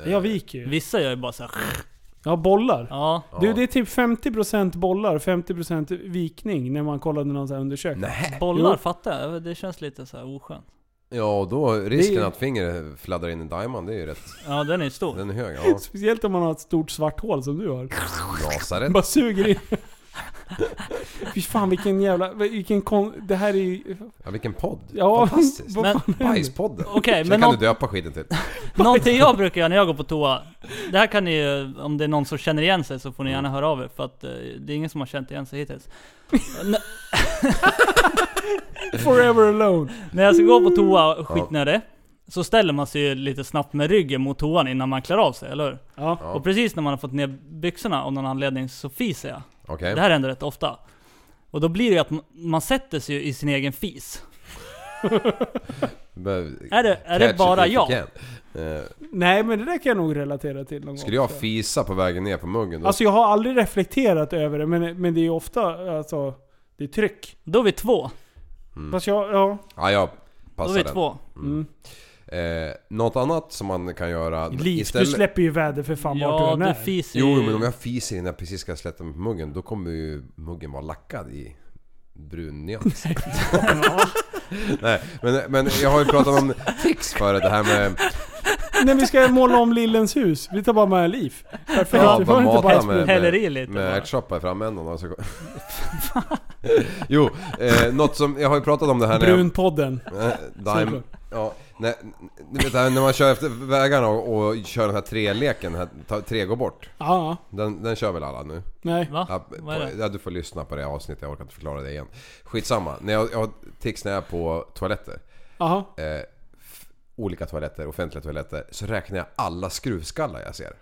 S4: Jag viker ju.
S6: Vissa gör ju bara såhär.
S4: Jag har bollar.
S6: Ja.
S4: Du, det är typ 50% bollar, 50% vikning när man kollade någon sån här undersökning.
S5: Nej.
S6: Bollar
S4: Jo.
S6: fattar jag, det känns lite så här oskönt.
S5: Ja, och då risken
S4: Det är-
S5: att fingret fladdrar in i Diamond, det är ju rätt...
S6: Ja den är stor.
S5: Den är hög. Ja,
S4: Speciellt om man har ett stort svart hål som du har.
S5: Lasarett.
S4: Bara suger in. Fy fan vilken jävla... Vilken kon... Det här är ju...
S5: Ja, vilken podd.
S4: Ja,
S5: Fantastiskt.
S4: vad
S6: Men-
S4: fan är det?
S5: Bajspodden.
S6: Okej,
S5: det
S6: men
S5: kan
S6: någon,
S5: du döpa skiten till.
S6: någonting jag brukar göra när jag går på toa. Det här kan ni ju, om det är någon som känner igen sig så får
S5: Mm.
S6: ni gärna höra av er för att eh, det är ingen som har känt igen sig hittills.
S4: Forever alone.
S6: När jag ska gå på toa, skitnödig, så ställer man sig ju lite snabbt med ryggen mot toan innan man klär av sig, eller hur?
S4: Ja.
S5: Ja.
S6: Och precis när man har fått ner byxorna av någon anledning så fiser jag.
S5: Okej.
S6: Det här händer rätt ofta. Och då blir det ju att man, man sätter sig ju i sin egen fis. Är det- är det bara jag?
S4: Nej men det där kan jag nog relatera till någon
S5: Eh, Skulle
S4: gång.
S5: jag fisa på vägen ner på muggen då?
S4: Alltså jag har aldrig reflekterat över det men, men det är ju ofta alltså... Det är tryck.
S6: Då är vi två.
S5: Mm.
S4: Fast jag... Ja.
S5: ja, jag
S6: Då är
S5: passar
S6: vi
S5: den.
S6: två.
S4: Mm.
S5: Eh, något annat som man kan göra
S4: Liv, du släpper ju väder för fan
S6: Ja,
S4: vart du än
S6: du
S4: är.
S6: fiser
S5: Jo,
S6: ju-
S5: men om jag fiser innan jag precis ska släppa mig på muggen, då kommer ju muggen vara lackad i brun nyans. Nej, men, men jag har ju pratat om fix förut, det här med...
S4: Nej vi ska måla om Lillens hus. Vi tar bara med Liv. Perfekt.
S5: Ja,
S4: vi får
S5: bara
S4: inte
S5: mata
S4: bara
S5: med-
S4: med.
S6: Häller i lite
S5: Med
S6: bara.
S5: ärtsoppa i framändan och så... jo, eh, något som... Jag har ju pratat om det här när jag...
S4: Brunpodden.
S5: Eh, Dime.
S4: Såklart.
S5: Ja, nej, du vet det här när man kör efter vägarna och, och kör den här tre-leken, den här, ta, tre går bort.
S4: Ja.
S5: Den, den kör väl alla nu?
S4: Nej.
S6: Va?
S5: Ja,
S6: Vad är
S5: på-
S6: det?
S5: ja, du får lyssna på det avsnittet, jag orkar inte förklara det igen. Skitsamma, när jag, jag tics när jag är på toaletter.
S4: Jaha.
S5: Eh, f- olika toaletter, offentliga toaletter, så räknar jag alla skruvskallar jag ser.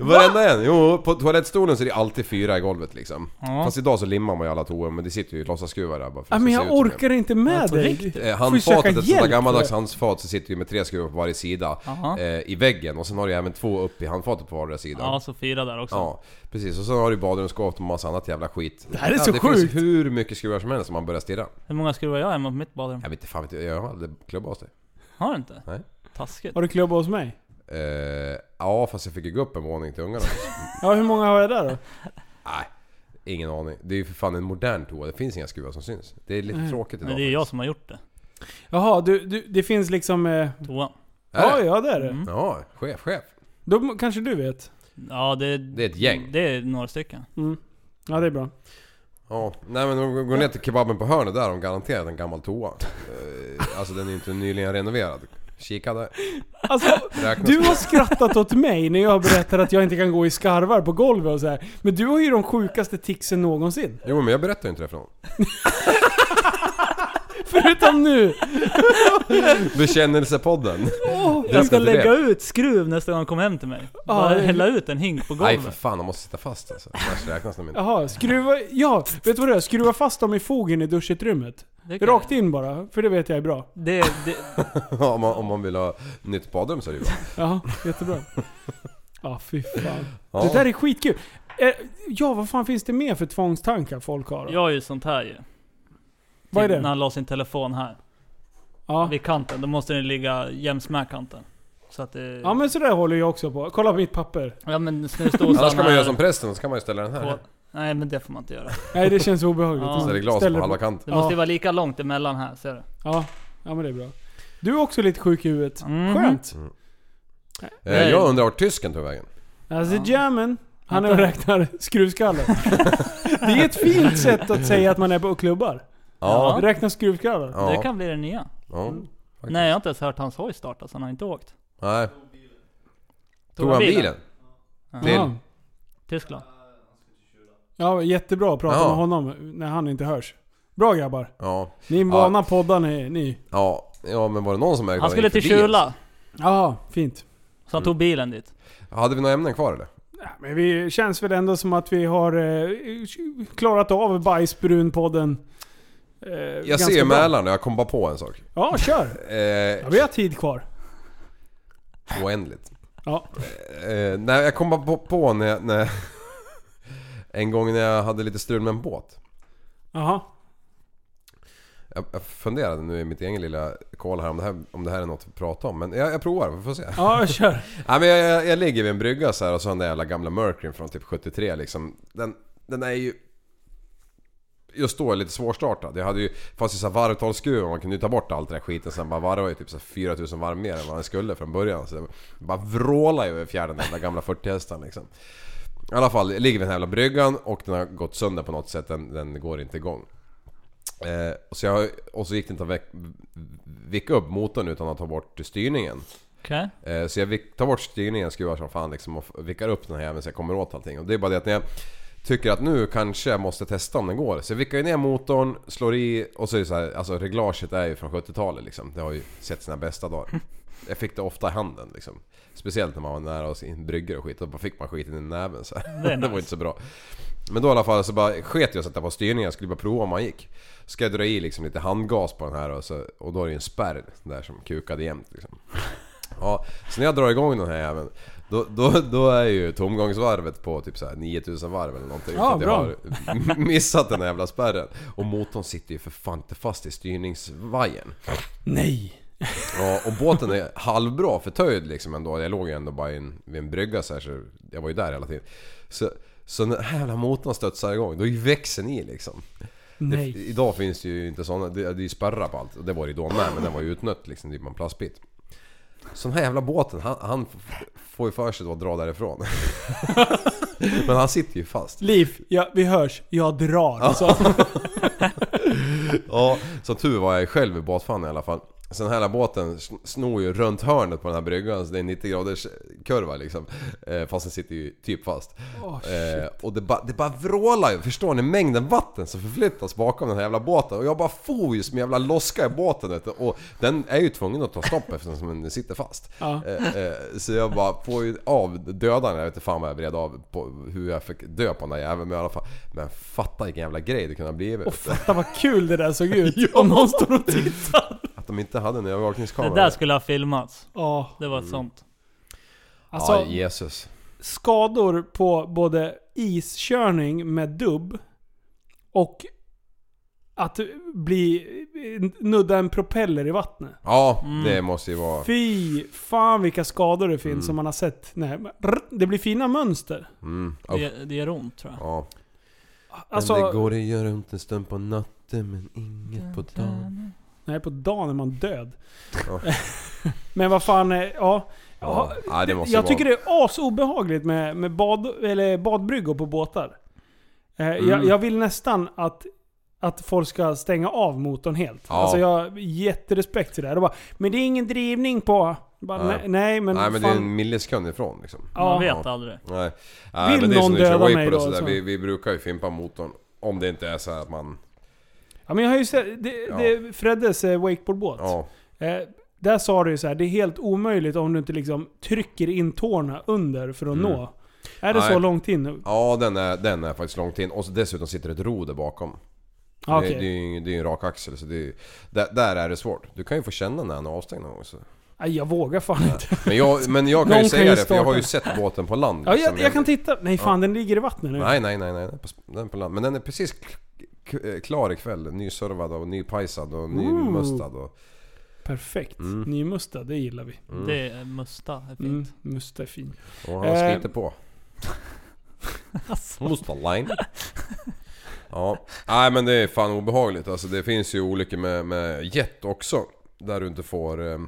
S5: Varenda en! Jo, på toalettstolen så är det alltid fyra i golvet liksom. Fast idag så limmar man ju alla toor, men det sitter ju låtsasskruvar där bara för
S4: Ja,
S5: att
S4: men
S5: det ser
S4: jag
S5: ut som
S4: orkar inte med dig.
S5: Eh,
S4: Får ju söka
S5: handfatet, ett sånt där
S4: hjälp
S5: gammaldags
S4: för
S5: handfat, så sitter ju med tre skruvar på varje sida
S6: Aha.
S5: eh, i väggen och sen har du ju även två upp i handfatet på vardera sida.
S6: Ja, så fyra där också.
S5: Ja, precis. Och så har du badrumsskåp och massa annat jävla skit. Det
S4: här är
S5: ja,
S4: så
S5: det
S4: sjukt.
S5: finns hur mycket skruvar som helst som man börjar stirra.
S6: Hur många skruvar jag hemma på mitt badrum?
S5: Jag vet inte, fan vet jag, jag har aldrig klubbat det.
S6: Har du inte?
S5: Nej.
S6: Taskigt.
S4: Har du klubbat hos mig?
S5: Eh, ja, fast jag fick ju gå upp en våning till ungarna.
S4: Ja, hur många har jag där då?
S5: Nej, ingen aning. Det är ju för fan en modern toa, det finns inga skruvar som syns. Det är lite tråkigt idag.
S6: Men det är jag som har gjort det.
S4: Jaha, du, du, det finns liksom... Eh,
S6: Toa.
S4: ja,
S5: Är det?
S4: ja det är det.
S5: Äh?
S6: Mm.
S5: Ja, chef, chef.
S4: Då m- kanske du vet?
S6: Ja, det,
S5: Det är ett gäng.
S6: Det är några stycken.
S4: Ja, det är bra.
S5: Ja, nej men de går ner till kebaben på hörnet där, de garanterat en gammal toa. Eh, Alltså den är ju inte nyligen renoverad. Kika där.
S4: Alltså,
S5: Räknas
S4: du har skrattat åt mig när jag berättar att jag inte kan gå i skarvar på golvet och så här. Men du har ju de sjukaste ticsen någonsin.
S5: Jo men jag berättar ju inte det för någon.
S4: Förutom nu!
S5: Bekännelsepodden.
S6: Jag ska
S5: ska inte
S6: lägga
S5: det.
S6: ut skruv nästa gång de kommer hem till mig. Bara
S4: det-
S6: hälla ut en hink på
S5: Nej för
S6: golvet.
S5: fan, de måste sitta fast alltså. Annars räknas de inte.
S4: Jaha, skruva... Ja, vet du vad det är? Skruva fast dem i fogen i duschutrymmet.
S6: Det kan-
S4: Rakt in bara, för det vet jag är bra.
S6: Det, det,
S5: om, man, om man vill ha nytt badrum så är det ju bra.
S4: Ja, jättebra. Ja, fy fan.
S5: Ja.
S4: Det där är skitkul. Eh, Ja, vad fan finns det mer för tvångstankar folk har? då?
S6: jag är ju sånt här ju.
S4: vad är
S6: Typ
S4: det?
S6: När han la sin telefon här.
S4: Ja.
S6: Vid kanten. Då måste den ligga jäms med kanten. Så att det...
S4: ja, men sådär håller jag också på. Kolla på mitt papper.
S6: ja, men
S5: Annars
S6: snusdosan
S5: kan man
S6: är
S5: göra som prästen, så kan man ju ställa den
S6: på...
S5: här.
S6: Nej men det får man inte göra.
S4: Nej, det känns obehagligt.
S6: Ja.
S4: Man
S5: Så är det glas
S4: ställer
S5: på halva kanten.
S6: Det måste ju vara lika långt emellan här, ser du?
S4: Ja. ja, men det är bra. Du är också lite sjuk i huvudet.
S6: Mhm.
S4: Skönt.
S5: Mm. Eh,
S6: Nej.
S5: Jag undrar vart tysken tog vägen?
S4: Alltså German, han är och räknar skruvskallar. det är ett fint sätt att säga att man är på klubbar.
S5: Ja.
S4: Räkna skruvskallar.
S5: Ja.
S6: Det kan bli det nya.
S5: ja. Faktiskt.
S6: Nej jag har inte ens hört hans hoj starta, så han har inte åkt.
S5: Nej. Tog han bilen?
S4: Ja.
S5: Till?
S6: Tyskland.
S4: ja, jättebra att prata
S5: Ja.
S4: med honom när han inte hörs. Bra grabbar.
S5: Ja.
S4: Ni är vana poddar ni. ni.
S5: Ja. Ja men var Mm. det någon som ägde
S6: Han skulle
S5: gick
S6: till
S5: förbi
S6: Kjula,
S4: Ja, fint.
S6: så han tog bilen dit.
S5: oss? Hade vi några ämnen kvar eller?
S4: Ja, men vi känns väl ändå som att vi har eh, klarat av Bajsbrunpodden. Eh,
S5: Jag ser ju Mälaren och jag kom bara på en sak.
S4: Ja, kör.
S5: Eh,
S4: Ja, vi har tid kvar.
S5: oändligt.
S4: Ja.
S5: Eh, nej, jag kom bara på, på när, jag- när En gång när jag hade lite strul med en båt.
S4: Jaha.
S5: Jag, jag funderade nu i mitt egen lilla koll här om det här, om det här är något att prata om. Men jag, jag provar, vi får se.
S4: Ja, kör.
S5: Nej, men jag, jag, jag ligger vid en brygga så här och så har den där jävla gamla Mercuryn från typ 73 liksom. Den, den är ju... just då lite svårstartad. Jag hade ju, fanns ju såhär varvtalsskruvar, man kunde ju ta bort allt det där skiten. Sen bara varvade jag ju typ så här 4000 varv mer än vad den skulle från början. Så jag bara vrålade ju över fjärden den där gamla 40-hästen liksom. I alla fall, jag ligger vid den här jävla bryggan och den har gått sönder på något sätt. Den, den går inte igång. Eh, och, så jag, och så gick det inte att väck- vicka upp motorn utan att ta bort styrningen.
S6: Okej.
S5: Eh, Så jag vick- tar bort styrningen, skruvar som fan liksom och f- vickar upp den här jäveln så jag kommer åt allting. Och det är bara det att när jag tycker att nu kanske jag måste testa om den går. Så jag vickar ju ner motorn, slår i och så är det så här, alltså reglaget är ju från 70-talet liksom. Det har ju sett sina bästa dagar. Jag fick det ofta i handen liksom. Speciellt när man var nära oss i bryggor och skit. Då bara fick man skiten i näven så här. Det, var inte så bra. Men då i alla fall så bara sket jag att sätta på styrningen. Jag skulle bara prova om man gick. Så ska jag dra i liksom lite handgas på den här och, så, och då är det ju en spärr där som kukade jämt liksom. Ja, så när jag drar igång den här jäveln då, då, då är ju tomgångsvarvet på typ såhär 9000 varv eller någonting.
S4: Ja,
S5: för att jag
S4: bra.
S5: har missat den här jävla spärren. Och motorn sitter ju för fan inte fast i styrningsvajern.
S4: Nej!
S5: Ja, och båten är halvbra förtöjd liksom ändå. Jag låg ju ändå bara i en, vid en brygga så, här, så jag var ju där hela tiden. Så, så när den här jävla motorn studsar igång, då är ju växeln i liksom. Det,
S4: Nej.
S5: idag finns det ju inte sådana, det, det är ju spärrar på allt. Och det var det ju då med, men den var ju utnött liksom, typ en plastbit. Så den här jävla båten, han, han f- får ju för sig då att dra därifrån. men han sitter ju fast.
S4: Liv, ja, vi hörs. Jag drar. Alltså, Så.
S5: Ja, som tur var jag ju själv i båtfan i alla fall. Så den här jävla båten sn- snor ju runt hörnet på den här bryggan, så det är en 90 graders kurva liksom. Eh, Fast den sitter ju typ fast. Eh, och det, ba, det bara vrålar ju, förstår ni mängden vatten som förflyttas bakom den här jävla båten? Och jag bara for ju som en jävla loska i båten vet du. Och den är ju tvungen att ta stopp eftersom den sitter fast.
S4: Ja.
S5: Eh, eh, Så jag bara får ju av dödaren, jag vet inte fan vad jag vred av på hur jag fick dö på den där jäveln. Men i alla fall, men fatta vilken jävla grej det kunde ha blivit.
S4: Och fatta vad kul det där såg ut. Om någon står och tittar.
S5: Att de inte hade en övervakningskamera.
S6: Det där skulle ha filmats.
S4: Ja.
S6: Det
S5: Mm.
S6: var ett sånt.
S4: Alltså,
S5: ja, Jesus.
S4: skador på både iskörning med dubb och att bli, nudda en propeller i vattnet.
S5: Ja, det måste ju vara...
S4: Mm. Fy fan vilka skador det finns som man har sett. Nej, men rrr, det blir fina mönster.
S5: Mm, oh,
S6: Det, det gör ont tror jag.
S5: ja.
S4: Alltså,
S5: men det går att göra ont en stund på natten men inget på dagen.
S4: nej på dagen är man död.
S5: Ja.
S4: men vad fan, eh, ja. ja.
S5: Ja, ja, det måste ju
S4: jag
S5: vara...
S4: tycker det är asobehagligt med, med bad, eller badbryggor på båtar. Eh, jag,
S5: Mm.
S4: jag vill nästan att, att folk ska stänga av motorn helt.
S5: Ja.
S4: Alltså jag har jätterespekt till det. här. De bara, men det är ingen drivning på... Bara,
S5: Nej.
S4: nej. nej men
S5: Nej men det är
S4: fan.
S5: en millisekund ifrån liksom.
S6: Man
S4: Ja.
S6: vet aldrig.
S5: Nej. Nej
S4: Vill
S5: men det är
S4: någon
S5: som när vi kör
S4: döda mig
S5: Waypor
S4: då, alltså?
S5: och sådär.
S4: så-
S5: Vi, vi brukar ju fimpa motorn. Om det inte är så här att man...
S4: Ja, men jag har ju sett, det,
S5: Ja.
S4: det är Freddes eh, wakeboardbåt.
S5: Ja.
S4: Eh, där sa du ju så här, det är helt omöjligt om du inte liksom trycker in tårna under för att nå. Är det
S5: Mm. Nej.
S4: så långt in nu?
S5: Ja den är, den är faktiskt långt in. Och så dessutom sitter ett roder bakom.
S4: Ja,
S5: Det,
S4: okej.
S5: det är ju det är ju en rak axel så det är, ju- där, där är det svårt. Du kan ju få känna när han är avstängd någon gång. Så.
S4: Nej, jag vågar fan inte.
S5: Men jag, men jag kan
S4: Någon
S5: ju
S4: kan
S5: säga
S4: ju
S5: det för jag har ju
S4: starta.
S5: sett båten på land.
S4: Ja,
S5: liksom.
S4: jag, jag kan titta. Nej fan, den ligger i vattnet nu.
S5: Nej, nej, nej, nej. den är på- Den är på land. Men den är precis k- k- eh, klar ikväll. Nyservad och nypajsad och nymustad och...
S4: Perfekt.
S5: Mm.
S4: Nymustad, det gillar vi.
S6: Det är musta. Är fint.
S4: Mm, musta är fin.
S5: Och han
S4: Eh. Alltså.
S5: sliter på. Mustaline. Ja. Nej men det är fan obehagligt. Alltså det finns ju olyckor med, med jet också. Där du inte får... Eh, eh,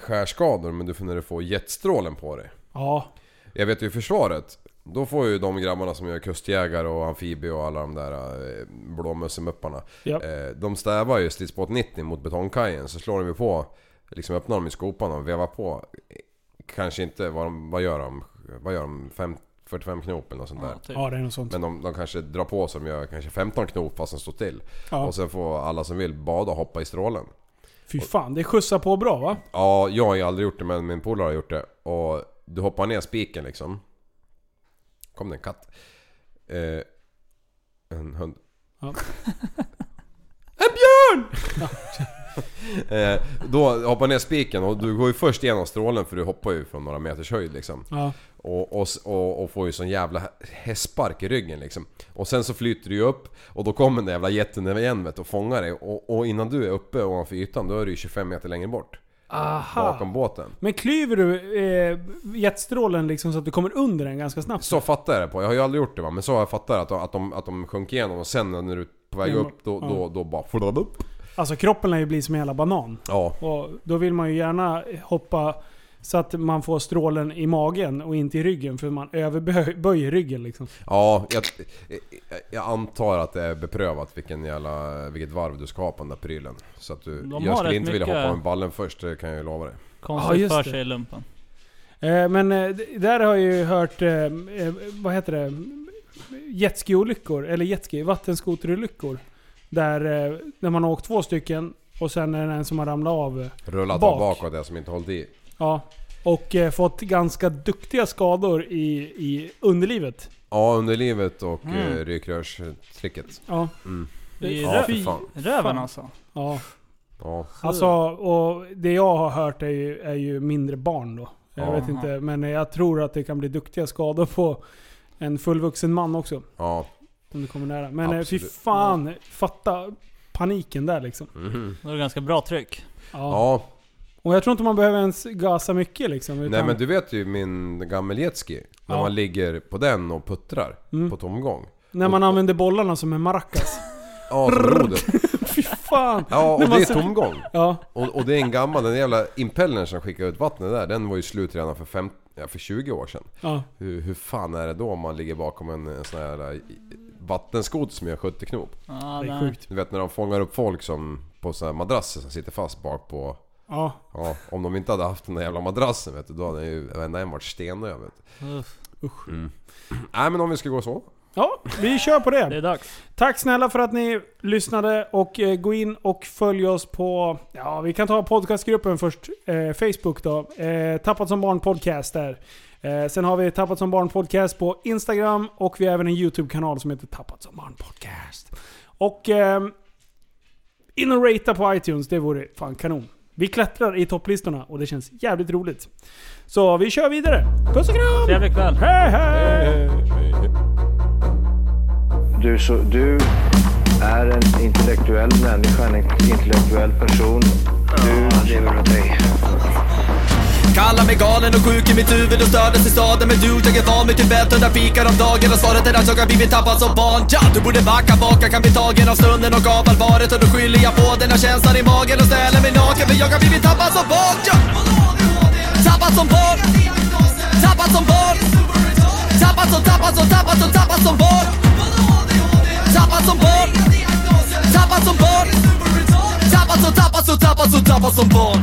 S5: skärskador men du får när du får jetstrålen på dig.
S4: Ja.
S5: Jag vet ju i försvaret, då får ju de grabbarna som gör kustjägare och amfibie och alla de där eh, blåmössemupparna.
S4: Ja.
S5: Eh, de stävar ju stridsbåt 90 mot betongkajen så slår de ju på, liksom öppnar dem i skopan och vevar på. Kanske inte, vad, de, vad gör de? Vad gör de? Fem, 45 knop eller något sånt där.
S6: Ja, typ.
S4: ja, det är något sånt.
S5: Men de, de kanske drar på så de gör kanske 15 knop fast de står still.
S4: Ja.
S5: Och sen får alla som vill bada och hoppa i strålen.
S4: Fy fan, det skjutsar på bra va?
S5: Ja, jag har ju aldrig gjort det men min polare har gjort det. Och du hoppar ner spiken liksom. Kom det en katt? Eh, en hund.
S4: Ja.
S5: en björn! eh, då hoppar ner spiken och du går ju först igenom strålen för du hoppar ju från några meters höjd liksom.
S4: Ja.
S5: Och, och, och, och får ju sån jävla hästspark i ryggen liksom. Och sen så flyter du ju upp och då kommer den jävla jätten igen vet, du, och fångar dig. Och, och innan du är uppe ovanför ytan då är du ju 25 meter längre bort.
S4: Aha.
S6: Ah.
S5: bakom båten.
S4: Men klyver du eh, jetstrålen liksom så att du kommer under den ganska snabbt?
S5: Så fattar jag det på. Jag har ju aldrig gjort det va, men så har jag fattat att, de- att, de, att de sjönk igenom och sen när du är på väg
S4: Ja,
S5: upp då,
S4: ja.
S5: då, då bara... flödade upp.
S4: Alltså kroppen lär ju bli som en jävla banan.
S5: Ja.
S4: Och då vill man ju gärna hoppa så att man får strålen i magen och inte i ryggen för man överböjer ryggen liksom.
S5: Ja, jag, jag antar att det är beprövat vilken jävla, vilket varv du ska ha på den där prylen. Så att du,
S6: De har
S5: jag skulle
S6: rätt
S5: inte vilja
S6: mycket-
S5: hoppa med ballen först, det kan jag ju lova dig.
S4: Ja,
S6: Konstigt
S4: just
S6: för
S4: det.
S6: sig i lumpen.
S4: Eh, men eh, d- där har jag ju hört, eh, eh, vad heter det? Jetski-olyckor, eller jetski, vattenskoterolyckor. Där, eh, när man har åkt två stycken och sen är det en som har ramlat av. eh,
S5: Rullat
S4: Bak.
S5: av bakåt, jag som inte hållit i.
S4: Ja. Och eh, fått ganska duktiga skador i, i underlivet.
S5: Ja, underlivet och
S6: Mm.
S5: mm. rykrörstricket.
S4: Ja.
S5: Mm.
S6: I
S5: Ja,
S6: rö-
S5: för fan.
S6: röven
S4: fan.
S6: alltså.
S4: ja.
S5: Ja.
S4: Alltså, och det jag har hört är ju, är ju mindre barn då. Jag
S5: Ja.
S4: vet inte, men jag tror att det kan bli duktiga skador på en fullvuxen man också.
S5: ja.
S4: Om du kommer nära. Men eh, fy
S5: Absolut.
S4: fan, fatta paniken där liksom.
S5: Mhm.
S6: Det var ganska bra tryck.
S4: Ja.
S5: ja.
S4: Och jag tror inte man behöver ens gasa mycket liksom. Utan,
S5: Nej men du vet ju min gammeljetski. När
S4: Ja. Mm.
S5: man ligger på den och puttrar på tomgång.
S4: När man använder bollarna som en maracas.
S5: Ja, som roder.
S4: fy fan!
S5: Ja, och
S4: När
S5: det
S4: man
S5: är
S4: ser-
S5: tomgång.
S4: Ja,
S5: Och, och det är en gammal, den jävla impellern som skickar ut vattnet där, den var ju slut redan för, fem, ja, för 20 år sedan.
S4: ja.
S5: Hur, hur fan är det då om man ligger bakom en, en sån här eh, vattenskoter som gör 70 knop?
S6: Ja,
S4: Det är
S6: nej.
S4: sjukt.
S5: Du vet när de fångar upp folk som på såna här madrasser som sitter fast bak på...
S4: Ja.
S5: Ja, om de inte hade haft den där jävla madrassen vet du, då hade ju varenda en varit stendöd vet du.
S6: Uff,
S5: Nej men om vi ska gå så.
S4: ja, vi kör på
S6: Det
S4: det.
S6: är dags.
S4: Tack snälla för att ni lyssnade och eh, gå in och följ oss på, ja vi kan ta podcastgruppen först, eh, Facebook då. Eh, Tappat som barn podcast där. Eh, sen har vi Tappat som barn podcast på Instagram och vi har även en YouTube-kanal som heter Tappat som barn podcast. Och ehm, in och ratea på iTunes, det vore fan kanon. Vi klättrar i topplistorna och det känns jävligt roligt. Så vi kör vidare. Puss och kram!
S6: Trevlig kväll.
S4: Hej hej!
S1: Du, så, du är en intellektuell människa, en intellektuell person. Du lever av dig.
S2: Kallar mig galen och sjuk i mitt huvud och stördes i staden Men du, jag är van vid Tibet och där fikar om dagen Och svaret är att jag har blivit tappad som barn ja, Du borde backa bak, jag kan bli tagen av stunden och av allvaret Och då skyller jag på den här känslan i magen och ställer mig naken För jag har blivit tappad som barn ja. Tappad som barn Tappad som barn Tappad som, tappad som, tappad som, tappad som barn Tappad som barn Tappad som barn Tappad som, tappad som, tappad som, tappad som barn